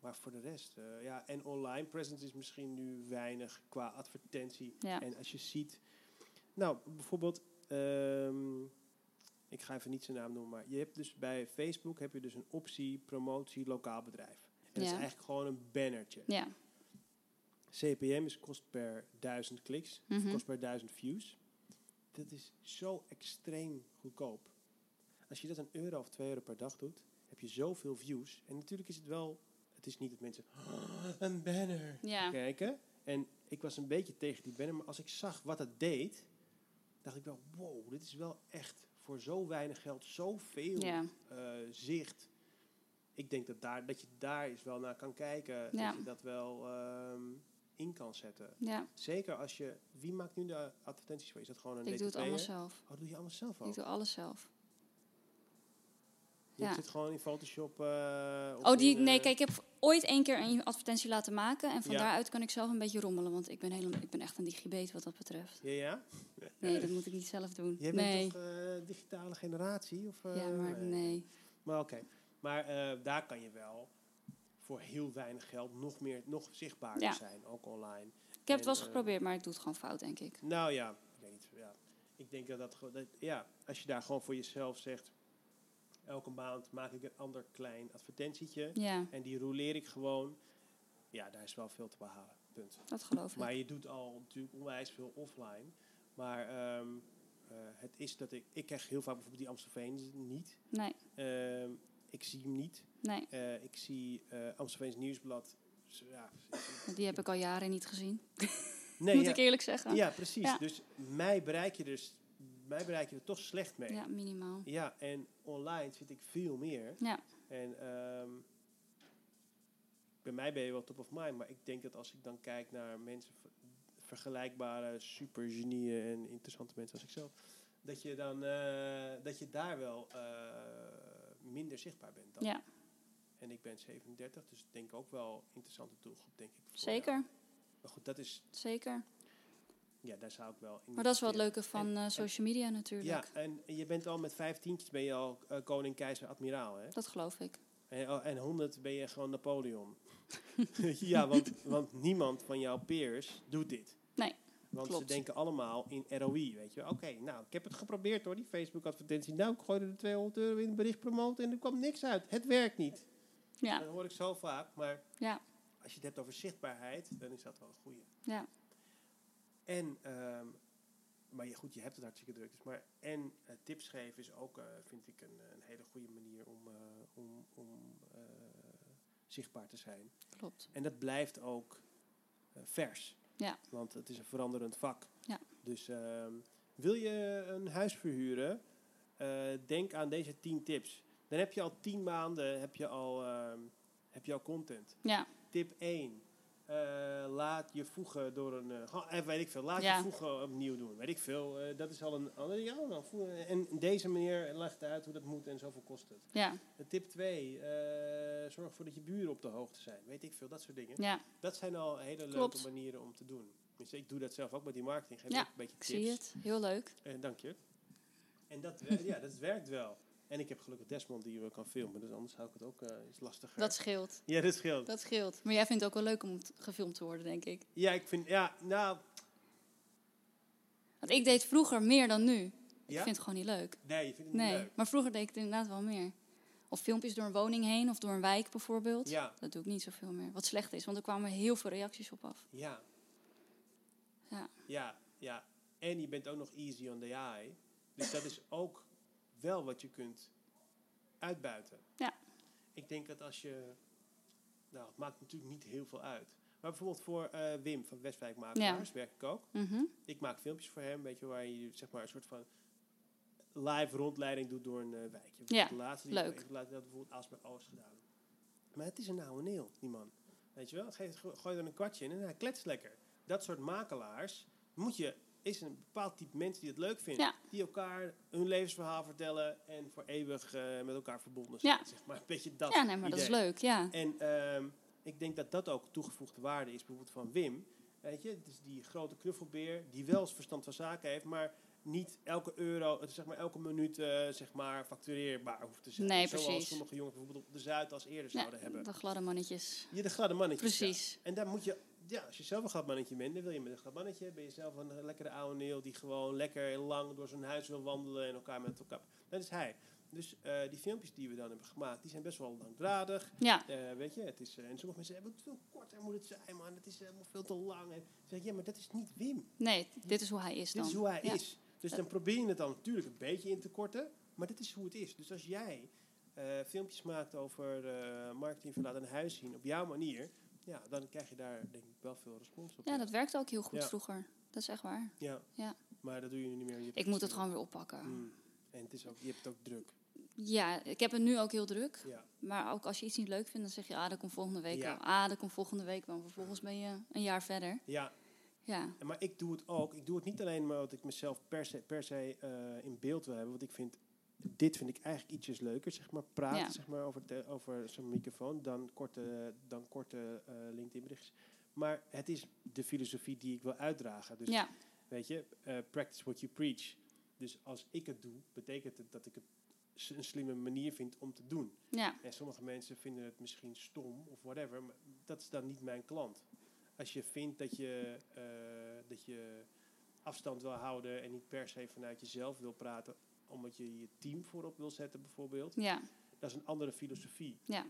Speaker 1: Maar voor de rest, eh, ja, en online presence is misschien nu weinig qua advertentie.
Speaker 2: Ja.
Speaker 1: En als je ziet, nou bijvoorbeeld, ehm, ik ga even niet zijn naam noemen, maar je hebt dus bij Facebook heb je dus een optie promotie lokaal bedrijf. En dat is
Speaker 2: Ja.
Speaker 1: eigenlijk gewoon een bannertje.
Speaker 2: Ja.
Speaker 1: CPM is kost per 1000 kliks,
Speaker 2: Mhm.
Speaker 1: kost per 1000 views. Dat is zo extreem goedkoop. Als je dat een euro of twee euro per dag doet, heb je zoveel views. En natuurlijk is het wel, het is niet dat mensen "Oh, een banner
Speaker 2: Ja.
Speaker 1: kijken. En ik was een beetje tegen die banner, maar als ik zag wat het deed, dacht ik wel, wow, dit is wel echt voor zo weinig geld zoveel
Speaker 2: Ja.
Speaker 1: eh, zicht. Ik denk dat, daar, dat je daar eens wel naar kan kijken.
Speaker 2: Ja.
Speaker 1: Dat je dat wel ehm, in kan zetten.
Speaker 2: ja.
Speaker 1: Zeker als je... Wie maakt nu de advertenties voor? Is dat gewoon een
Speaker 2: Ik doe het allemaal
Speaker 1: DTP'er?
Speaker 2: zelf.
Speaker 1: Oh, doe je allemaal zelf
Speaker 2: Ik
Speaker 1: ook?
Speaker 2: doe alles zelf.
Speaker 1: Je
Speaker 2: ja.
Speaker 1: zit gewoon in Photoshop... eh, of
Speaker 2: Oh, die,
Speaker 1: in, eh,
Speaker 2: nee, kijk, ik heb ooit één keer een advertentie laten maken. En van
Speaker 1: Ja.
Speaker 2: daaruit kan ik zelf een beetje rommelen. Want ik ben, helemaal, ik ben echt een digibeet wat dat betreft.
Speaker 1: Ja, ja?
Speaker 2: Nee, dat moet ik niet zelf doen.
Speaker 1: Jij bent
Speaker 2: nee.
Speaker 1: toch eh, digitale generatie? Of, eh,
Speaker 2: ja, maar nee.
Speaker 1: Maar oké. Maar eh, daar kan je wel voor heel weinig geld nog, meer, nog zichtbaarder
Speaker 2: Ja.
Speaker 1: zijn. Ook online.
Speaker 2: Ik heb het wel eens
Speaker 1: En, eh,
Speaker 2: geprobeerd, maar ik doe het gewoon fout, denk ik.
Speaker 1: Nou ja, ik weet niet. Ja. Ik denk dat dat, gewoon- dat ja, als je daar gewoon voor jezelf zegt, elke maand maak ik een ander klein advertentietje
Speaker 2: Ja,
Speaker 1: en die roleer ik gewoon. Ja, daar is wel veel te behalen. Punt.
Speaker 2: dat geloof ik.
Speaker 1: Maar je doet al natuurlijk onwijs veel offline. Maar ehm, eh, het is dat ik, ik krijg heel vaak bijvoorbeeld die Amstelveen niet.
Speaker 2: Nee,
Speaker 1: Ehm, ik zie hem niet.
Speaker 2: nee.
Speaker 1: Eh, ik zie eh Amstelveens nieuwsblad. Z- Ja,
Speaker 2: Die heb ik al jaren niet gezien.
Speaker 1: nee,
Speaker 2: moet
Speaker 1: ja.
Speaker 2: ik eerlijk zeggen.
Speaker 1: Ja, precies.
Speaker 2: Ja.
Speaker 1: Dus mij bereik je dus mij bereik je er toch slecht mee.
Speaker 2: Ja, minimaal.
Speaker 1: Ja, en online vind ik veel meer.
Speaker 2: Ja.
Speaker 1: En ehm, bij mij ben je wel top of mind, maar ik denk dat als ik dan kijk naar mensen, ver- vergelijkbare supergenieën en interessante mensen als ik zelf, dat je dan eh, dat je daar wel eh, minder zichtbaar bent dan.
Speaker 2: Ja.
Speaker 1: En ik ben 37, dus ik denk ook wel interessante doelgroep, denk ik. voor jou.
Speaker 2: Zeker,
Speaker 1: Maar goed, dat is,
Speaker 2: zeker.
Speaker 1: ja, daar zou ik wel in
Speaker 2: Maar dat is wel het
Speaker 1: investeren.
Speaker 2: leuke van eh, social media natuurlijk.
Speaker 1: Ja, en je bent al met vijftientjes ben je al eh, koning, keizer, admiraal, hè?
Speaker 2: Dat geloof ik.
Speaker 1: En, oh, en 100 ben je gewoon Napoleon. ja, want, want niemand van jouw peers doet dit.
Speaker 2: Nee,
Speaker 1: Want
Speaker 2: klopt.
Speaker 1: ze denken allemaal in ROI, weet je. wel. Oké, nou, ik heb het geprobeerd hoor, die Facebook-advertentie. Nou, ik gooide er 200 euro in een bericht promoten en er kwam niks uit. Het werkt niet.
Speaker 2: Ja,
Speaker 1: Dat hoor ik zo vaak, maar
Speaker 2: Ja.
Speaker 1: als je het hebt over zichtbaarheid, dan is dat wel een goeie.
Speaker 2: ja,
Speaker 1: En, ehm, maar je, goed, je hebt het hartstikke druk. Dus maar, en eh, tips geven is ook, eh, vind ik, een, een hele goede manier om, eh, om, om eh, zichtbaar te zijn.
Speaker 2: klopt.
Speaker 1: En dat blijft ook eh, vers.
Speaker 2: Ja.
Speaker 1: Want het is een veranderend vak.
Speaker 2: Ja.
Speaker 1: Dus ehm, wil je een huis verhuren, eh, denk aan deze 10 tips. Dan heb je al 10 maanden heb je al, ehm, heb je al content.
Speaker 2: Ja,
Speaker 1: Tip 1. laat je voegen door een. eh, ha- eh, weet ik veel. Laat
Speaker 2: Ja.
Speaker 1: je voegen opnieuw doen. Weet ik veel. eh, dat is al een. al een- ja, nou, voegen. en deze meneer legt uit hoe dat moet en zoveel kost het.
Speaker 2: ja,
Speaker 1: Eh, tip 2. zorg ervoor dat je buren op de hoogte zijn. Weet ik veel. Dat soort dingen.
Speaker 2: ja,
Speaker 1: Dat zijn al hele
Speaker 2: Klopt.
Speaker 1: leuke manieren om te doen. Dus ik doe dat zelf ook met die marketing. Geef
Speaker 2: Ja,
Speaker 1: ook een beetje
Speaker 2: ik
Speaker 1: tips.
Speaker 2: zie het. Heel leuk.
Speaker 1: Eh, dank je. En dat, eh, ja, dat werkt wel. En ik heb gelukkig Desmond die we kan filmen. Dus anders hou ik het ook eh, iets lastiger.
Speaker 2: Dat scheelt.
Speaker 1: ja, dat scheelt.
Speaker 2: Dat scheelt. Maar jij vindt het ook wel leuk om t- gefilmd te worden, denk ik.
Speaker 1: Ja, ik vind. Ja, nou.
Speaker 2: Want ik deed vroeger meer dan nu. Ik
Speaker 1: Ja?
Speaker 2: vind het gewoon niet leuk.
Speaker 1: Nee, je vindt het
Speaker 2: Nee,
Speaker 1: niet leuk.
Speaker 2: maar vroeger deed ik het inderdaad wel meer. Of filmpjes door een woning heen of door een wijk bijvoorbeeld.
Speaker 1: Ja,
Speaker 2: Dat doe ik niet zoveel meer. Wat slecht is, want er kwamen heel veel reacties op af.
Speaker 1: ja.
Speaker 2: Ja.
Speaker 1: Ja, ja. En je bent ook nog easy on the eye. Dus dat is ook wel wat je kunt uitbuiten.
Speaker 2: Ja.
Speaker 1: Ik denk dat als je... Nou, het maakt natuurlijk niet heel veel uit. Maar bijvoorbeeld voor eh, Wim van Westwijk Makelaars werk ik ook.
Speaker 2: Mhm.
Speaker 1: Ik maak filmpjes voor hem, weet je, waar je zeg maar een soort van live rondleiding doet door een eh, wijkje.
Speaker 2: Ja,
Speaker 1: de laatste
Speaker 2: leuk.
Speaker 1: Ik laat dat bijvoorbeeld Asberg Oost gedaan. Maar het is een oude neel, die man. Weet je wel, Geef, go- gooi er een kwartje in en hij kletst lekker. Dat soort makelaars moet je, is een bepaald type mensen die het leuk vinden.
Speaker 2: Ja.
Speaker 1: Die elkaar hun levensverhaal vertellen en voor eeuwig eh, met elkaar verbonden zijn.
Speaker 2: Ja.
Speaker 1: Zeg maar, een beetje dat
Speaker 2: Ja, nee, maar dat
Speaker 1: idee.
Speaker 2: is leuk. Ja,
Speaker 1: En ehm, ik denk dat dat ook toegevoegde waarde is, bijvoorbeeld van Wim. Weet je, het is die grote knuffelbeer die wel eens verstand van zaken heeft, maar niet elke euro, eh, zeg maar elke minuut, eh, zeg maar, factureerbaar hoeft te zijn.
Speaker 2: Nee,
Speaker 1: Zoals
Speaker 2: precies.
Speaker 1: sommige jongens bijvoorbeeld op de Zuidas eerder
Speaker 2: Ja,
Speaker 1: zouden hebben.
Speaker 2: de gladde mannetjes.
Speaker 1: Je de gladde mannetje.
Speaker 2: Precies.
Speaker 1: En daar moet je, ja, als je zelf een gladmannetje bent, dan wil je met een gladmannetje. Ben je zelf een lekkere oude neel die gewoon lekker lang door zijn huis wil wandelen en elkaar met elkaar. Dat is hij. Dus eh, die filmpjes die we dan hebben gemaakt, die zijn best wel langdradig.
Speaker 2: Ja,
Speaker 1: Eh, weet je, het is, eh, en sommige mensen hebben het veel korter moet het zijn, man. Het is helemaal veel te lang. En dan zeg ik, ja, maar dat is niet Wim.
Speaker 2: nee, dit is hoe hij is dan.
Speaker 1: Dit is hoe hij
Speaker 2: Ja.
Speaker 1: is. Dus dan probeer je het dan natuurlijk een beetje in te korten, maar dit is hoe het is. Dus als jij eh, filmpjes maakt over eh marketing verlaat een huis zien op jouw manier, ja, dan krijg je daar denk ik wel veel respons op.
Speaker 2: Ja, dat werkte ook heel goed
Speaker 1: Ja.
Speaker 2: vroeger. Dat is echt waar.
Speaker 1: Ja.
Speaker 2: Ja.
Speaker 1: Maar dat doe je nu niet meer. Je hebt
Speaker 2: Ik moet het gewoon weer oppakken.
Speaker 1: Mm. En het is ook, je hebt het ook druk.
Speaker 2: Ja, ik heb het nu ook heel druk.
Speaker 1: Ja.
Speaker 2: Maar ook als je iets niet leuk vindt, dan zeg je, ah, dat komt volgende week
Speaker 1: Ja.
Speaker 2: wel. Ah, dat komt volgende week wel. Vervolgens ben je een jaar verder.
Speaker 1: Ja,
Speaker 2: Ja,
Speaker 1: En Maar ik doe het ook. Ik doe het niet alleen maar omdat ik mezelf per se, per se eh, in beeld wil hebben. Want ik vind, dit vind ik eigenlijk ietsjes leuker. Zeg maar praten
Speaker 2: Ja.
Speaker 1: zeg maar, over, te- over zo'n microfoon dan korte, dan korte eh LinkedIn berichtjes. Maar het is de filosofie die ik wil uitdragen. Dus
Speaker 2: ja,
Speaker 1: weet je, eh, practice what you preach. Dus als ik het doe, betekent het dat ik het s- een slimme manier vind om te doen.
Speaker 2: ja.
Speaker 1: En sommige mensen vinden het misschien stom of whatever, maar dat is dan niet mijn klant. Als je vindt dat je, eh, dat je afstand wil houden en niet per se vanuit jezelf wil praten, omdat je je team voorop wil zetten bijvoorbeeld,
Speaker 2: ja.
Speaker 1: dat is een andere filosofie.
Speaker 2: Ja.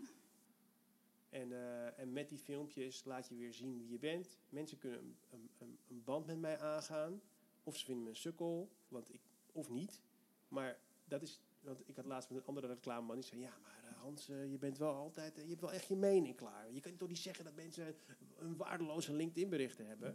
Speaker 1: En, eh, en met die filmpjes laat je weer zien wie je bent. Mensen kunnen een, een, een, een band met mij aangaan. Of ze vinden me een sukkel, want ik, of niet. Maar dat is, want ik had laatst met een andere reclameman die zei: Ja, maar eh, Hans, eh, je bent wel altijd, eh, je hebt wel echt je mening klaar. Je kan toch niet zeggen dat mensen een waardeloze LinkedIn-berichten hebben.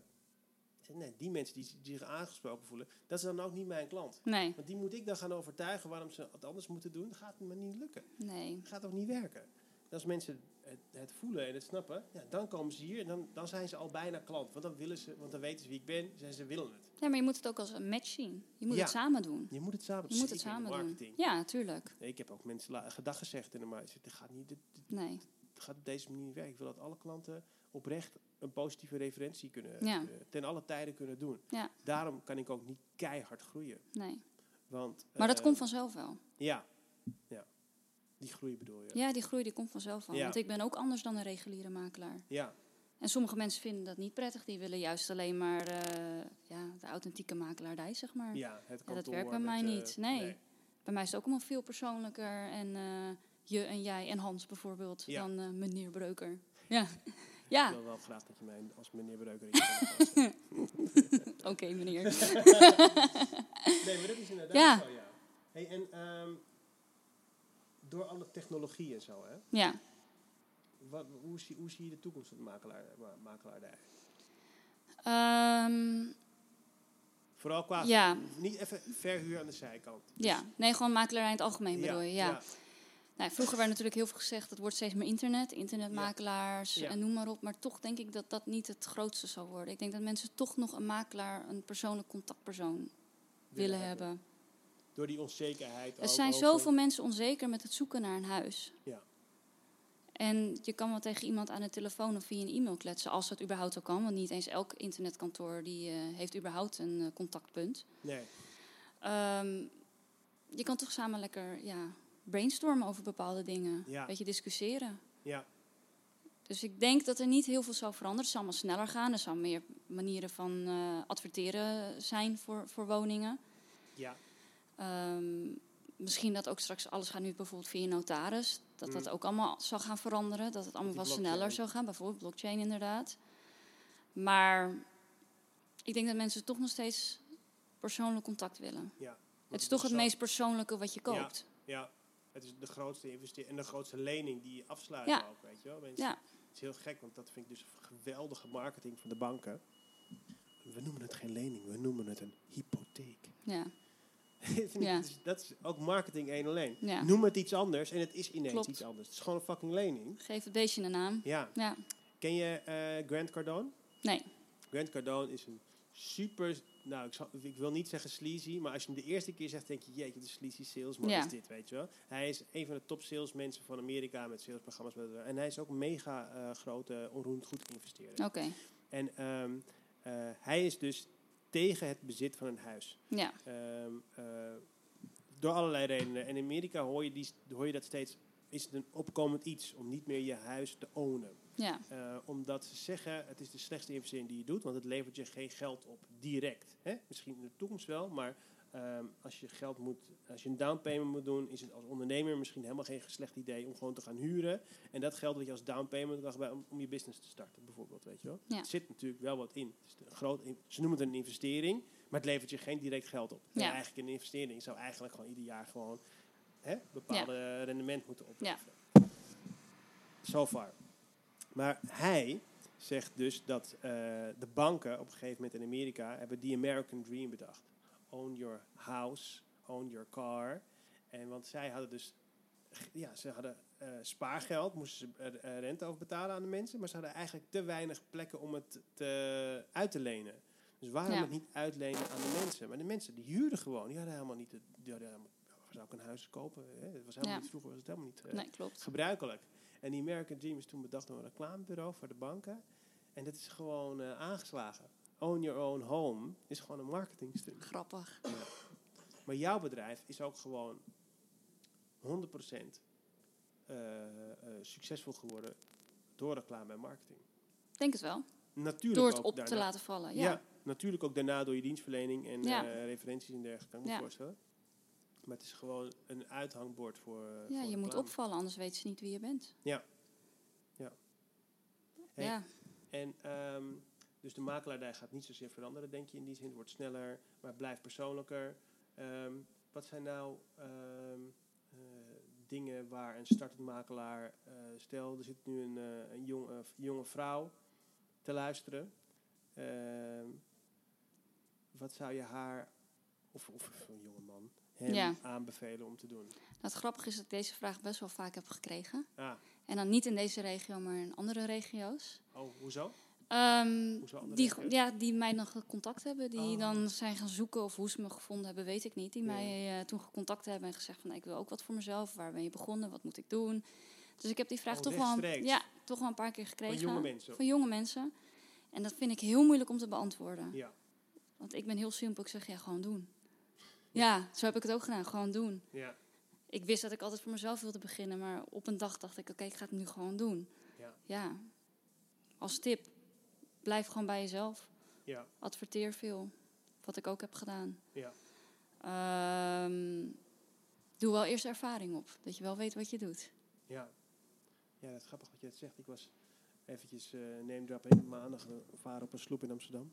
Speaker 1: Ik zei, nee, die mensen die, die zich aangesproken voelen, dat is dan ook niet mijn klant.
Speaker 2: Nee,
Speaker 1: Want die moet ik dan gaan overtuigen waarom ze het anders moeten doen. Dat gaat me niet lukken.
Speaker 2: nee.
Speaker 1: Dat gaat ook niet werken. En Als mensen het, het voelen en het snappen, ja, dan komen ze hier en dan, dan zijn ze al bijna klant. Want dan, willen ze, want dan weten ze wie ik ben en ze willen het.
Speaker 2: Ja, maar je moet het ook als een match zien. Je moet
Speaker 1: Ja.
Speaker 2: het samen doen.
Speaker 1: Je moet het samen
Speaker 2: Je moet het
Speaker 1: zeker in
Speaker 2: samen doen.
Speaker 1: marketing.
Speaker 2: Ja, natuurlijk.
Speaker 1: Nee, ik heb ook mensen la- gedag gezegd in de markt. Ik zeg, Dit gaat, niet, dit,
Speaker 2: Nee.
Speaker 1: dit gaat op deze manier niet werken. Ik wil dat alle klanten oprecht een positieve referentie kunnen,
Speaker 2: Ja.
Speaker 1: kunnen- ten alle tijden kunnen doen.
Speaker 2: Ja.
Speaker 1: Daarom kan ik ook niet keihard groeien.
Speaker 2: Nee.
Speaker 1: Want,
Speaker 2: Maar dat
Speaker 1: eh,
Speaker 2: komt vanzelf wel.
Speaker 1: Ja, ja. Die groei bedoel je.
Speaker 2: Ja, die groei die komt vanzelf wel.
Speaker 1: Ja.
Speaker 2: Want ik ben ook anders dan een reguliere makelaar.
Speaker 1: ja.
Speaker 2: En sommige mensen vinden dat niet prettig. Die willen juist alleen maar eh, ja, de authentieke makelaardij, zeg maar.
Speaker 1: ja, het
Speaker 2: Ja,
Speaker 1: kantoor.
Speaker 2: dat werkt bij
Speaker 1: met,
Speaker 2: mij
Speaker 1: eh,
Speaker 2: niet. Nee. Bij mij is het ook allemaal veel persoonlijker. En eh, je en jij en Hans bijvoorbeeld.
Speaker 1: Ja.
Speaker 2: Dan eh, meneer Breuker. Ja, ja.
Speaker 1: Ik wil wel graag dat je mij als meneer Breuker in je podcast zet.
Speaker 2: oké meneer.
Speaker 1: Nee, maar dat is inderdaad
Speaker 2: Ja.
Speaker 1: zo, ja. Hey, en ehm, door alle technologie en zo, hè?
Speaker 2: Ja.
Speaker 1: Wat, hoe, zie, hoe zie je de toekomst van de makelaar, ma- makelaardij?
Speaker 2: Ehm,
Speaker 1: Vooral qua...
Speaker 2: ja,
Speaker 1: Niet even verhuur aan de zijkant. Dus
Speaker 2: ja. Nee, gewoon makelaarij in het algemeen bedoel je. Ja.
Speaker 1: ja.
Speaker 2: Nou, vroeger werd natuurlijk heel veel gezegd, het wordt steeds meer internet, internetmakelaars
Speaker 1: Ja.
Speaker 2: en noem maar op. Maar toch denk ik dat dat niet het grootste zal worden. Ik denk dat mensen toch nog een makelaar, een persoonlijk contactpersoon willen, hebben.
Speaker 1: Door die onzekerheid
Speaker 2: Er
Speaker 1: ook
Speaker 2: zijn
Speaker 1: over-
Speaker 2: zoveel mensen onzeker met het zoeken naar een huis.
Speaker 1: Ja.
Speaker 2: En je kan wel tegen iemand aan de telefoon of via een e-mail kletsen, als dat überhaupt al kan. Want niet eens elk internetkantoor die, eh, heeft überhaupt een eh, contactpunt.
Speaker 1: Nee,
Speaker 2: Ehm, je kan toch samen lekker ja, brainstormen over bepaalde dingen.
Speaker 1: Ja.
Speaker 2: Weet je, discussiëren.
Speaker 1: ja.
Speaker 2: Dus ik denk dat er niet heel veel zal veranderen. Het zal allemaal sneller gaan. Er zal meer manieren van eh, adverteren zijn voor, voor woningen.
Speaker 1: Ja,
Speaker 2: Ehm, misschien dat ook straks alles gaat nu bijvoorbeeld via notaris. Dat dat ook allemaal zal gaan veranderen. Dat het allemaal
Speaker 1: Mm. die
Speaker 2: wat sneller
Speaker 1: blockchain.
Speaker 2: zal gaan. Bijvoorbeeld blockchain inderdaad. Maar ik denk dat mensen toch nog steeds persoonlijk contact willen.
Speaker 1: ja.
Speaker 2: Het is toch het
Speaker 1: Zo-
Speaker 2: meest persoonlijke wat je
Speaker 1: Ja.
Speaker 2: koopt.
Speaker 1: Ja, het is de grootste investering en de grootste lening die je afsluit
Speaker 2: Ja.
Speaker 1: ook, weet je wel. Mensen,
Speaker 2: Ja.
Speaker 1: Het is heel gek, want dat vind ik dus een geweldige marketing van de banken. We noemen het geen lening, we noemen het een hypotheek.
Speaker 2: Ja,
Speaker 1: Vind ik,
Speaker 2: Ja.
Speaker 1: dat, is, dat is ook marketing één alleen.
Speaker 2: ja.
Speaker 1: Noem het iets anders en het is ineens
Speaker 2: Klopt.
Speaker 1: iets anders. Het is gewoon een fucking lening.
Speaker 2: Geef het beestje een naam.
Speaker 1: Ja.
Speaker 2: Ja,
Speaker 1: Ken je eh Grant Cardone?
Speaker 2: nee.
Speaker 1: Grant Cardone is een super, nou ik, zal- ik wil niet zeggen sleazy, maar als je hem de eerste keer zegt, denk je, jeetje, de sleazy salesman
Speaker 2: Ja.
Speaker 1: is dit, weet je wel. Hij is een van de top salesmensen van Amerika met salesprogramma's. bla, bla, bla. En hij is ook een mega eh, grote onroerend goed investeerder.
Speaker 2: Oké.
Speaker 1: En ehm, eh, hij is dus tegen het bezit van een huis.
Speaker 2: Ja,
Speaker 1: Ehm, eh, door allerlei redenen. En in Amerika hoor je, die, hoor je dat steeds. Is het een opkomend iets om niet meer je huis te ownen?
Speaker 2: ja,
Speaker 1: Eh, omdat ze zeggen, het is de slechtste investering die je doet, want het levert je geen geld op direct. Hè? Misschien in de toekomst wel, maar ehm, als je geld moet, als je een downpayment moet doen, is het als ondernemer misschien helemaal geen slecht idee om gewoon te gaan huren. En dat geld wat je als downpayment kan gebruiken om, om je business te starten, bijvoorbeeld. Weet je wel?
Speaker 2: Ja.
Speaker 1: Er zit natuurlijk wel wat in. Het is een groot in- Ze noemen het een investering, maar het levert je geen direct geld op.
Speaker 2: Ja.
Speaker 1: En eigenlijk een investering zou eigenlijk gewoon ieder jaar gewoon hè, bepaalde rendement moeten opleveren. So far. Maar hij zegt dus dat eh, de banken op een gegeven moment in Amerika hebben die American Dream bedacht. Own your house, own your car. En want zij hadden dus, g- ja, ze hadden eh, spaargeld, moesten ze er, eh, rente over betalen aan de mensen, maar ze hadden eigenlijk te weinig plekken om het te, uit te lenen. Dus waarom
Speaker 2: Ja.
Speaker 1: het niet uitlenen aan de mensen? Maar de mensen die huurden gewoon, die hadden helemaal niet, het- die hadden helemaal, zou ik een huis kopen? Hè? Het was helemaal
Speaker 2: Ja.
Speaker 1: niet, vroeger was het helemaal niet eh,
Speaker 2: nee, klopt.
Speaker 1: gebruikelijk. En die American Dream is toen bedacht door een reclamebureau voor de banken. En dat is gewoon eh, aangeslagen. Own your own home is gewoon een marketingstuk.
Speaker 2: Grappig.
Speaker 1: Maar jouw bedrijf is ook gewoon 100% eh, eh, succesvol geworden door reclame en marketing.
Speaker 2: Ik Denk het wel.
Speaker 1: Natuurlijk
Speaker 2: Door het
Speaker 1: ook
Speaker 2: op te
Speaker 1: daarna-
Speaker 2: laten vallen.
Speaker 1: ja. eh,
Speaker 2: Ja,
Speaker 1: natuurlijk ook daarna door je dienstverlening en
Speaker 2: Ja.
Speaker 1: eh, referenties en dergelijke, kan ik
Speaker 2: Ja.
Speaker 1: me voorstellen. Maar het is gewoon een uithangbord voor. eh,
Speaker 2: ja
Speaker 1: voor
Speaker 2: je moet
Speaker 1: reclame.
Speaker 2: opvallen, anders weten ze niet wie je bent.
Speaker 1: Ja. Ja. Hey.
Speaker 2: Ja,
Speaker 1: En ehm, dus de makelaardij gaat niet zozeer veranderen, denk je in die zin. Het wordt sneller, maar het blijft persoonlijker. Ehm, wat zijn nou ehm, eh, dingen waar een startend makelaar... eh, stel, er zit nu een, eh, een jong- eh, jonge vrouw te luisteren. Ehm, wat zou je haar, of, of een jonge man, hem
Speaker 2: Ja.
Speaker 1: aanbevelen om te doen?
Speaker 2: nou, het grappige is dat ik deze vraag best wel vaak heb gekregen.
Speaker 1: Ah,
Speaker 2: En dan niet in deze regio, maar in andere regio's.
Speaker 1: oh, hoezo?
Speaker 2: Ehm,
Speaker 1: Hoezo andere
Speaker 2: die,
Speaker 1: regio's?
Speaker 2: ja, die mij dan gecontact hebben, die
Speaker 1: Oh.
Speaker 2: dan zijn gaan zoeken of hoe ze me gevonden hebben, weet ik niet. Die
Speaker 1: Ja.
Speaker 2: mij eh, toen gecontact hebben en gezegd van ik wil ook wat voor mezelf, waar ben je begonnen, wat moet ik doen. Dus ik heb die vraag
Speaker 1: Oh,
Speaker 2: toch, wel een,
Speaker 1: rechtstreeks.
Speaker 2: ja, toch wel een paar keer gekregen.
Speaker 1: Van jonge mensen.
Speaker 2: Van jonge mensen. En dat vind ik heel moeilijk om te beantwoorden.
Speaker 1: Ja,
Speaker 2: Want ik ben heel simpel, ik zeg ja, gewoon doen. Ja, zo heb ik het ook gedaan, gewoon doen.
Speaker 1: ja,
Speaker 2: Ik wist dat ik altijd voor mezelf wilde beginnen, maar op een dag dacht ik, oké, ik ga het nu gewoon doen.
Speaker 1: Ja.
Speaker 2: ja. Als tip, blijf gewoon bij jezelf
Speaker 1: ja.
Speaker 2: adverteer veel. Wat ik ook heb gedaan.
Speaker 1: Ja.
Speaker 2: Ehm, doe wel eerst ervaring op. Dat je wel weet wat je doet.
Speaker 1: Ja. ja, dat is grappig wat je dat zegt. Ik was eventjes eh name dropping maandag eh, varen op een sloep in Amsterdam.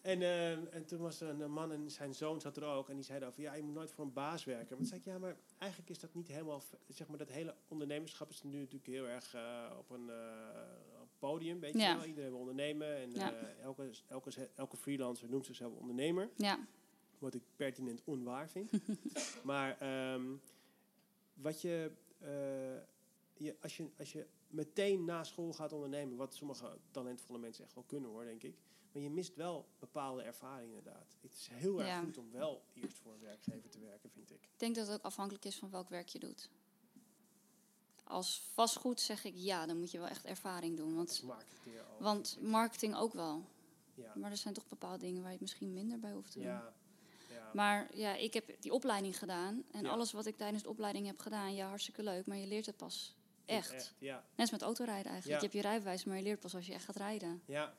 Speaker 1: En, eh, en toen was er een eh, man en zijn zoon zat er ook. En die zeiden over, ja, je moet nooit voor een baas werken. Maar toen zei ik, ja, maar eigenlijk is dat niet helemaal... v- Zeg maar, dat hele ondernemerschap is nu natuurlijk heel erg eh, op een eh, op podium, weet
Speaker 2: Ja.
Speaker 1: je wel. Iedereen wil ondernemen. En
Speaker 2: Ja.
Speaker 1: eh, elke, elke, elke freelancer noemt zichzelf ondernemer.
Speaker 2: Ja,
Speaker 1: Wat ik pertinent onwaar vind. maar ehm, wat je, eh, je, als je, als je meteen na school gaat ondernemen, wat sommige talentvolle mensen echt wel kunnen hoor, denk ik. Maar je mist wel bepaalde ervaring inderdaad. Het is heel erg
Speaker 2: Ja.
Speaker 1: goed om wel eerst voor een werkgever te werken, vind ik.
Speaker 2: ik denk dat het ook afhankelijk is van welk werk je doet. Als vastgoed zeg ik ja, dan moet je wel echt ervaring doen.
Speaker 1: Als
Speaker 2: Want,
Speaker 1: marketeer ook.
Speaker 2: want
Speaker 1: vind ik.
Speaker 2: marketing ook wel.
Speaker 1: ja.
Speaker 2: Maar er zijn toch bepaalde dingen waar je het misschien minder bij hoeft te doen.
Speaker 1: Ja. Ja.
Speaker 2: Maar ja, ik heb die opleiding gedaan. En
Speaker 1: Ja.
Speaker 2: alles wat ik tijdens de opleiding heb gedaan, ja, hartstikke leuk. Maar je leert het pas echt.
Speaker 1: Ja.
Speaker 2: Net als met autorijden eigenlijk.
Speaker 1: Ja.
Speaker 2: Je hebt je rijbewijs, maar je leert pas als je echt gaat rijden.
Speaker 1: Ja.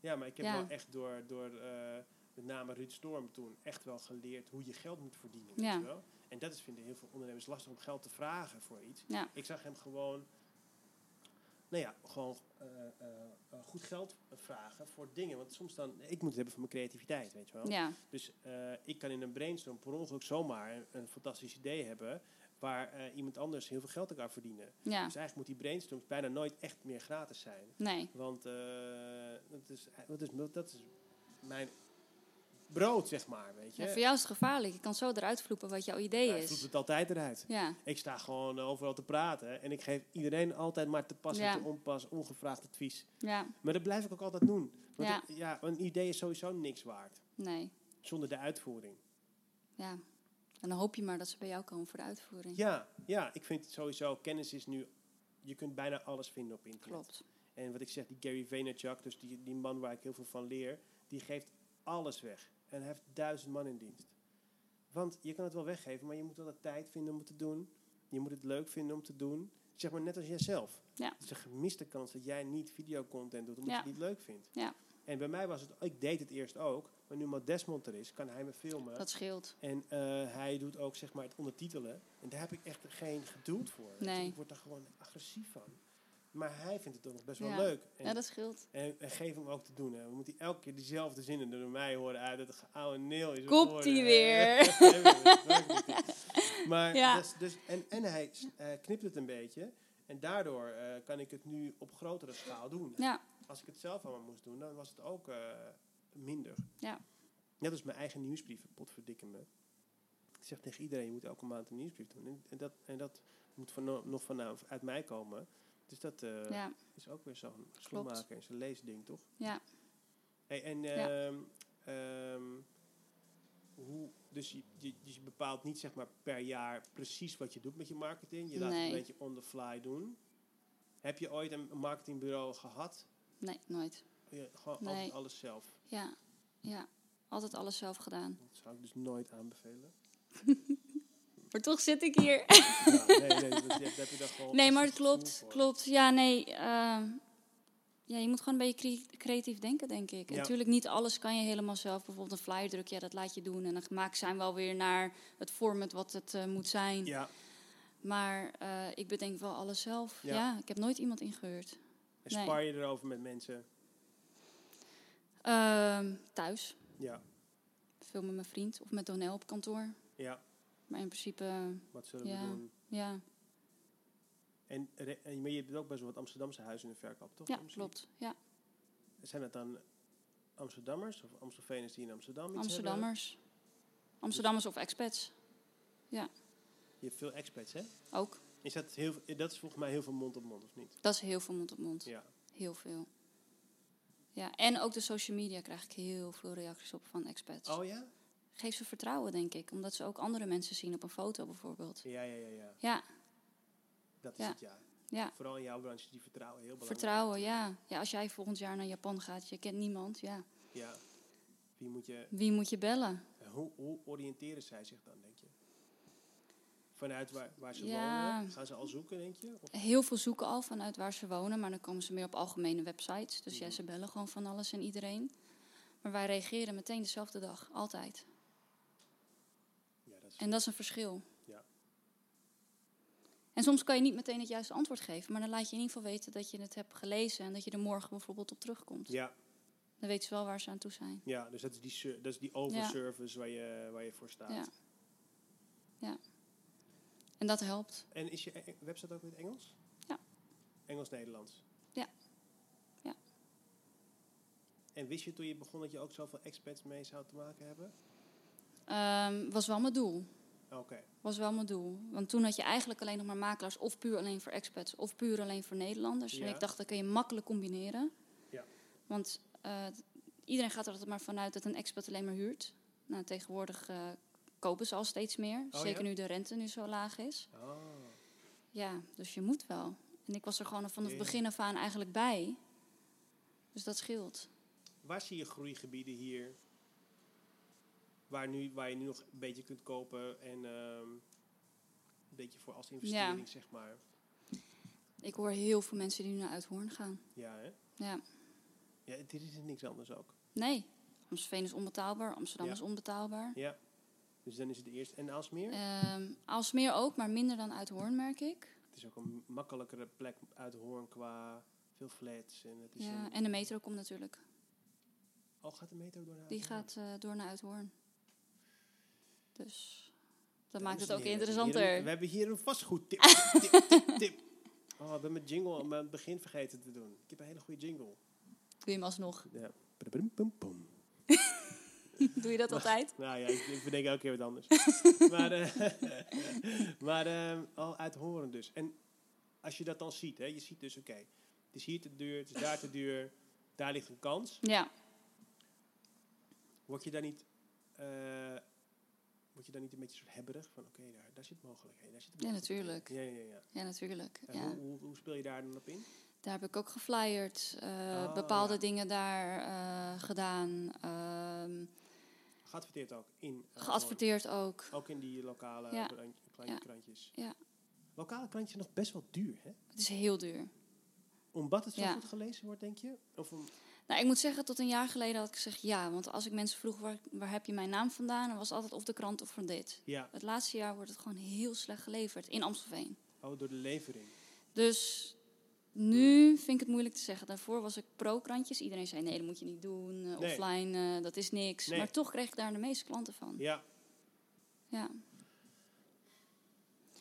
Speaker 1: ja, maar ik heb
Speaker 2: Ja.
Speaker 1: wel echt door, door eh, met name Ruud Storm toen echt wel geleerd hoe je geld moet verdienen.
Speaker 2: Ja.
Speaker 1: Weet je wel? En dat is vinden heel veel ondernemers lastig om geld te vragen voor iets.
Speaker 2: Ja.
Speaker 1: Ik zag hem gewoon, nou ja, gewoon eh, eh, eh, goed geld vragen voor dingen. Want soms dan, ik moet het hebben van mijn creativiteit, weet je wel.
Speaker 2: Ja,
Speaker 1: Dus eh, ik kan in een brainstorm per ongeluk zomaar een, een fantastisch idee hebben waar eh, iemand anders heel veel geld aan kan verdienen.
Speaker 2: ja.
Speaker 1: Dus eigenlijk moet die brainstorms bijna nooit echt meer gratis zijn.
Speaker 2: Nee.
Speaker 1: Want eh, dat, is, dat, is, dat is mijn brood, zeg maar, weet je.
Speaker 2: Ja, voor jou is het gevaarlijk. Je kan zo eruit vloepen wat jouw idee
Speaker 1: Ja, ik vloep
Speaker 2: is.
Speaker 1: het altijd eruit.
Speaker 2: Ja,
Speaker 1: Ik sta gewoon eh, overal te praten. En ik geef iedereen altijd maar te pas en
Speaker 2: Ja.
Speaker 1: te onpas, ongevraagd advies.
Speaker 2: ja,
Speaker 1: Maar dat blijf ik ook altijd doen. Want
Speaker 2: Ja.
Speaker 1: het- ja, een idee is sowieso niks waard.
Speaker 2: nee.
Speaker 1: Zonder de uitvoering.
Speaker 2: Ja. En dan hoop je maar dat ze bij jou komen voor de uitvoering.
Speaker 1: Ja, ja, ik vind sowieso, kennis is nu... Je kunt bijna alles vinden op internet.
Speaker 2: Klopt.
Speaker 1: En wat ik zeg, die Gary Vaynerchuk, dus die, die man waar ik heel veel van leer, die geeft alles weg. En hij heeft duizend man in dienst. Want je kan het wel weggeven, maar je moet wel de tijd vinden om het te doen. Je moet het leuk vinden om te doen. Zeg maar net als jijzelf.
Speaker 2: Ja.
Speaker 1: Het is een gemiste kans dat jij niet videocontent doet omdat
Speaker 2: Ja.
Speaker 1: je het niet leuk vindt.
Speaker 2: Ja.
Speaker 1: En bij mij was het, ik deed het eerst ook, maar nu Matt Desmond er is, kan hij me filmen.
Speaker 2: Dat scheelt.
Speaker 1: En eh, hij doet ook zeg maar het ondertitelen. En daar heb ik echt geen geduld voor. weet je.
Speaker 2: Nee.
Speaker 1: Ik word daar gewoon agressief van. Maar hij vindt het ook nog best wel
Speaker 2: Ja.
Speaker 1: leuk. En,
Speaker 2: Ja, dat scheelt.
Speaker 1: en, en geef hem ook te doen. Hè. We moeten elke keer diezelfde zinnen er door mij horen uit. Dat oude neel is
Speaker 2: Komt
Speaker 1: op orde.
Speaker 2: ie weer.
Speaker 1: Nee, maar dat werkt niet. maar
Speaker 2: Ja.
Speaker 1: dus, dus, en, en hij s- eh, knipt het een beetje. En daardoor eh, kan ik het nu op grotere schaal doen.
Speaker 2: Ja,
Speaker 1: Als ik het zelf allemaal moest doen, dan was het ook eh, minder.
Speaker 2: Ja.
Speaker 1: Net als mijn eigen nieuwsbrief, potverdikke me. Ik zeg tegen iedereen, je moet elke maand een nieuwsbrief doen. En, en dat, en dat moet van, nog vanavond uit mij komen. Dus dat eh,
Speaker 2: ja,
Speaker 1: is ook weer zo'n schoenmaker en zijn leesding, toch?
Speaker 2: ja.
Speaker 1: Hey, en
Speaker 2: Ja.
Speaker 1: ehm, ehm, hoe, dus je, je, dus je bepaalt niet zeg maar per jaar precies wat je doet met je marketing. Je laat het
Speaker 2: Nee.
Speaker 1: een beetje on the fly doen. Heb je ooit een marketingbureau gehad?
Speaker 2: Nee, nooit.
Speaker 1: Je, gewoon
Speaker 2: Nee.
Speaker 1: altijd alles zelf.
Speaker 2: Ja, ja. Altijd alles zelf gedaan.
Speaker 1: Dat zou ik dus nooit aanbevelen.
Speaker 2: Maar toch zit ik hier.
Speaker 1: ja, nee, nee, dat, daar heb je dan gewoon
Speaker 2: Nee,
Speaker 1: een
Speaker 2: maar het
Speaker 1: gevoel
Speaker 2: klopt.
Speaker 1: voor.
Speaker 2: Klopt. Ja, nee. ehm, ja, je moet gewoon een beetje cre- creatief denken, denk ik. En
Speaker 1: Ja.
Speaker 2: Natuurlijk, niet alles kan je helemaal zelf. Bijvoorbeeld een flyer druk, ja, dat laat je doen. En dan maakt zijn wel weer naar het format wat het eh, moet zijn.
Speaker 1: Ja,
Speaker 2: Maar eh, ik bedenk wel alles zelf.
Speaker 1: Ja.
Speaker 2: Ja. ik heb nooit iemand ingehuurd.
Speaker 1: en
Speaker 2: Nee.
Speaker 1: spar je erover met mensen.
Speaker 2: Ehm, thuis,
Speaker 1: Ja,
Speaker 2: veel met mijn vriend of met Donel op kantoor.
Speaker 1: ja,
Speaker 2: Maar in principe, eh,
Speaker 1: wat zullen
Speaker 2: Ja.
Speaker 1: we doen?
Speaker 2: ja,
Speaker 1: En, re- en maar je hebt ook best wel wat Amsterdamse huizen in de verkoop, toch?
Speaker 2: ja
Speaker 1: Soms?
Speaker 2: klopt. Ja.
Speaker 1: Zijn dat dan Amsterdammers of Amstelveners die in Amsterdam iets hebben?
Speaker 2: Amsterdammers. Amsterdammers of expats,
Speaker 1: Je hebt veel expats, hè?
Speaker 2: ook.
Speaker 1: Is dat, heel, dat is volgens mij heel veel mond op mond, of niet?
Speaker 2: Dat is heel veel mond op mond.
Speaker 1: Ja.
Speaker 2: Heel veel. Ja, en ook de social media krijg ik heel veel reacties op van expats.
Speaker 1: Oh ja?
Speaker 2: Geef ze vertrouwen, denk ik. Omdat ze ook andere mensen zien op een foto bijvoorbeeld.
Speaker 1: Ja, ja, ja. ja.
Speaker 2: Ja,
Speaker 1: Dat is
Speaker 2: Ja.
Speaker 1: het, ja.
Speaker 2: ja.
Speaker 1: Vooral in jouw branche, die vertrouwen heel belangrijk.
Speaker 2: Vertrouwen, ja. ja. Als jij volgend jaar naar Japan gaat, je kent niemand. Ja.
Speaker 1: Ja. Wie moet je,
Speaker 2: Wie moet je bellen?
Speaker 1: hoe, hoe oriënteren zij zich dan, denk je? Vanuit waar, waar ze
Speaker 2: Ja.
Speaker 1: wonen? Gaan ze al zoeken, denk je? Of-
Speaker 2: Heel veel zoeken al vanuit waar ze wonen, maar dan komen ze meer op algemene websites. Dus ja,
Speaker 1: Mhm.
Speaker 2: ze bellen gewoon van alles en iedereen. Maar wij reageren meteen dezelfde dag, altijd.
Speaker 1: ja, dat is,
Speaker 2: En dat is een verschil.
Speaker 1: Ja.
Speaker 2: En soms kan je niet meteen het juiste antwoord geven, maar dan laat je in ieder geval weten dat je het hebt gelezen en dat je er morgen bijvoorbeeld op terugkomt.
Speaker 1: ja,
Speaker 2: Dan weten ze wel waar ze aan toe zijn.
Speaker 1: ja, dus dat is die, ser- dat is die overservice waar, je, waar je voor staat.
Speaker 2: Ja. En dat helpt.
Speaker 1: En is je e- website ook in het Engels?
Speaker 2: Ja.
Speaker 1: Engels-Nederlands?
Speaker 2: Ja. Ja.
Speaker 1: En wist je toen je begon dat je ook zoveel expats mee zou te maken hebben?
Speaker 2: Ehm, was wel mijn doel.
Speaker 1: Oké.
Speaker 2: Was wel mijn doel. Want toen had je eigenlijk alleen nog maar makelaars, of puur alleen voor expats, of puur alleen voor Nederlanders.
Speaker 1: Ja.
Speaker 2: En ik dacht, dat kun je makkelijk combineren.
Speaker 1: Ja.
Speaker 2: Want eh, iedereen gaat er altijd maar vanuit dat een expat alleen maar huurt. Nou, tegenwoordig eh, kopen ze al steeds meer.
Speaker 1: Oh,
Speaker 2: zeker
Speaker 1: ja?
Speaker 2: nu de rente nu zo laag is.
Speaker 1: Oh.
Speaker 2: Ja, dus je moet wel. En ik was er gewoon vanaf
Speaker 1: Ja.
Speaker 2: het begin af aan eigenlijk bij. Dus dat scheelt.
Speaker 1: Waar zie je groeigebieden hier? Waar, nu, waar je nu nog een beetje kunt kopen en ehm, een beetje voor als investering, zeg maar.
Speaker 2: Ik hoor heel veel mensen die nu naar Uithoorn gaan.
Speaker 1: Ja, hè?
Speaker 2: Ja.
Speaker 1: Ja, dit is niks anders ook.
Speaker 2: Nee, Amstelveen is onbetaalbaar, Amsterdam
Speaker 1: Ja.
Speaker 2: is onbetaalbaar.
Speaker 1: Ja. Dus dan is het eerst. En Aalsmeer?
Speaker 2: Ehm Alsmeer ook, maar minder dan Uithoorn, merk ik.
Speaker 1: Het is ook een makkelijkere plek uit Hoorn qua veel flats. En het is
Speaker 2: Ja,
Speaker 1: een-
Speaker 2: en de metro komt natuurlijk.
Speaker 1: Oh, gaat de metro door naar
Speaker 2: Die
Speaker 1: Uithoorn?
Speaker 2: gaat eh, door naar Uithoorn. Dus dat
Speaker 1: Dames
Speaker 2: maakt het
Speaker 1: en
Speaker 2: ook
Speaker 1: heren, we hebben hier een-
Speaker 2: interessanter.
Speaker 1: We hebben hier een vastgoedtip. tip, tip, tip. Oh, ik ben mijn jingle aan het begin vergeten te doen. Ik heb een hele goede jingle.
Speaker 2: Doe je hem alsnog?
Speaker 1: Ja. Badabum, bum, bum.
Speaker 2: Doe je dat altijd?
Speaker 1: Nou ja, ik, ik bedenk elke keer wat anders. maar eh, maar eh, al uit horen dus. En als je dat dan ziet, hè, je ziet dus, oké, het is hier te duur, het is daar te duur, daar ligt een kans.
Speaker 2: Ja.
Speaker 1: Word je daar niet, eh, word je daar niet een beetje soort hebberig van, oké, daar, daar zit mogelijkheden, daar zit
Speaker 2: Ja,
Speaker 1: mogelijkheden.
Speaker 2: natuurlijk.
Speaker 1: Ja, ja, ja.
Speaker 2: Ja, natuurlijk.
Speaker 1: En
Speaker 2: Ja.
Speaker 1: Hoe, hoe, hoe speel je daar dan op in?
Speaker 2: Daar heb ik ook geflyerd, eh,
Speaker 1: Oh,
Speaker 2: bepaalde
Speaker 1: ja.
Speaker 2: dingen daar eh, gedaan, ehm,
Speaker 1: Geadverteerd ook in. eh,
Speaker 2: geadverteerd ook.
Speaker 1: gewoon- Ook in die lokale
Speaker 2: Ja.
Speaker 1: brand- kleine
Speaker 2: Ja.
Speaker 1: krantjes.
Speaker 2: Ja.
Speaker 1: Lokale krantjes zijn nog best wel duur, hè?
Speaker 2: Het is heel duur.
Speaker 1: Omdat het zo
Speaker 2: Ja.
Speaker 1: goed gelezen wordt, denk je? Of om-
Speaker 2: Nou, ik moet zeggen, tot een jaar geleden had ik gezegd ja. Want als ik mensen vroeg, waar, waar heb je mijn naam vandaan? Dan was het altijd of de krant of van dit.
Speaker 1: ja,
Speaker 2: Het laatste jaar wordt het gewoon heel slecht geleverd in Amstelveen.
Speaker 1: oh, door de levering.
Speaker 2: Dus nu vind ik het moeilijk te zeggen. Daarvoor was ik pro-krantjes. Iedereen zei nee, dat moet je niet doen. eh,
Speaker 1: Nee.
Speaker 2: Offline, eh, dat is niks.
Speaker 1: Nee.
Speaker 2: Maar toch kreeg ik daar de meeste klanten van.
Speaker 1: Ja,
Speaker 2: Ja.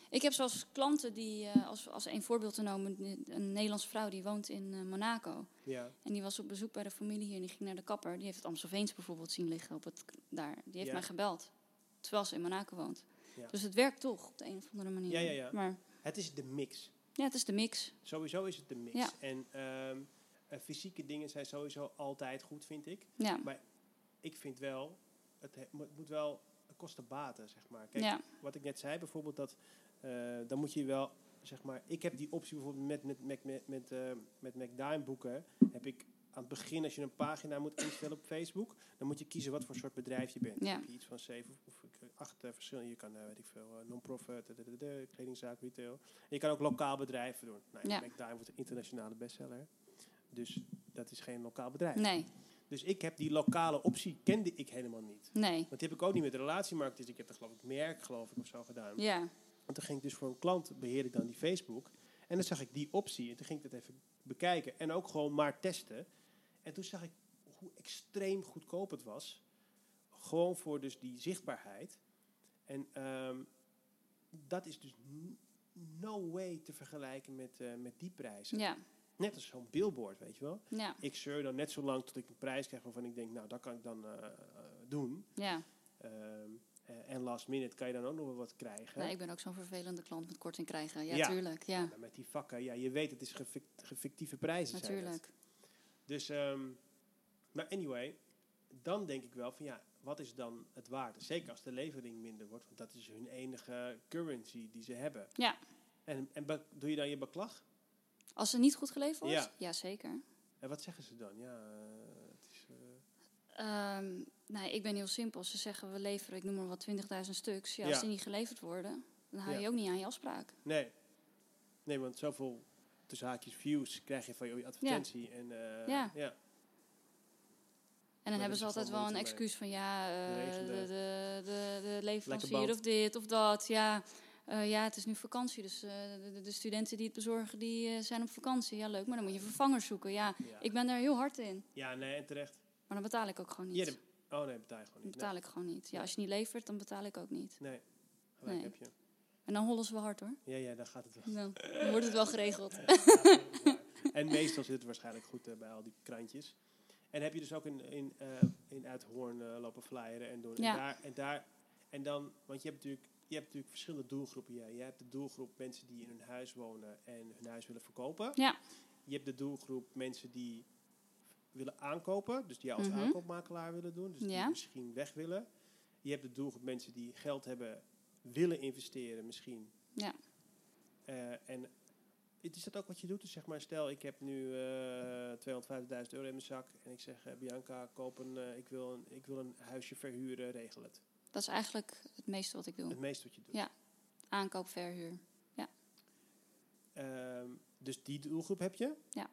Speaker 2: Ik heb zelfs klanten die, eh, als, als een voorbeeld te noemen, een Nederlandse vrouw die woont in eh, Monaco.
Speaker 1: ja.
Speaker 2: En die was op bezoek bij de familie hier en die ging naar de kapper. Die heeft het Amstelveens bijvoorbeeld zien liggen op het, k- daar. Die heeft
Speaker 1: Ja.
Speaker 2: mij gebeld, terwijl ze in Monaco woont.
Speaker 1: Ja.
Speaker 2: Dus het werkt toch op de een of andere manier.
Speaker 1: Ja, ja, ja.
Speaker 2: Maar
Speaker 1: Het is de mix.
Speaker 2: ja, het is de mix.
Speaker 1: Sowieso is het de mix.
Speaker 2: Ja.
Speaker 1: En ehm, eh, fysieke dingen zijn sowieso altijd goed, vind ik.
Speaker 2: Ja,
Speaker 1: Ik vind wel, het he- moet moet wel kosten baten, zeg maar. Kijk,
Speaker 2: ja.
Speaker 1: wat ik net zei, bijvoorbeeld dat, eh, dan moet je wel, zeg maar, ik heb die optie bijvoorbeeld met, met, met, met, met, eh, met McDime boeken, heb ik aan het begin, als je een pagina moet instellen op Facebook, dan moet je kiezen wat voor soort bedrijf je bent.
Speaker 2: Ja.
Speaker 1: Heb je iets van zeven of, of, eh, acht eh, verschillende, je kan, eh, weet ik veel, eh, non-profit, eh, eh, eh, eh, kledingzaak, retail. En je kan ook lokaal bedrijven doen. Nou, ja.
Speaker 2: Ja.
Speaker 1: McDime wordt een internationale bestseller, dus dat is geen lokaal bedrijf.
Speaker 2: Nee,
Speaker 1: Dus ik heb die lokale optie, kende ik helemaal niet.
Speaker 2: nee.
Speaker 1: Want die heb ik ook niet met de relatiemarkt. Dus ik heb dat geloof ik merk geloof ik of zo gedaan.
Speaker 2: Ja,
Speaker 1: En toen ging ik dus voor een klant, beheerde ik dan die Facebook. En dan zag ik die optie. En toen ging ik dat even bekijken. En ook gewoon maar testen. En toen zag ik hoe extreem goedkoop het was. Gewoon voor dus die zichtbaarheid. En ehm, dat is dus n- no way te vergelijken met, eh, met die prijzen.
Speaker 2: ja,
Speaker 1: Net als zo'n billboard, weet je wel.
Speaker 2: ja,
Speaker 1: Ik zeur dan net zo lang tot ik een prijs krijg waarvan ik denk, nou, dat kan ik dan eh, eh, doen.
Speaker 2: ja.
Speaker 1: Ehm, eh, en last minute kan je dan ook nog wel wat krijgen.
Speaker 2: Nee, ik ben ook zo'n vervelende klant met korting krijgen. Ja,
Speaker 1: Ja.
Speaker 2: tuurlijk. Ja,
Speaker 1: Maar met die vakken, ja, je weet, het is gefic- gefictieve prijzen. zijn het.
Speaker 2: natuurlijk.
Speaker 1: Dus, ehm, maar anyway, dan denk ik wel van ja, wat is dan het waard? Zeker als de levering minder wordt, want dat is hun enige currency die ze hebben.
Speaker 2: Ja.
Speaker 1: En, en be- doe je dan je beklag?
Speaker 2: Als ze niet goed geleverd wordt?
Speaker 1: Ja.
Speaker 2: Ja, zeker.
Speaker 1: En wat zeggen ze dan? Ja, eh, het is, eh,
Speaker 2: Ehm, nee, ik ben heel simpel. Ze zeggen we leveren, ik noem maar wat, 20.000 stuks. Ja,
Speaker 1: Ja.
Speaker 2: als die niet geleverd worden, dan hou je
Speaker 1: Ja.
Speaker 2: ook niet aan je afspraak.
Speaker 1: nee. Nee, want zoveel tussen haakjes views krijg je van je advertentie. En, eh,
Speaker 2: Ja.
Speaker 1: ja.
Speaker 2: En
Speaker 1: Maar
Speaker 2: dan
Speaker 1: dat
Speaker 2: hebben ze
Speaker 1: is
Speaker 2: altijd
Speaker 1: gewoon
Speaker 2: wel een
Speaker 1: moeite mee.
Speaker 2: excuus van ja, eh,
Speaker 1: Regende.
Speaker 2: de, de, de, de leverancier
Speaker 1: band.
Speaker 2: of dit of dat. Ja, eh, ja het is nu vakantie, dus eh, de, de- de studenten die het bezorgen, die eh, zijn op vakantie. Ja, leuk, maar dan moet je vervangers zoeken. Ja,
Speaker 1: Ja.
Speaker 2: ik ben daar heel hard in.
Speaker 1: ja, nee, en terecht.
Speaker 2: Maar dan betaal ik ook gewoon niet.
Speaker 1: Ja, de- oh nee, betaal je gewoon
Speaker 2: dan
Speaker 1: niet.
Speaker 2: betaal ik gewoon niet. Ja, als je niet levert, dan betaal ik ook niet.
Speaker 1: Nee, nee, gelijk
Speaker 2: Nee.
Speaker 1: heb je.
Speaker 2: En dan hollen ze wel hard hoor.
Speaker 1: Ja, ja, daar gaat het wel.
Speaker 2: Dan wordt het wel geregeld.
Speaker 1: en meestal zit het waarschijnlijk goed eh, bij al die krantjes. En heb je dus ook in, in, eh, in Uithoorn eh, lopen flyeren en doen.
Speaker 2: Ja.
Speaker 1: En, daar, en daar, en dan, want je hebt natuurlijk, je hebt natuurlijk verschillende doelgroepen. Ja. Je hebt de doelgroep mensen die in hun huis wonen en hun huis willen verkopen.
Speaker 2: Ja.
Speaker 1: Je hebt de doelgroep mensen die willen aankopen, dus die jou als
Speaker 2: Mhm.
Speaker 1: aankoopmakelaar willen doen, dus die
Speaker 2: Ja.
Speaker 1: misschien weg willen. Je hebt de doelgroep mensen die geld hebben, willen investeren misschien.
Speaker 2: Ja.
Speaker 1: Eh, en het is dat ook wat je doet? Dus zeg maar, stel ik heb nu eh 250.000 euro in mijn zak en ik zeg, eh, Bianca, koop een, eh, ik, wil een, ik wil een huisje verhuren, regel het.
Speaker 2: Dat is eigenlijk het meeste wat ik doe.
Speaker 1: Het meeste wat je doet.
Speaker 2: Oh. Ja. Aankoop, verhuur.
Speaker 1: Ehm, dus die doelgroep heb je.
Speaker 2: Ja.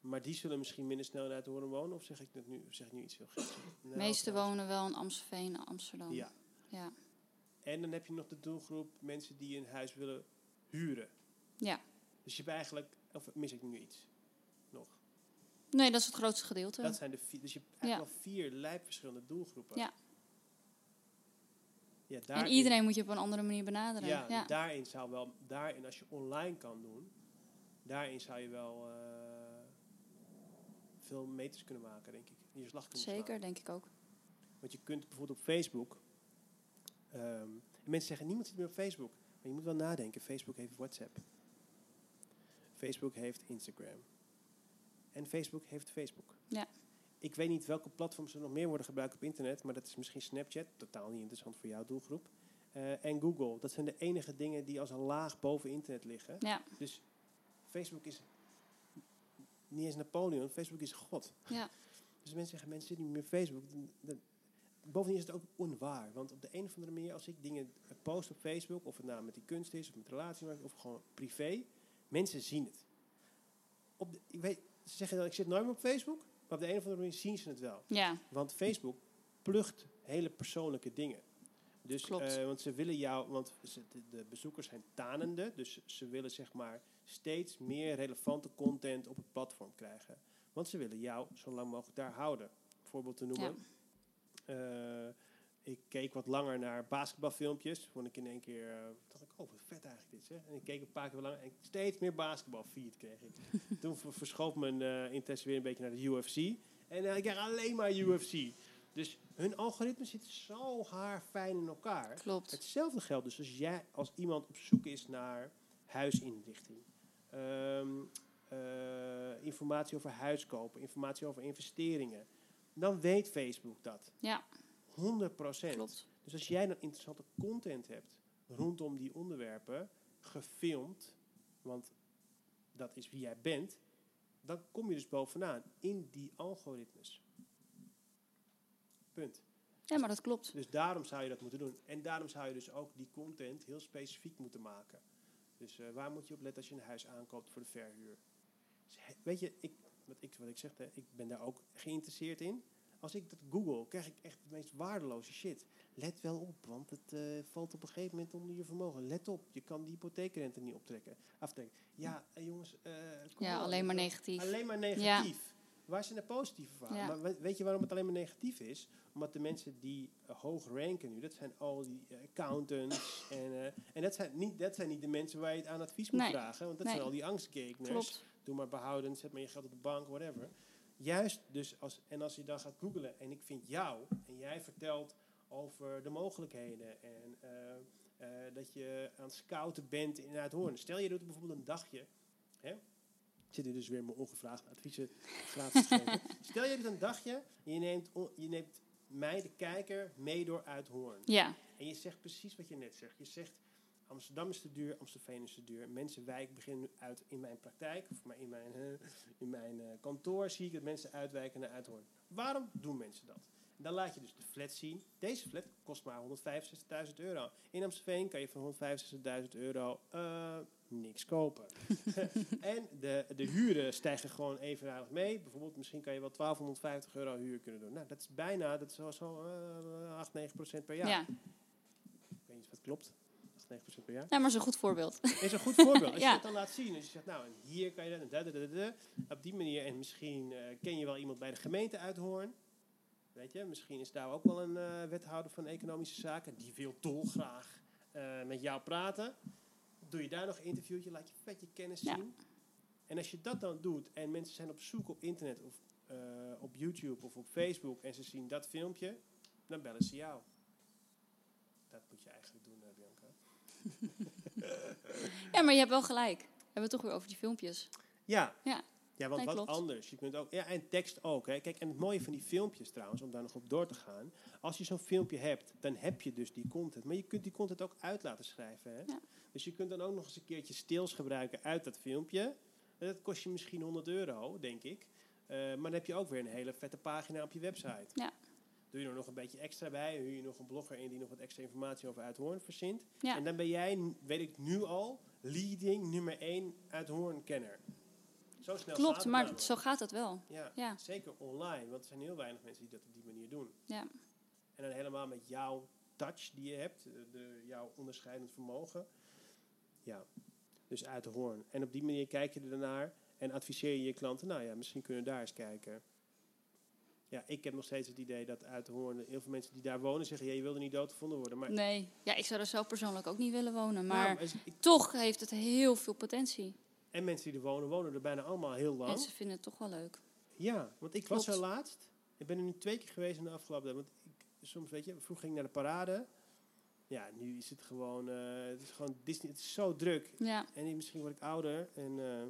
Speaker 1: Maar die zullen misschien minder snel in Uithoorn wonen, of zeg ik, dat nu, of zeg ik nu iets heel geks? Nou,
Speaker 2: De meeste
Speaker 1: trouwens-
Speaker 2: wonen wel in Amstelveen, Amsterdam.
Speaker 1: Ja.
Speaker 2: Ja.
Speaker 1: En dan heb je nog de doelgroep mensen die een huis willen huren.
Speaker 2: Ja.
Speaker 1: Dus je hebt eigenlijk, of mis ik nu iets? Nog.
Speaker 2: Nee, dat is het grootste gedeelte.
Speaker 1: Dat zijn de vier, dus je hebt eigenlijk al vier lijp verschillende doelgroepen.
Speaker 2: Ja.
Speaker 1: ja
Speaker 2: en
Speaker 1: daarin-
Speaker 2: iedereen moet je op een andere manier benaderen.
Speaker 1: Ja,
Speaker 2: Ja, ja.
Speaker 1: daarin zou wel, daarin als je online kan doen, daarin zou je wel eh, veel meters kunnen maken, denk ik. En Je slag kunnen slaan.
Speaker 2: zeker, denk ik ook.
Speaker 1: Want je kunt bijvoorbeeld op Facebook. ehm, en mensen zeggen: niemand zit meer op Facebook. Maar je moet wel nadenken: Facebook heeft WhatsApp. Facebook heeft Instagram. En Facebook heeft Facebook.
Speaker 2: Ja.
Speaker 1: Ik weet niet welke platforms er nog meer worden gebruikt op internet. Maar dat is misschien Snapchat. Totaal niet interessant voor jouw doelgroep. Eh, en Google. Dat zijn de enige dingen die als een laag boven internet liggen.
Speaker 2: Ja.
Speaker 1: Dus Facebook is niet eens Napoleon. Facebook is God.
Speaker 2: Ja.
Speaker 1: Dus mensen zeggen, mensen zitten niet meer op Facebook. Dan- dan- Bovendien is het ook onwaar. Want op de een of andere manier, als ik dingen post op Facebook... of het nou met die kunst is, of met relatie, of gewoon privé... mensen zien het. Op de, ik weet, ze zeggen dan, ik zit nooit meer op Facebook... maar op de een of andere manier zien ze het wel.
Speaker 2: Ja,
Speaker 1: Want Facebook plugt hele persoonlijke dingen. Dus,
Speaker 2: Klopt.
Speaker 1: eh, want ze willen jou, want ze- de, de bezoekers zijn tanende, dus ze willen zeg maar steeds meer relevante content op het platform krijgen. Want ze willen jou zo lang mogelijk daar houden. Voorbeeld te noemen. eh, ik keek wat langer naar basketbalfilmpjes. Vond ik in één keer, eh, dacht ik, oh wat vet eigenlijk dit. Zeg. En ik keek een paar keer wat langer en steeds meer basketbalfeed kreeg ik. Toen ver- verschoof mijn eh, interesse weer een beetje naar de UFC. En eh, ik krijg alleen maar UFC. Dus hun algoritme zit zo haarfijn in elkaar.
Speaker 2: klopt.
Speaker 1: Hetzelfde geldt dus als, jij, als iemand op zoek is naar huisinrichting. ehm, eh, informatie over huiskopen, informatie over investeringen. Dan weet Facebook dat.
Speaker 2: Ja.
Speaker 1: 100%.
Speaker 2: Klopt.
Speaker 1: Dus als jij dan interessante content hebt rondom die onderwerpen, gefilmd, want dat is wie jij bent, dan kom je dus bovenaan in die algoritmes. Punt.
Speaker 2: Ja, maar dat klopt.
Speaker 1: Dus daarom zou je dat moeten doen. En daarom zou je dus ook die content heel specifiek moeten maken. Dus eh, waar moet je op letten als je een huis aankoopt voor de verhuur? Dus he- weet je, ik, wat, ik, wat ik zeg, hè, ik ben daar ook geïnteresseerd in. Als ik dat google, krijg ik echt de meest waardeloze shit. Let wel op, want het eh, valt op een gegeven moment onder je vermogen. Let op, je kan die hypotheekrente niet optrekken, aftrekken. Ja, eh, jongens. eh, kom
Speaker 2: Ja,
Speaker 1: op.
Speaker 2: alleen maar negatief.
Speaker 1: Alleen maar negatief. Waar zijn de positieve verhalen?
Speaker 2: Ja.
Speaker 1: Maar we- weet je waarom het alleen maar negatief is? Omdat de mensen die eh, hoog ranken nu, dat zijn al die eh, accountants. en eh, en dat, zijn niet, dat zijn niet de mensen waar je het aan advies moet
Speaker 2: Nee.
Speaker 1: vragen. Want dat
Speaker 2: Nee.
Speaker 1: zijn al die angstgekeners.
Speaker 2: Klopt.
Speaker 1: Doe maar behoudend, zet maar je geld op de bank, whatever. Juist dus, als, en als je dan gaat googlen en ik vind jou en jij vertelt over de mogelijkheden en eh, eh, dat je aan het scouten bent in Uithoorn. Stel je doet bijvoorbeeld een dagje, hè? Ik zit hier dus weer mijn ongevraagde adviezen gratis te geven. Stel je doet een dagje en je neemt, on- je neemt mij, de kijker, mee door Uithoorn.
Speaker 2: Ja,
Speaker 1: En je zegt precies wat je net zegt. Je zegt Amsterdam is te duur, Amstelveen is te duur. Mensenwijk begint nu uit in mijn praktijk, of maar in mijn, eh, in mijn eh, kantoor zie ik dat mensen uitwijken naar Uithoorn. Waarom doen mensen dat? En dan laat je dus de flat zien. Deze flat kost maar 165.000 euro. In Amstelveen kan je voor 165.000 euro eh, niks kopen. en de, de huren stijgen gewoon evenaardig mee. Bijvoorbeeld, misschien kan je wel 1250 euro huur kunnen doen. Nou, dat is bijna, dat is wel zo eh, 8, 9 procent per
Speaker 2: ja.
Speaker 1: jaar.
Speaker 2: ja.
Speaker 1: Ik weet niet of dat klopt. 8-9% per jaar.
Speaker 2: maar dat is een goed voorbeeld.
Speaker 1: Is een goed voorbeeld. Als
Speaker 2: Ja.
Speaker 1: je het dan laat zien. Dus je zegt, nou, en hier kan je dat en dat, dat, dat, dat. Op die manier. En misschien eh, ken je wel iemand bij de gemeente uit Hoorn. Weet je, misschien is daar ook wel een eh, wethouder van economische zaken. Die wil dolgraag eh, met jou praten. Doe je daar nog een interviewtje. Laat je vet je kennis
Speaker 2: Ja.
Speaker 1: zien. En als je dat dan doet. En mensen zijn op zoek op internet. Of eh, op YouTube of op Facebook. En ze zien dat filmpje. Dan bellen ze jou. Dat moet je eigenlijk doen, eh, Bianca.
Speaker 2: Ja, maar je hebt wel gelijk. We hebben het toch weer over die filmpjes.
Speaker 1: Ja.
Speaker 2: Ja.
Speaker 1: Ja, want
Speaker 2: Nee,
Speaker 1: wat
Speaker 2: klopt.
Speaker 1: anders. Je kunt ook, ja, en tekst ook. Hè. Kijk, en het mooie van die filmpjes trouwens, om daar nog op door te gaan. Als je zo'n filmpje hebt, dan heb je dus die content. Maar je kunt die content ook uit laten schrijven. Hè.
Speaker 2: Ja.
Speaker 1: Dus je kunt dan ook nog eens een keertje stils gebruiken uit dat filmpje. En dat kost je misschien 100 euro, denk ik. Eh, maar dan heb je ook weer een hele vette pagina op je website.
Speaker 2: Ja.
Speaker 1: Doe je er nog een beetje extra bij. Huur je nog een blogger in die nog wat extra informatie over Uithoorn verzint.
Speaker 2: Ja.
Speaker 1: En dan ben jij, n- weet ik nu al, leading nummer 1 Uithoorn-kenner. Zo snel gaat
Speaker 2: Klopt,
Speaker 1: het
Speaker 2: maar
Speaker 1: namelijk.
Speaker 2: zo gaat dat wel.
Speaker 1: Ja,
Speaker 2: Ja.
Speaker 1: zeker online, want er zijn heel weinig mensen die dat op die manier doen.
Speaker 2: Ja.
Speaker 1: En dan helemaal met jouw touch die je hebt, eh, de, jouw onderscheidend vermogen. Ja, dus uit de hoorn. En op die manier kijk je ernaar en adviseer je je klanten, nou ja, misschien kunnen we daar eens kijken. Ja, ik heb nog steeds het idee dat uit de hoorn, heel veel mensen die daar wonen zeggen, ja, je wil er niet doodgevonden worden. Maar,
Speaker 2: Nee. Ja, ik zou er zelf persoonlijk ook niet willen
Speaker 1: Nou,
Speaker 2: wonen. Maar
Speaker 1: is- ik-
Speaker 2: toch heeft het heel veel potentie.
Speaker 1: en mensen die er wonen, wonen er bijna allemaal heel lang.
Speaker 2: En ze vinden het toch wel leuk.
Speaker 1: Ja, want ik was
Speaker 2: Klopt.
Speaker 1: er laatst. Ik ben er nu twee keer geweest in de afgelopen tijd. Want ik, soms, weet je, vroeg ging ik naar de parade. Ja, nu is het gewoon, eh, het is gewoon Disney. Het is zo druk.
Speaker 2: Ja,
Speaker 1: En ik- misschien word ik ouder. En eh,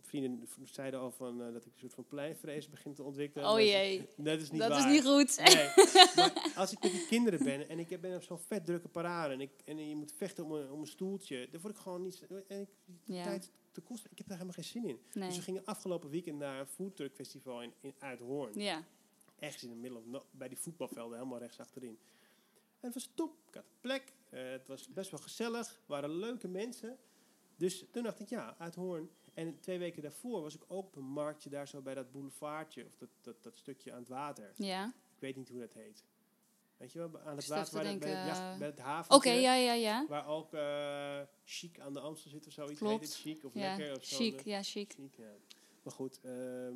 Speaker 1: vrienden v- zeiden al van, eh, dat ik een soort van pleinvrees begin te ontwikkelen.
Speaker 2: Oh
Speaker 1: Maar ze-
Speaker 2: jee.
Speaker 1: Dat is niet
Speaker 2: dat is
Speaker 1: waar.
Speaker 2: niet goed.
Speaker 1: Nee, maar als ik met die kinderen ben en ik heb- ben op zo'n vet drukke parade en, ik, en je moet vechten om een, om een stoeltje, dan word ik gewoon niet. En ik, die
Speaker 2: Ja.
Speaker 1: tijd de kosten, ik heb daar helemaal geen zin in. Dus we
Speaker 2: Nee.
Speaker 1: gingen afgelopen weekend naar een foodtruck festival in, in Uithoorn.
Speaker 2: Ja,
Speaker 1: Ergens in de middel, no- bij die voetbalvelden, helemaal rechts achterin. En het was top. Ik had een plek. eh, het was best wel gezellig. Er waren leuke mensen. Dus toen dacht ik, ja, Uithoorn. En twee weken daarvoor was ik ook op een marktje daar zo bij dat boulevardje. Of dat, dat, dat stukje aan het water.
Speaker 2: ja.
Speaker 1: Ik weet niet hoe dat heet. Weet je wel, aan het
Speaker 2: zat
Speaker 1: water
Speaker 2: te
Speaker 1: waar dat- bij,
Speaker 2: denken,
Speaker 1: het jacht-
Speaker 2: eh,
Speaker 1: bij het haven.
Speaker 2: Oké, ja, ja, ja.
Speaker 1: Waar ook eh chic aan de Amstel zit of zoiets.
Speaker 2: Klopt.
Speaker 1: Heet het chic of lekker
Speaker 2: Ja,
Speaker 1: of zo.
Speaker 2: chic, ja, chic.
Speaker 1: Chic, ja. Maar goed, ehm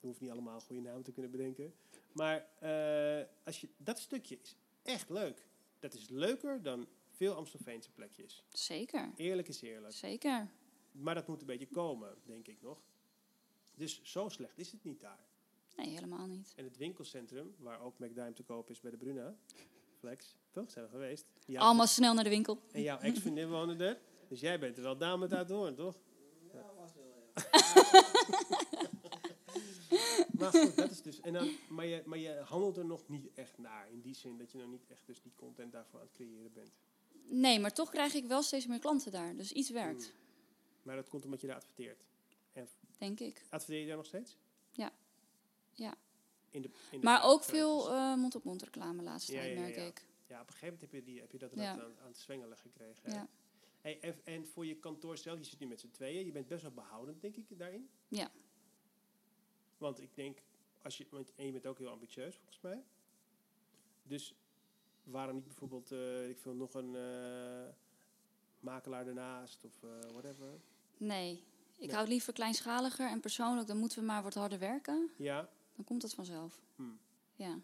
Speaker 1: je hoeft niet allemaal een goede naam te kunnen bedenken. Maar eh, als je, dat stukje is echt leuk. Dat is leuker dan veel Amstelveense plekjes.
Speaker 2: Zeker,
Speaker 1: Eerlijk is eerlijk.
Speaker 2: zeker.
Speaker 1: Maar dat moet een beetje komen, denk ik nog. Dus zo slecht is het niet daar.
Speaker 2: Nee, helemaal niet.
Speaker 1: En het winkelcentrum, waar ook McDime te koop is bij de Bruna, Flex, toch zijn we geweest? Ja,
Speaker 2: Allemaal snel naar de winkel.
Speaker 1: En jouw ex-vriendin woonde er. Dus jij bent er wel dame uit Hoorn, toch? Ja, was wel, ja. maar goed, dat is dus... En dan, maar, je, maar je handelt er nog niet echt naar. In die zin dat je nog niet echt dus die content daarvoor aan het creëren bent.
Speaker 2: Nee, maar toch krijg ik wel steeds meer klanten daar. Dus iets werkt,
Speaker 1: Hmm. Maar dat komt omdat je daar adverteert.
Speaker 2: denk ik.
Speaker 1: Adverteer je daar nog steeds?
Speaker 2: Ja. Ja.
Speaker 1: In de, in de
Speaker 2: Maar ook
Speaker 1: cijfers.
Speaker 2: veel eh, mond-op-mond reclame laatst
Speaker 1: Ja,
Speaker 2: tijd,
Speaker 1: ja, ja,
Speaker 2: merk
Speaker 1: ja.
Speaker 2: ik.
Speaker 1: Ja, op een gegeven moment heb je, die, heb je dat
Speaker 2: Ja.
Speaker 1: rad aan, aan het zwengelen gekregen. hè?
Speaker 2: Ja.
Speaker 1: Hey, en, en voor je kantoor zelf, je zit nu met z'n tweeën, je bent best wel behoudend, denk ik, daarin.
Speaker 2: Ja.
Speaker 1: Want ik denk, als je, want, en je bent ook heel ambitieus, volgens mij. Dus waarom niet bijvoorbeeld, eh, weet ik veel, nog een eh, makelaar ernaast of eh, whatever.
Speaker 2: Nee, ik
Speaker 1: Nee.
Speaker 2: hou het liever kleinschaliger en persoonlijk. Dan moeten we maar wat harder werken.
Speaker 1: Ja,
Speaker 2: Dan komt dat vanzelf.
Speaker 1: Hmm.
Speaker 2: Ja.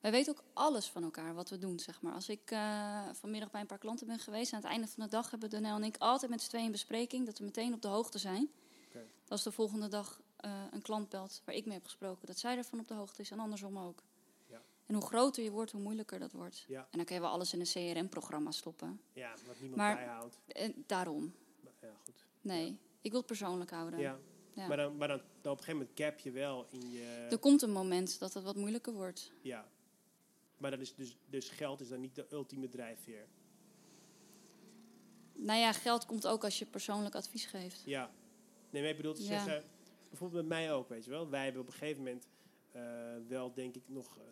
Speaker 2: Wij weten ook alles van elkaar, wat we doen, zeg maar. Als ik eh, vanmiddag bij een paar klanten ben geweest... aan het einde van de dag hebben Daniel en ik altijd met z'n tweeën een bespreking... dat we meteen op de hoogte zijn.
Speaker 1: Oké.
Speaker 2: Als de volgende dag eh, een klant belt waar ik mee heb gesproken... dat zij ervan op de hoogte is en andersom ook.
Speaker 1: Ja.
Speaker 2: En hoe groter je wordt, hoe moeilijker dat wordt.
Speaker 1: Ja.
Speaker 2: En dan kun je wel alles in een CRM-programma stoppen.
Speaker 1: ja wat niemand
Speaker 2: Maar-
Speaker 1: bijhoudt.
Speaker 2: En daarom,
Speaker 1: Maar ja, goed.
Speaker 2: nee. Ik wil het persoonlijk houden.
Speaker 1: Ja.
Speaker 2: Ja.
Speaker 1: Maar, dan, maar dan, dan op een gegeven moment cap je wel in je...
Speaker 2: Er komt een moment dat het wat moeilijker wordt.
Speaker 1: Ja. Maar dat is dus, dus geld is dan niet de ultieme drijfveer.
Speaker 2: Nou ja, geld komt ook als je persoonlijk advies geeft.
Speaker 1: Ja. Nee, maar ik bedoel te
Speaker 2: Ja.
Speaker 1: zeggen, bijvoorbeeld met mij ook, weet je wel. Wij hebben op een gegeven moment eh, wel, denk ik, nog... eh,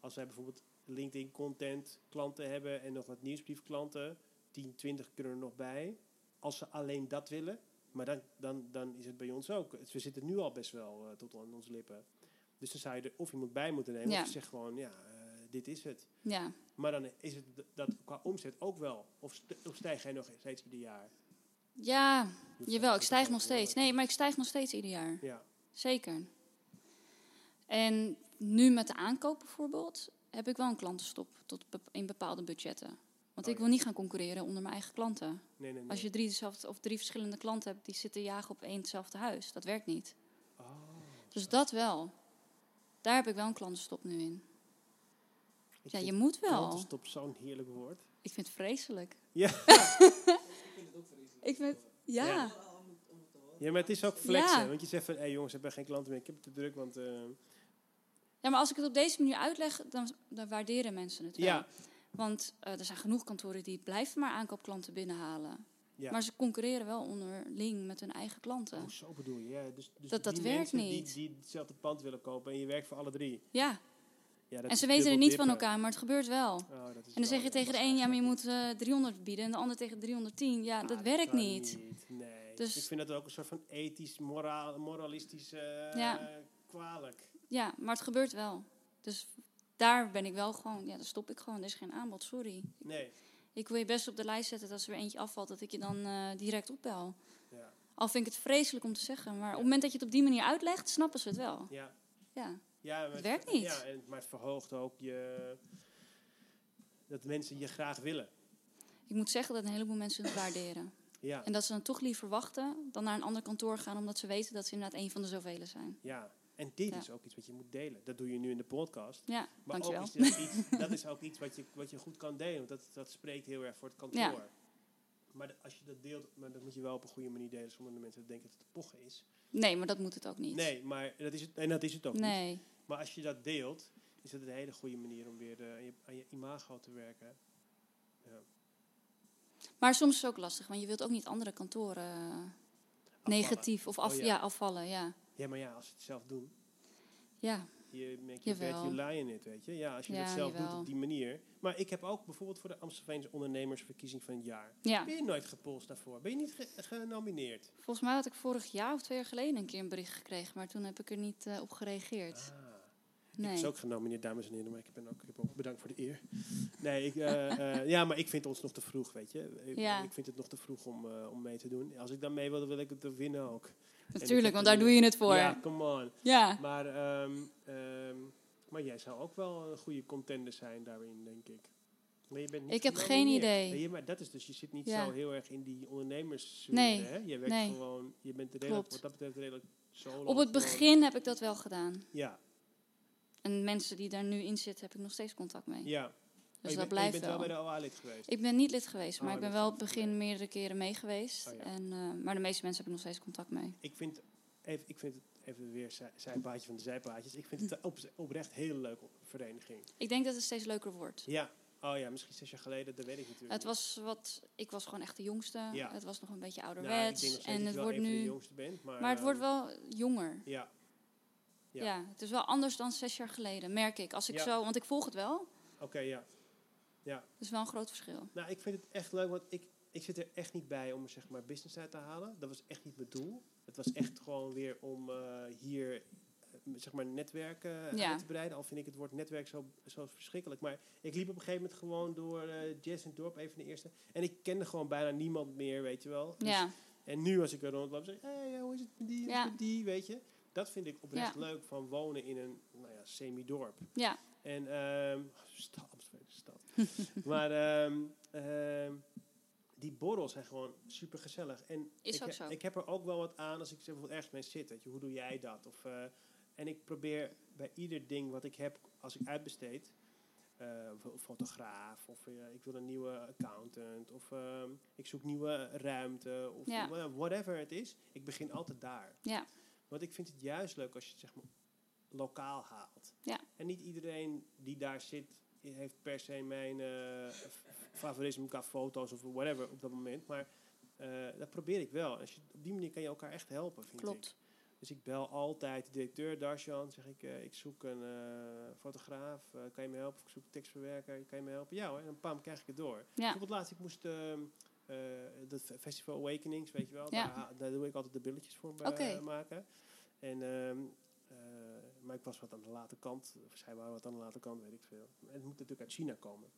Speaker 1: als wij bijvoorbeeld LinkedIn-content klanten hebben en nog wat nieuwsbriefklanten... 10, 20 kunnen er nog bij, als ze alleen dat willen. Maar dan, dan, dan is het bij ons ook. Het- We zitten nu al best wel eh, tot aan onze lippen. Dus dan zou je er of iemand bij moeten nemen,
Speaker 2: Ja.
Speaker 1: of je zegt gewoon, ja, eh, dit is het.
Speaker 2: Ja,
Speaker 1: Maar dan is het d- dat qua omzet ook wel. Of, st- of stijg jij nog steeds ieder jaar?
Speaker 2: ja
Speaker 1: Dus
Speaker 2: jawel,
Speaker 1: dat
Speaker 2: ik
Speaker 1: is
Speaker 2: stijg
Speaker 1: wel
Speaker 2: nog steeds.
Speaker 1: behoorlijk.
Speaker 2: Nee, maar ik stijg nog steeds ieder jaar.
Speaker 1: Ja,
Speaker 2: Zeker. En nu met de aankoop bijvoorbeeld, heb ik wel een klantenstop tot bep- in bepaalde budgetten. Want
Speaker 1: Oh ja.
Speaker 2: ik wil niet gaan concurreren onder mijn eigen klanten.
Speaker 1: nee, nee, nee.
Speaker 2: Als je drie, dezelfde, of drie verschillende klanten hebt die zitten jagen op één hetzelfde huis, dat werkt niet.
Speaker 1: Oh,
Speaker 2: Dus dat wel. Daar heb ik wel een klantenstop nu in.
Speaker 1: ik
Speaker 2: Ja,
Speaker 1: vind
Speaker 2: je moet wel.
Speaker 1: klantenstop zo'n heerlijk woord.
Speaker 2: Ik vind het vreselijk.
Speaker 1: Ja.
Speaker 2: ik vind ja.
Speaker 1: Ja. Ja, maar het is ook flexen. Want je zegt van, hé jongens, ik heb geen klanten meer. Ik heb het te druk, want... eh,
Speaker 2: Ja, maar als ik het op deze manier uitleg, dan, dan waarderen mensen het wel.
Speaker 1: ja,
Speaker 2: Want eh, er zijn genoeg kantoren die blijven maar aankoopklanten binnenhalen.
Speaker 1: ja.
Speaker 2: Maar ze concurreren wel onderling met hun eigen klanten.
Speaker 1: Oh, zo bedoel je. Ja, dus, dus
Speaker 2: Dat- dat
Speaker 1: die
Speaker 2: werkt
Speaker 1: mensen
Speaker 2: niet.
Speaker 1: Die, die hetzelfde pand willen kopen en je werkt voor alle drie.
Speaker 2: Ja,
Speaker 1: Ja, dat
Speaker 2: en ze
Speaker 1: is
Speaker 2: weten er niet van
Speaker 1: dubbel
Speaker 2: elkaar, maar het gebeurt wel. En
Speaker 1: dippen. Oh, dat is
Speaker 2: dan
Speaker 1: wel-
Speaker 2: zeg je
Speaker 1: ja,
Speaker 2: tegen de
Speaker 1: dat
Speaker 2: een, ja, maar je
Speaker 1: is-
Speaker 2: moet eh, 300 bieden. En de ander tegen 310. Ja,
Speaker 1: Ah,
Speaker 2: dat werkt
Speaker 1: kan
Speaker 2: niet.
Speaker 1: Nee.
Speaker 2: Dus-
Speaker 1: ik vind dat ook een soort van ethisch, moraal, moralistisch eh,
Speaker 2: Ja.
Speaker 1: kwalijk.
Speaker 2: Ja, maar het gebeurt wel. Dus daar ben ik wel gewoon, ja, dan stop ik gewoon. Er is geen aanbod, sorry.
Speaker 1: Nee.
Speaker 2: Ik wil je best op de lijst zetten dat als er weer eentje afvalt, dat ik je dan eh, direct opbel.
Speaker 1: Ja.
Speaker 2: Al vind ik het vreselijk om te zeggen, maar op het moment dat je het op die manier uitlegt, snappen ze het wel.
Speaker 1: Ja.
Speaker 2: Ja,
Speaker 1: Ja, maar
Speaker 2: Het werkt niet.
Speaker 1: Ja, en, maar het verhoogt ook je... Dat mensen je graag willen.
Speaker 2: ik moet zeggen dat een heleboel mensen het waarderen.
Speaker 1: Ja,
Speaker 2: En dat ze dan toch liever wachten dan naar een ander kantoor gaan, omdat ze weten dat ze inderdaad een van de zoveel zijn.
Speaker 1: ja. En dit
Speaker 2: Ja.
Speaker 1: is ook iets wat je moet delen. Dat doe je nu in de podcast.
Speaker 2: Ja,
Speaker 1: Maar ook
Speaker 2: dankjewel.
Speaker 1: is dat, iets, dat is ook iets wat je, wat je goed kan delen. Want dat, dat spreekt heel erg voor het kantoor.
Speaker 2: Ja.
Speaker 1: Maar de- als je dat deelt, maar dat moet je wel op een goede manier delen. Sommige mensen denken dat het pochen is.
Speaker 2: Nee, maar dat moet het ook niet.
Speaker 1: Nee, maar dat is het, en dat is het ook niet.
Speaker 2: Nee,
Speaker 1: Maar als je dat deelt, is dat een hele goede manier om weer eh, aan je- aan je imago te werken.
Speaker 2: Maar soms is het ook lastig, want je wilt ook niet andere kantoren eh, negatief of af,
Speaker 1: Oh, ja.
Speaker 2: ja. afvallen. Ja,
Speaker 1: Ja, maar ja, als ze het zelf doen.
Speaker 2: ja.
Speaker 1: Je merkt je
Speaker 2: Jawel.
Speaker 1: bed, you lie in it, weet je. Ja, als je
Speaker 2: Ja,
Speaker 1: dat zelf doet
Speaker 2: jawel.
Speaker 1: op die manier. Maar ik heb ook bijvoorbeeld voor de Amstelveense ondernemersverkiezing van het jaar.
Speaker 2: ja.
Speaker 1: Ben je nooit gepolst daarvoor? Ben je niet ge- genomineerd?
Speaker 2: Volgens mij had ik vorig jaar of twee jaar geleden een keer een bericht gekregen, maar toen heb ik er niet eh, op gereageerd.
Speaker 1: Ah. Ik
Speaker 2: Nee.
Speaker 1: was ook genomineerd, dames en heren, maar ik ben ook, ik heb ook bedankt voor de eer. Nee, ik, eh, eh, ja, maar ik vind ons nog te vroeg, weet je. Ik,
Speaker 2: Ja.
Speaker 1: ik vind het nog te vroeg om, eh, om mee te doen. Als ik dan mee wilde, wil ik het winnen ook.
Speaker 2: Natuurlijk, want daar doe je het voor.
Speaker 1: Ja,
Speaker 2: Ja.
Speaker 1: come on. Maar, ehm, ehm, maar jij zou ook wel een goede contender zijn daarin, denk ik. Maar je bent niet
Speaker 2: Ik heb
Speaker 1: genomineerd.
Speaker 2: geen idee.
Speaker 1: Nee, maar dat is dus, je zit niet
Speaker 2: Ja.
Speaker 1: zo heel erg in die ondernemers.
Speaker 2: Nee,
Speaker 1: hè? Je werkt
Speaker 2: nee.
Speaker 1: gewoon, je bent redelijk,
Speaker 2: Klopt.
Speaker 1: wat dat betreft redelijk solo.
Speaker 2: Op het
Speaker 1: gewoon.
Speaker 2: begin heb ik dat wel gedaan.
Speaker 1: Ja,
Speaker 2: En mensen die daar nu in zitten, heb ik nog steeds contact mee.
Speaker 1: ja. Maar
Speaker 2: Dus
Speaker 1: je
Speaker 2: dat
Speaker 1: bent-
Speaker 2: blijft
Speaker 1: je bent
Speaker 2: wel.
Speaker 1: wel bij de OA lid geweest.
Speaker 2: Ik ben niet lid geweest,
Speaker 1: Oh,
Speaker 2: maar ik
Speaker 1: je
Speaker 2: ben
Speaker 1: bent
Speaker 2: wel op het
Speaker 1: lid
Speaker 2: begin meerdere keren mee geweest.
Speaker 1: Oh, ja.
Speaker 2: en, eh, maar de meeste mensen hebben nog steeds contact mee.
Speaker 1: Ik vind, even, ik vind het even weer zij- zijpaadje van de zijpaadjes. Ik vind
Speaker 2: Hm.
Speaker 1: het op, oprecht heel leuk op- vereniging.
Speaker 2: Ik denk dat het steeds leuker wordt.
Speaker 1: Ja, oh ja, misschien zes jaar geleden, dat weet ik natuurlijk.
Speaker 2: Het
Speaker 1: niet.
Speaker 2: was wat, ik was gewoon echt de jongste.
Speaker 1: Ja.
Speaker 2: Het was nog een beetje
Speaker 1: Nou, ik denk nog
Speaker 2: ouderwets.
Speaker 1: steeds dat
Speaker 2: en
Speaker 1: je
Speaker 2: het
Speaker 1: wel
Speaker 2: wordt
Speaker 1: een van de
Speaker 2: nu.
Speaker 1: jongste bent, maar,
Speaker 2: Maar het
Speaker 1: eh,
Speaker 2: wordt wel jonger.
Speaker 1: Ja, Ja.
Speaker 2: Ja. het is wel anders dan zes jaar geleden, merk ik. Als ik
Speaker 1: Ja.
Speaker 2: zo, want ik volg het wel.
Speaker 1: oké, ja.
Speaker 2: Dat is wel een groot verschil.
Speaker 1: Nou, ik vind het echt leuk, want ik, ik zit er echt niet bij om er, zeg maar business uit te halen. Dat was echt niet mijn doel. Het was echt gewoon weer om eh, hier eh, zeg maar netwerken
Speaker 2: Ja.
Speaker 1: uit te breiden. Al vind ik het woord netwerk zo, zo verschrikkelijk. Maar ik liep op een gegeven moment gewoon door eh Jazz in het dorp, even de eerste. En ik kende gewoon bijna niemand meer, weet je wel. Dus-
Speaker 2: Ja,
Speaker 1: en nu als ik er rondloop, zeg ik, hey, eh, hoe is het met die, hoe is het
Speaker 2: Ja.
Speaker 1: met die, weet je. Dat vind ik oprecht
Speaker 2: Ja.
Speaker 1: leuk van wonen in een nou ja, semi-dorp.
Speaker 2: ja,
Speaker 1: En ehm stad, Amsterdam is een stad. maar ehm, ehm, die borrels zijn gewoon super gezellig. En
Speaker 2: Is
Speaker 1: ik,
Speaker 2: ook
Speaker 1: he-
Speaker 2: zo.
Speaker 1: ik heb er ook wel wat aan als ik bijvoorbeeld ergens mee zit. Weet je, hoe doe jij dat? Of, eh, en ik probeer bij ieder ding wat ik heb als ik uitbesteed. eh, of een fotograaf, of eh, ik wil een nieuwe accountant, of ehm, ik zoek nieuwe ruimte, of
Speaker 2: Ja.
Speaker 1: wha- whatever het is. Ik begin altijd daar.
Speaker 2: ja,
Speaker 1: Want ik vind het juist leuk als je het zeg maar lokaal haalt.
Speaker 2: Ja.
Speaker 1: En niet iedereen die daar zit i- heeft per se mijn eh, f- favorisme qua foto's of whatever op dat moment. Maar eh, dat probeer ik wel. Als je, op die manier kan je elkaar echt helpen, vind ik.
Speaker 2: klopt.
Speaker 1: Dus ik bel altijd de directeur Darshan. Zeg ik, eh, ik zoek een eh, fotograaf. eh, kan je me helpen? Of ik zoek een tekstverwerker. Kan je me helpen? Ja hoor. En dan pam, krijg ik het door.
Speaker 2: Ja,
Speaker 1: Bijvoorbeeld laatst, ik moest... ehm, eh, dat fe- Festival Awakenings, weet je wel.
Speaker 2: Ja.
Speaker 1: Daar, ha- daar doe ik altijd de billetjes voor eh,
Speaker 2: Oké.
Speaker 1: maken. En, ehm, eh, maar ik was wat aan de late kant. Of zij waren wat aan de late kant, weet ik veel. En het moet natuurlijk uit China komen.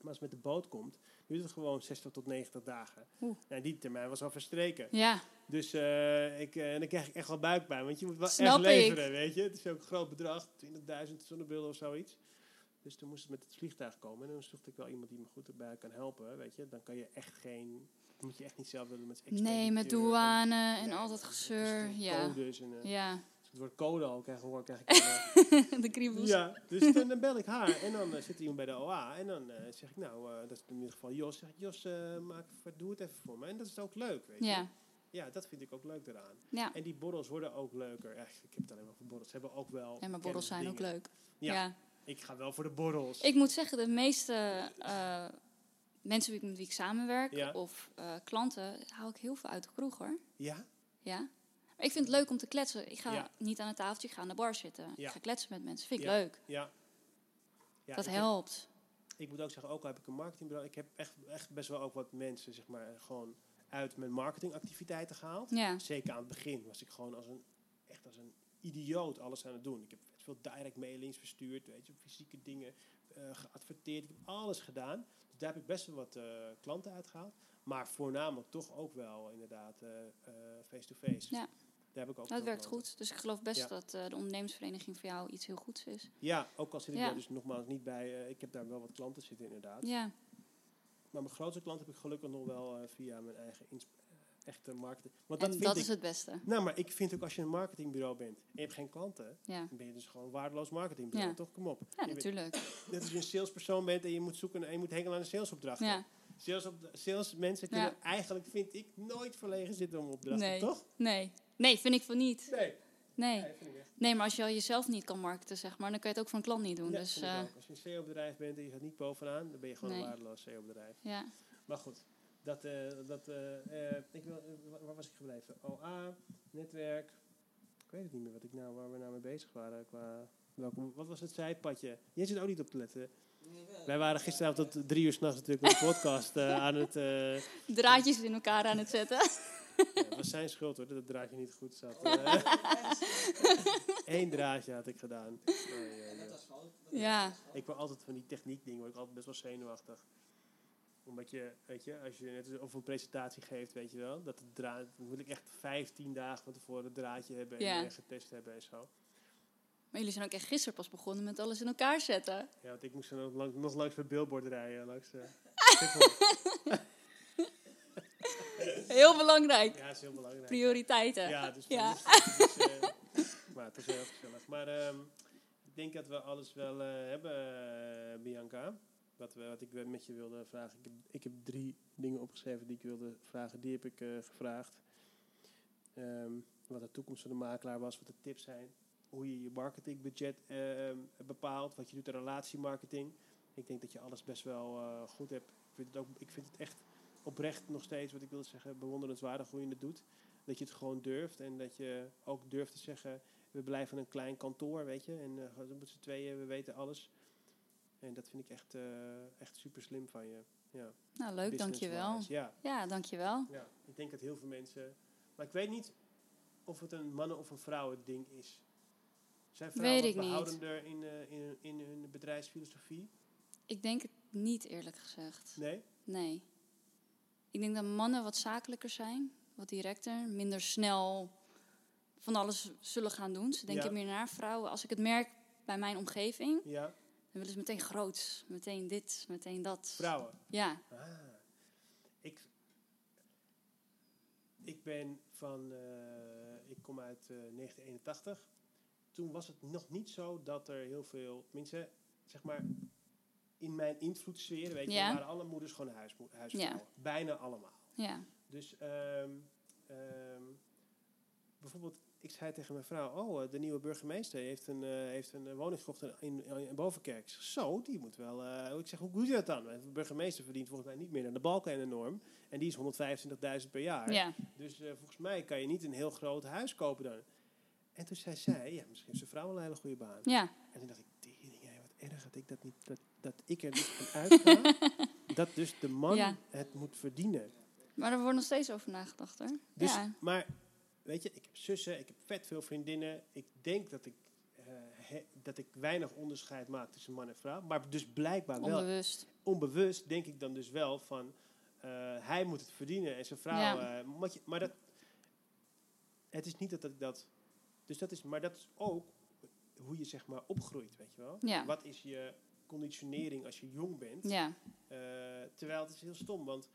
Speaker 1: Maar als het met de boot komt, duurt het gewoon 60 tot 90 dagen.
Speaker 2: Oeh.
Speaker 1: Nou, die termijn was al verstreken.
Speaker 2: ja,
Speaker 1: Dus eh, ik, eh, dan krijg ik echt wel buikpijn. Want je moet wel echt
Speaker 2: Snap
Speaker 1: leveren, weet je. Het is ook een groot bedrag. 20.000 zonnebeelden of zoiets. Dus toen moest het met het vliegtuig komen. En dan zocht ik wel iemand die me goed erbij kan helpen, weet je. Dan kan je echt geen... Dan moet je echt niet zelf willen met
Speaker 2: nee,
Speaker 1: expediteur
Speaker 2: met
Speaker 1: en-
Speaker 2: douane en
Speaker 1: Nee,
Speaker 2: al dat
Speaker 1: maar
Speaker 2: gezeur.
Speaker 1: het is
Speaker 2: Ja,
Speaker 1: Codes en, eh,
Speaker 2: ja,
Speaker 1: als ik Het wordt code al, krijg ik hoor, krijg ik... eh,
Speaker 2: de kriebels. Ja.
Speaker 1: ja, dus dan, dan bel ik haar en dan eh, zit iemand bij de OA en dan eh, zeg ik, nou, eh, dat is in ieder geval Jos. Zeg ik, Jos, eh, maak, doe het even voor me. En dat is ook leuk, weet je.
Speaker 2: Ja,
Speaker 1: ja, dat vind ik ook leuk eraan.
Speaker 2: ja.
Speaker 1: En die borrels worden ook leuker. Echt, ik heb het alleen maar voor borrels. Ze hebben ook wel.
Speaker 2: En mijn borrels zijn ook
Speaker 1: kennisdingen.
Speaker 2: leuk.
Speaker 1: Ja.
Speaker 2: Ja.
Speaker 1: Ik ga wel voor de borrels.
Speaker 2: Ik moet zeggen, de meeste eh, mensen met wie ik samenwerk
Speaker 1: Ja.
Speaker 2: of eh, klanten, hou ik heel veel uit de kroeg hoor.
Speaker 1: ja?
Speaker 2: Ja. Maar ik vind het leuk om te kletsen. Ik ga
Speaker 1: Ja.
Speaker 2: niet aan het tafeltje, ik ga aan de bar zitten.
Speaker 1: Ja.
Speaker 2: Ik ga kletsen met mensen. Vind ik
Speaker 1: Ja.
Speaker 2: leuk.
Speaker 1: Ja. ja
Speaker 2: dat
Speaker 1: ik heb-
Speaker 2: helpt.
Speaker 1: ik moet ook zeggen, ook al heb ik een marketingbureau. Ik heb echt, echt best wel ook wat mensen, zeg maar, gewoon uit mijn marketingactiviteiten gehaald.
Speaker 2: Ja.
Speaker 1: Zeker aan het begin was ik gewoon als een, echt als een idioot alles aan het doen. Ik heb vet veel direct mailings verstuurd, weet je, fysieke dingen eh, geadverteerd. Ik heb alles gedaan. Dus daar heb ik best wel wat eh, klanten uitgehaald. Maar voornamelijk toch ook wel inderdaad eh, eh, face-to-face.
Speaker 2: Ja.
Speaker 1: Daar heb ik ook
Speaker 2: Dat
Speaker 1: veel
Speaker 2: werkt
Speaker 1: klanten.
Speaker 2: goed. Dus ik geloof best
Speaker 1: Ja.
Speaker 2: dat eh, de ondernemersvereniging voor jou iets heel goeds is.
Speaker 1: Ja, ook al zit ik
Speaker 2: Ja.
Speaker 1: daar dus nogmaals niet bij. eh, ik heb daar wel wat klanten zitten inderdaad.
Speaker 2: Ja,
Speaker 1: Maar mijn grootste klant heb ik gelukkig nog wel eh, via mijn eigen ins- echte marketing. Want dat
Speaker 2: en
Speaker 1: vind
Speaker 2: dat
Speaker 1: ik.
Speaker 2: is het beste.
Speaker 1: Nou, maar ik vind ook als je een marketingbureau bent en je hebt geen klanten,
Speaker 2: Ja,
Speaker 1: dan ben je dus gewoon een waardeloos marketingbureau,
Speaker 2: Ja.
Speaker 1: toch? Kom op.
Speaker 2: ja
Speaker 1: Je bent-
Speaker 2: natuurlijk.
Speaker 1: net als je een salespersoon bent en je moet zoeken en je moet hengelen aan een salesopdracht.
Speaker 2: Ja.
Speaker 1: salesmensen
Speaker 2: Ja.
Speaker 1: kunnen eigenlijk, vind ik, nooit verlegen zitten om opdrachten,
Speaker 2: Nee.
Speaker 1: toch?
Speaker 2: Nee. Nee, vind ik van niet.
Speaker 1: Nee.
Speaker 2: Nee.
Speaker 1: Nee, vind ik echt.
Speaker 2: Nee, maar als je al jezelf niet kan markten, zeg maar, dan kan je het ook voor een klant niet doen.
Speaker 1: Ja,
Speaker 2: dus
Speaker 1: vind ik
Speaker 2: eh,
Speaker 1: ook. Als je een CEO-bedrijf bent en je gaat niet bovenaan, dan ben je gewoon
Speaker 2: Nee.
Speaker 1: een waardeloos CEO-bedrijf.
Speaker 2: ja.
Speaker 1: Maar goed, Dat, eh, dat, eh, eh, ik wil, eh, wa- waar was ik gebleven? OA, netwerk. Ik weet het niet meer wat ik nou, waar we nou mee bezig waren. Qua welke, wat was het zijpadje? Jij zit ook niet op te letten. Wij waren gisteravond tot drie uur s'nachts natuurlijk met de podcast eh, aan het... eh,
Speaker 2: Draadjes in elkaar aan het zetten.
Speaker 1: ja, het was zijn schuld hoor, dat het draadje niet goed zat. Eh, Eén draadje had ik gedaan. Nee, eh, nee.
Speaker 2: Ja,
Speaker 1: Ik word altijd van die techniek dingen, word ik altijd best wel zenuwachtig. Omdat je, weet je, als je net als- of een presentatie geeft, weet je wel, dat het draad, dan moet ik echt 15 dagen van tevoren het draadje hebben en
Speaker 2: Ja.
Speaker 1: eh, getest hebben en zo.
Speaker 2: maar jullie zijn ook echt gisteren pas begonnen met alles in elkaar zetten.
Speaker 1: Ja, want ik moest dan nog, lang, nog langs mijn billboard rijden, langs eh, Schiphol.
Speaker 2: Heel belangrijk.
Speaker 1: Ja, dat is heel belangrijk.
Speaker 2: Prioriteiten.
Speaker 1: Ja, dus,
Speaker 2: Ja.
Speaker 1: dus, dus, eh, maar het was heel gezellig. Maar ehm, ik denk dat we alles wel eh, hebben, eh, Bianca. Wat, we, wat ik we- met je wilde vragen. Ik heb, ik heb drie dingen opgeschreven die ik wilde vragen. Die heb ik eh, gevraagd. Ehm, wat de toekomst van de makelaar was, wat de tips zijn. Hoe je je marketingbudget eh, ehm, bepaalt. Wat je doet aan relatiemarketing. Ik denk dat je alles best wel eh, goed hebt. Ik vind, het ook, ik vind het echt oprecht nog steeds, wat ik wilde zeggen, bewonderenswaardig hoe je het doet dat je het gewoon durft en dat je ook durft te zeggen, we blijven een klein kantoor, weet je. En eh we moeten tweeën, we weten alles. En dat vind ik echt, eh, echt super slim van je. Ja,
Speaker 2: Nou, leuk, dankjewel.
Speaker 1: business-wise. Ja,
Speaker 2: Ja, dankjewel.
Speaker 1: ja, ik denk dat heel veel mensen... Maar ik weet niet of het een mannen- of een vrouwen ding is. Zijn vrouwen
Speaker 2: Weet ik niet.
Speaker 1: behoudender in, eh, in, hun- in hun bedrijfsfilosofie?
Speaker 2: Ik denk het niet eerlijk gezegd.
Speaker 1: Nee?
Speaker 2: Nee. Ik denk dat mannen wat zakelijker zijn, wat directer, minder snel van alles zullen gaan doen. Ze denken
Speaker 1: Ja.
Speaker 2: meer naar vrouwen. Als ik het merk bij mijn omgeving,
Speaker 1: Ja?
Speaker 2: dan willen ze meteen groots, meteen dit, meteen dat.
Speaker 1: Vrouwen?
Speaker 2: Ja,
Speaker 1: Ah. Ik, ik ben van. eh, ik kom uit eh, 1981. Toen was het nog niet zo dat er heel veel. Mensen, zeg maar. In mijn invloedssfeer, weet je,
Speaker 2: Ja.
Speaker 1: waren alle moeders gewoon huismo- huisvrouwen. Bijna allemaal.
Speaker 2: ja.
Speaker 1: Dus ehm, ehm, bijvoorbeeld, ik zei tegen mijn vrouw: Oh, eh, de nieuwe burgemeester heeft een, eh, heeft een eh, woning gekocht in, in, in Bovenkerk. Ik zeg, Zo, die moet wel. eh, ik zeg: Hoe doe je dat dan? De burgemeester verdient volgens mij niet meer dan de balken en de norm. En die is 125.000 per jaar.
Speaker 2: ja.
Speaker 1: Dus eh, volgens mij kan je niet een heel groot huis kopen dan. En toen zei zij: Ja, misschien heeft zijn vrouw wel een hele goede baan.
Speaker 2: Ja,
Speaker 1: En toen dacht ik, tering, jij, wat erg dat ik, dat, niet, dat, dat ik er niet van uitga. dat dus de man
Speaker 2: Ja.
Speaker 1: het moet verdienen.
Speaker 2: maar er wordt nog steeds over nagedacht hoor.
Speaker 1: Dus,
Speaker 2: ja.
Speaker 1: Maar weet je, ik heb zussen, ik heb vet veel vriendinnen. Ik denk dat ik, eh, he- dat ik weinig onderscheid maak tussen man en vrouw. Maar dus blijkbaar wel.
Speaker 2: Onbewust.
Speaker 1: Onbewust denk ik dan dus wel van... eh, hij moet het verdienen en zijn vrouw...
Speaker 2: Ja.
Speaker 1: eh, moet je- maar dat... Het is niet dat ik dat... Dus dat is, maar dat is ook hoe je zeg maar opgroeit, weet je wel.
Speaker 2: Ja.
Speaker 1: Wat is je conditionering als je jong bent?
Speaker 2: Ja,
Speaker 1: Eh, terwijl het is heel stom, want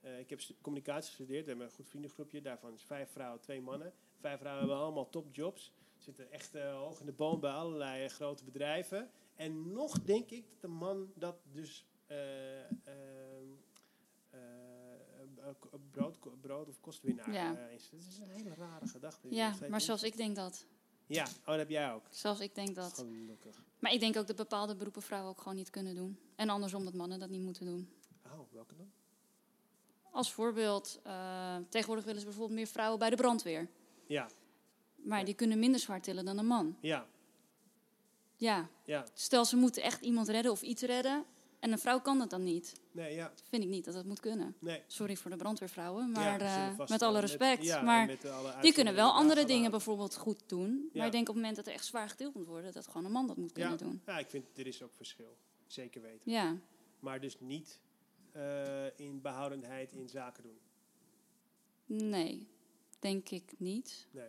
Speaker 1: eh, ik heb s- communicatie gestudeerd. We hebben een goed vriendengroepje. Daarvan is vijf vrouwen, twee mannen. Vijf vrouwen hebben allemaal topjobs. Zitten echt eh, hoog in de boom bij allerlei eh, grote bedrijven. En nog denk ik dat de man dat dus eh, ehm, eh, eh, ko- brood, ko- brood of kostwinnaar
Speaker 2: Ja.
Speaker 1: eh, is. Dat is een hele rare gedachte. die
Speaker 2: ja
Speaker 1: nog steeds
Speaker 2: maar
Speaker 1: in-
Speaker 2: zelfs ik denk dat.
Speaker 1: Ja, oh, dat heb jij ook.
Speaker 2: Zelfs ik denk dat.
Speaker 1: Gelukkig.
Speaker 2: Maar ik denk ook dat bepaalde beroepen vrouwen ook gewoon niet kunnen doen. En andersom dat mannen dat niet moeten doen.
Speaker 1: Oh, welke dan?
Speaker 2: Als voorbeeld, eh, tegenwoordig willen ze bijvoorbeeld meer vrouwen bij de brandweer.
Speaker 1: Ja,
Speaker 2: Maar
Speaker 1: Ja.
Speaker 2: die kunnen minder zwaar tillen dan een man.
Speaker 1: ja,
Speaker 2: Ja,
Speaker 1: ja.
Speaker 2: stel ze moeten echt iemand redden of iets redden. En een vrouw kan dat dan niet.
Speaker 1: Nee, ja,
Speaker 2: Vind ik niet dat dat moet kunnen.
Speaker 1: nee.
Speaker 2: Sorry voor de brandweervrouwen,
Speaker 1: Ja,
Speaker 2: maar
Speaker 1: er zullen
Speaker 2: eh,
Speaker 1: vast
Speaker 2: met
Speaker 1: wel-
Speaker 2: alle respect.
Speaker 1: ja, en
Speaker 2: maar
Speaker 1: met alle
Speaker 2: die
Speaker 1: uitzonderingen
Speaker 2: kunnen wel andere dingen
Speaker 1: daarvan.
Speaker 2: bijvoorbeeld goed doen.
Speaker 1: Ja.
Speaker 2: Maar ik denk op het moment dat er echt zwaar getild moet worden, dat gewoon een man dat moet kunnen
Speaker 1: ja.
Speaker 2: doen.
Speaker 1: Ja, ik vind, er is ook verschil. Zeker weten.
Speaker 2: Ja,
Speaker 1: Maar dus niet eh, in behoudenheid in zaken doen.
Speaker 2: nee, denk ik niet.
Speaker 1: Nee.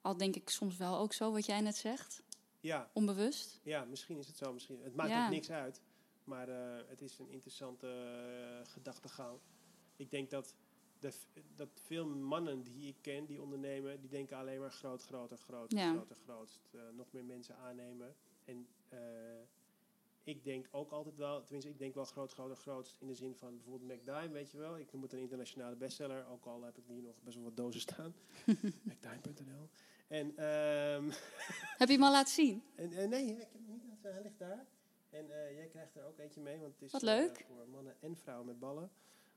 Speaker 2: Al denk ik soms wel ook zo wat jij net zegt,
Speaker 1: Ja,
Speaker 2: onbewust.
Speaker 1: ja misschien is het zo. Misschien. Het maakt
Speaker 2: Ja.
Speaker 1: ook niks uit. Maar eh, het is een interessante eh, gedachtegang. Ik denk dat, de f- dat veel mannen die ik ken, die ondernemen, die denken alleen maar groot, groter, groot,
Speaker 2: Ja.
Speaker 1: groter, groot. Eh, nog meer mensen aannemen. En eh, ik denk ook altijd wel, tenminste, ik denk wel groot, groter, grootst in de zin van bijvoorbeeld McDime, weet je wel. Ik noem het een internationale bestseller, ook al heb ik hier nog best wel wat dozen staan. McDime.nl. En ehm,
Speaker 2: Heb je hem al laten zien?
Speaker 1: en, eh, nee, ik heb hem niet laten- Hij ligt daar. En eh, jij krijgt er ook eentje mee, want het is
Speaker 2: Wat
Speaker 1: eh,
Speaker 2: leuk.
Speaker 1: voor mannen en vrouwen met ballen.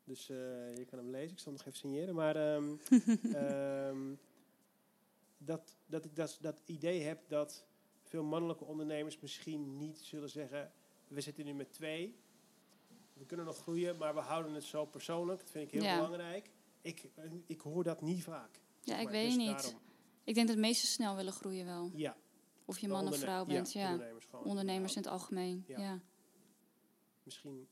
Speaker 1: Dus eh, je kan hem lezen. Ik zal hem nog even signeren. Maar ehm, ehm, dat, dat ik dat, dat idee heb dat veel mannelijke ondernemers misschien niet zullen zeggen... we zitten nu met twee, we kunnen nog groeien, maar we houden het zo persoonlijk. Dat vind ik heel
Speaker 2: Ja.
Speaker 1: belangrijk. Ik, eh, ik hoor dat niet vaak.
Speaker 2: Ja,
Speaker 1: zeg
Speaker 2: ik
Speaker 1: maar.
Speaker 2: weet
Speaker 1: Dus
Speaker 2: niet.
Speaker 1: daarom-
Speaker 2: Ik denk dat meesten snel willen groeien wel.
Speaker 1: ja,
Speaker 2: Of je man of
Speaker 1: onderne-
Speaker 2: vrouw bent, ja.
Speaker 1: Ondernemers, gewoon,
Speaker 2: Ondernemers in het algemeen,
Speaker 1: Ja.
Speaker 2: ja.
Speaker 1: misschien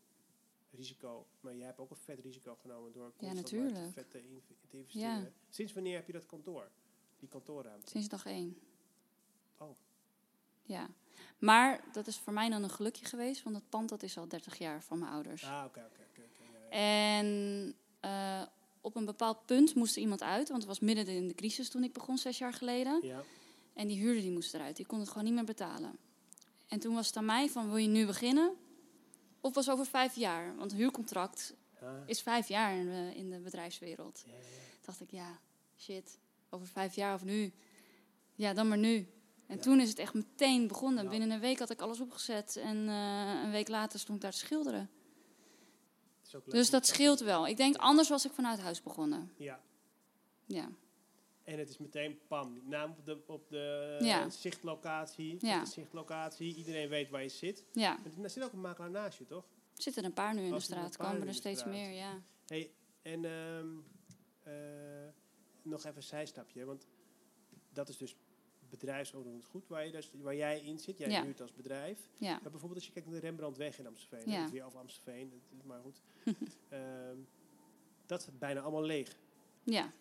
Speaker 1: risico, maar jij hebt ook een vet risico genomen door constant maar
Speaker 2: natuurlijk.
Speaker 1: te vet te, in- te investeren.
Speaker 2: Ja.
Speaker 1: Sinds wanneer heb je dat kantoor? Die kantoorruimte?
Speaker 2: Sinds dag één.
Speaker 1: Oh.
Speaker 2: Ja. Maar dat is voor mij dan een gelukje geweest, want dat pand dat is al 30 jaar van mijn ouders.
Speaker 1: Ah, oké, oké. oké, oké, ja, ja.
Speaker 2: En eh, op een bepaald punt moest er iemand uit, want het was midden in de crisis toen ik begon, zes jaar geleden.
Speaker 1: Ja,
Speaker 2: En die huurder die moest eruit, die kon het gewoon niet meer betalen. En toen was het aan mij van, wil je nu beginnen? Of was over vijf jaar? Want een huurcontract
Speaker 1: ah,
Speaker 2: is vijf jaar in de, in de bedrijfswereld.
Speaker 1: ja, ja, ja.
Speaker 2: dacht ik, ja, shit, over vijf jaar of nu. Ja, dan maar nu. En
Speaker 1: Ja.
Speaker 2: toen is het echt meteen begonnen.
Speaker 1: Ja.
Speaker 2: Binnen een week had ik alles opgezet en eh, een week later stond ik daar te schilderen.
Speaker 1: Het is ook leuk om
Speaker 2: Dus
Speaker 1: het
Speaker 2: dat
Speaker 1: zo te
Speaker 2: scheelt
Speaker 1: doen.
Speaker 2: wel. Ik denk, anders was ik vanuit huis begonnen.
Speaker 1: Ja,
Speaker 2: Ja,
Speaker 1: en het is meteen pam. Naam op de, op de
Speaker 2: Ja.
Speaker 1: zichtlocatie.
Speaker 2: Ja.
Speaker 1: De zichtlocatie. Iedereen weet waar je zit.
Speaker 2: ja.
Speaker 1: Maar er zit ook een makelaar naast je, toch?
Speaker 2: Er zitten er een paar nu in
Speaker 1: Oh,
Speaker 2: de
Speaker 1: er zitten
Speaker 2: straat,
Speaker 1: een paar
Speaker 2: komen
Speaker 1: nu
Speaker 2: er
Speaker 1: in de
Speaker 2: steeds
Speaker 1: straat.
Speaker 2: meer, ja.
Speaker 1: Hey, en ehm, eh, nog even een zijstapje, hè, want dat is dus bedrijfsoverdoend goed waar, je dus, waar jij in zit. Jij
Speaker 2: Ja.
Speaker 1: huurt als bedrijf.
Speaker 2: Ja,
Speaker 1: Maar bijvoorbeeld als je kijkt naar de Rembrandtweg in Amstelveen,
Speaker 2: Ja.
Speaker 1: hè, het weer over Amstelveen, het- maar goed. Ehm, dat is bijna allemaal leeg.
Speaker 2: ja.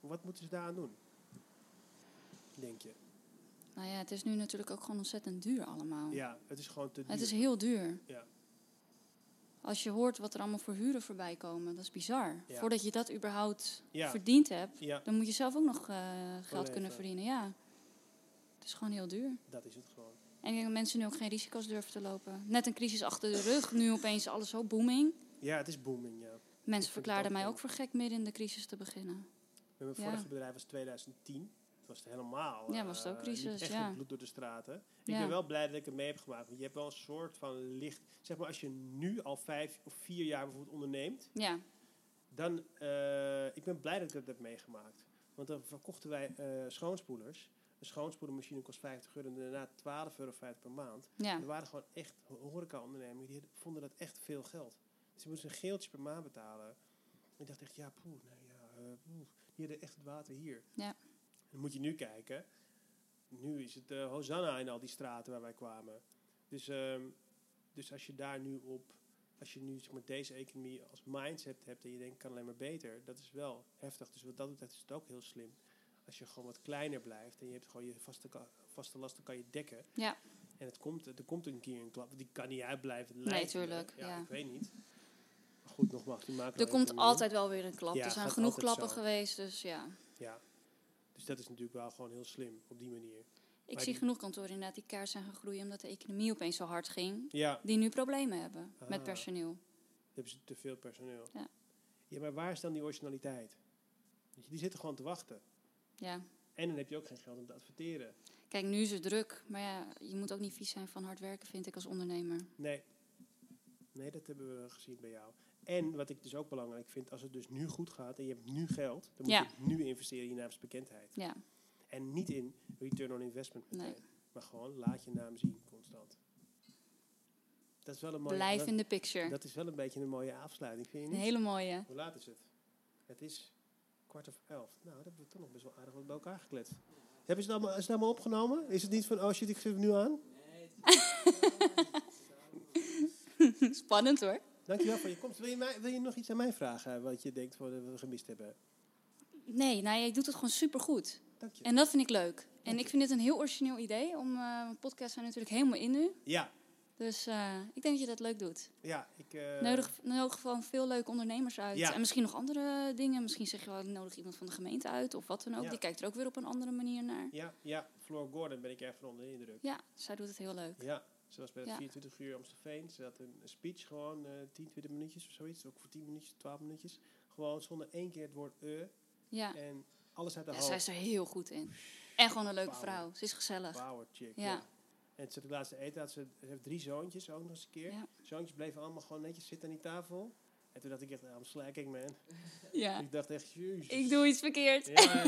Speaker 1: Wat moeten ze daaraan doen? Denk je?
Speaker 2: Nou ja, het is nu natuurlijk ook gewoon ontzettend duur allemaal.
Speaker 1: Ja, het is gewoon te duur.
Speaker 2: Het is heel duur.
Speaker 1: Ja.
Speaker 2: Als je hoort wat er allemaal voor huren voorbij komen, dat is bizar.
Speaker 1: Ja.
Speaker 2: Voordat je dat überhaupt
Speaker 1: Ja.
Speaker 2: verdiend hebt,
Speaker 1: ja,
Speaker 2: Dan moet je zelf ook nog eh, geld
Speaker 1: Doorleven.
Speaker 2: kunnen verdienen, ja. Het is gewoon heel duur.
Speaker 1: dat is het gewoon.
Speaker 2: En ik denk dat mensen nu ook geen risico's durven te lopen. Net een crisis achter de rug, nu opeens alles zo booming.
Speaker 1: Ja, het is booming, ja. het
Speaker 2: Mensen
Speaker 1: ook
Speaker 2: verklaarden mij
Speaker 1: wel.
Speaker 2: ook voor gek midden in de crisis te beginnen.
Speaker 1: Met mijn
Speaker 2: Ja.
Speaker 1: vorige bedrijf was 2010. Het was het helemaal.
Speaker 2: Ja, was het ook
Speaker 1: eh,
Speaker 2: crisis,
Speaker 1: niet echt
Speaker 2: ja.
Speaker 1: met bloed door de straten. Ik
Speaker 2: Ja.
Speaker 1: ben wel blij dat ik het mee heb gemaakt. Want je hebt wel een soort van licht. Zeg maar, als je nu al vijf of vier jaar bijvoorbeeld onderneemt,
Speaker 2: Ja,
Speaker 1: dan. eh, ik ben blij dat ik dat heb meegemaakt. Want dan verkochten wij eh, schoonspoelers. Een schoonspoelermachine kost 50 euro en daarna 12,50 euro per maand.
Speaker 2: ja,
Speaker 1: Er waren gewoon echt ho- horeca-ondernemingen die hadden- vonden dat echt veel geld. Dus ze moesten een geeltje per maand betalen. En ik dacht echt, ja, poeh, nou ja, eh, poeh. die hadden echt het water hier.
Speaker 2: Ja.
Speaker 1: En dan moet je nu kijken. Nu is het eh, Hosanna in al die straten waar wij kwamen. Dus, ehm, dus als je daar nu op, als je nu zeg maar, deze economie als mindset hebt en je denkt, kan alleen maar beter, dat is wel heftig. Dus wat dat betreft is het ook heel slim. Als je gewoon wat kleiner blijft en je hebt gewoon je vaste, ka- vaste lasten kan je dekken.
Speaker 2: ja,
Speaker 1: En het komt, er komt een keer een klap. Die kan niet uitblijven.
Speaker 2: Nee, tuurlijk,
Speaker 1: Ja,
Speaker 2: ja.
Speaker 1: ik weet niet. Maar goed, nogmaals, die maken
Speaker 2: er komt altijd wel weer een klap.
Speaker 1: Ja,
Speaker 2: er zijn
Speaker 1: gaat
Speaker 2: genoeg
Speaker 1: altijd
Speaker 2: klappen
Speaker 1: zo.
Speaker 2: geweest, dus ja.
Speaker 1: Ja. Dus dat is natuurlijk wel gewoon heel slim op die manier.
Speaker 2: Ik
Speaker 1: Maar
Speaker 2: zie
Speaker 1: die-
Speaker 2: genoeg kantoren inderdaad die kaart zijn gegroeid omdat de economie opeens zo hard ging.
Speaker 1: Ja,
Speaker 2: Die nu problemen hebben
Speaker 1: Ah.
Speaker 2: met personeel.
Speaker 1: dan hebben ze te veel personeel.
Speaker 2: Ja.
Speaker 1: Ja, maar waar is dan die originaliteit? Weet je, Die zitten gewoon te wachten.
Speaker 2: Ja.
Speaker 1: En dan heb je ook geen geld om te adverteren.
Speaker 2: Kijk, nu is het druk, maar ja, je moet ook niet vies zijn van hard werken, vind ik als ondernemer.
Speaker 1: Nee. Nee, dat hebben we gezien bij jou. En wat ik dus ook belangrijk vind, als het dus nu goed gaat en je hebt nu geld, dan moet
Speaker 2: Ja.
Speaker 1: je het nu investeren in je naamsbekendheid.
Speaker 2: Ja.
Speaker 1: En niet in return on investment meteen.
Speaker 2: Nee.
Speaker 1: Maar gewoon laat je naam zien constant. Dat is wel een mooie...
Speaker 2: Blijf
Speaker 1: dat-
Speaker 2: in de picture.
Speaker 1: Dat is wel een beetje een mooie afsluiting, vind je
Speaker 2: Een
Speaker 1: niet?
Speaker 2: hele mooie.
Speaker 1: Hoe laat is het? Het is kwart over elf. Nou, dat hebben we toch nog best wel aardig wat bij elkaar gekletst. Hebben ze het allemaal, is het allemaal opgenomen? Is het niet van, oh shit, ik geef hem nu aan?
Speaker 2: Spannend hoor.
Speaker 1: Dankjewel voor je komst. Wil je, mij, wil je nog iets aan mij vragen, eh, wat je denkt voor dat we gemist hebben?
Speaker 2: Nee, nou, je doet het gewoon supergoed.
Speaker 1: Dank je.
Speaker 2: En dat vind ik leuk. En ik vind dit een heel origineel idee. Om, eh, want podcasts zijn natuurlijk helemaal in nu.
Speaker 1: Ja,
Speaker 2: Dus eh, ik denk dat je dat leuk doet.
Speaker 1: ja. Ik, eh,
Speaker 2: Nodig, nodig gewoon veel leuke ondernemers uit.
Speaker 1: Ja.
Speaker 2: En misschien nog andere dingen. Misschien zeg je wel, ik nodig iemand van de gemeente uit. Of wat dan ook.
Speaker 1: Ja.
Speaker 2: Die kijkt er ook weer op een andere manier naar.
Speaker 1: Ja, ja, Floor Gordon ben ik erg van onder de indruk.
Speaker 2: Ja, zij doet het heel leuk.
Speaker 1: Ja, ze was bij het
Speaker 2: Ja.
Speaker 1: 24 uur Amstelveen. Ze had een een speech, gewoon eh 10, 20 minuutjes of zoiets. Ook voor 10 minuutjes, 12 minuutjes. Gewoon zonder één keer het woord eh.
Speaker 2: Ja,
Speaker 1: En alles uit de
Speaker 2: ja zij
Speaker 1: hoofd.
Speaker 2: is er heel goed in. En gewoon een leuke
Speaker 1: Power.
Speaker 2: vrouw. Ze is gezellig.
Speaker 1: Power chick. Ja.
Speaker 2: Ja.
Speaker 1: En toen zat ik laatst te eten. Had ze, ze heeft drie zoontjes ook nog eens een keer.
Speaker 2: Ja.
Speaker 1: Zoontjes bleven allemaal gewoon netjes zitten aan die tafel. En toen dacht ik echt, nou, I'm slacking man.
Speaker 2: Ja.
Speaker 1: Ik dacht echt, jezus.
Speaker 2: Ik doe iets verkeerd.
Speaker 1: Ja, ja,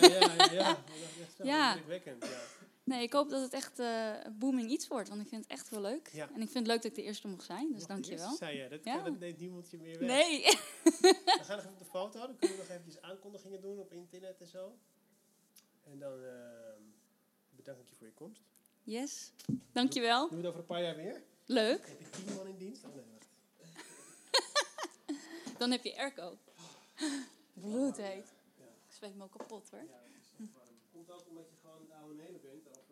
Speaker 1: ja. Ik dacht echt zo
Speaker 2: Ja. Dus
Speaker 1: indrukwekkend, ja.
Speaker 2: Nee, ik hoop dat het echt eh, een booming iets wordt, want ik vind het echt heel leuk.
Speaker 1: Ja.
Speaker 2: En ik vind het leuk dat ik de eerste mocht zijn, dus
Speaker 1: Nog
Speaker 2: dankjewel.
Speaker 1: eerst zei je, dat,
Speaker 2: Ja.
Speaker 1: kan, dat neemt niemand je meer weg.
Speaker 2: Nee,
Speaker 1: We gaan nog even op de foto, dan kunnen we nog eventjes aankondigingen doen op internet en zo. En dan ehm, bedank ik je voor je komst.
Speaker 2: yes, dankjewel.
Speaker 1: Doen we het over een paar jaar weer?
Speaker 2: Leuk.
Speaker 1: Heb je tien man in dienst? Oh nee, wacht.
Speaker 2: Dan heb je airco.
Speaker 1: Oh.
Speaker 2: Bloedheet. Ik zweet me ook kapot hoor.
Speaker 1: Komt ook omdat je gewoon het oude Nederland bent. Of, eh,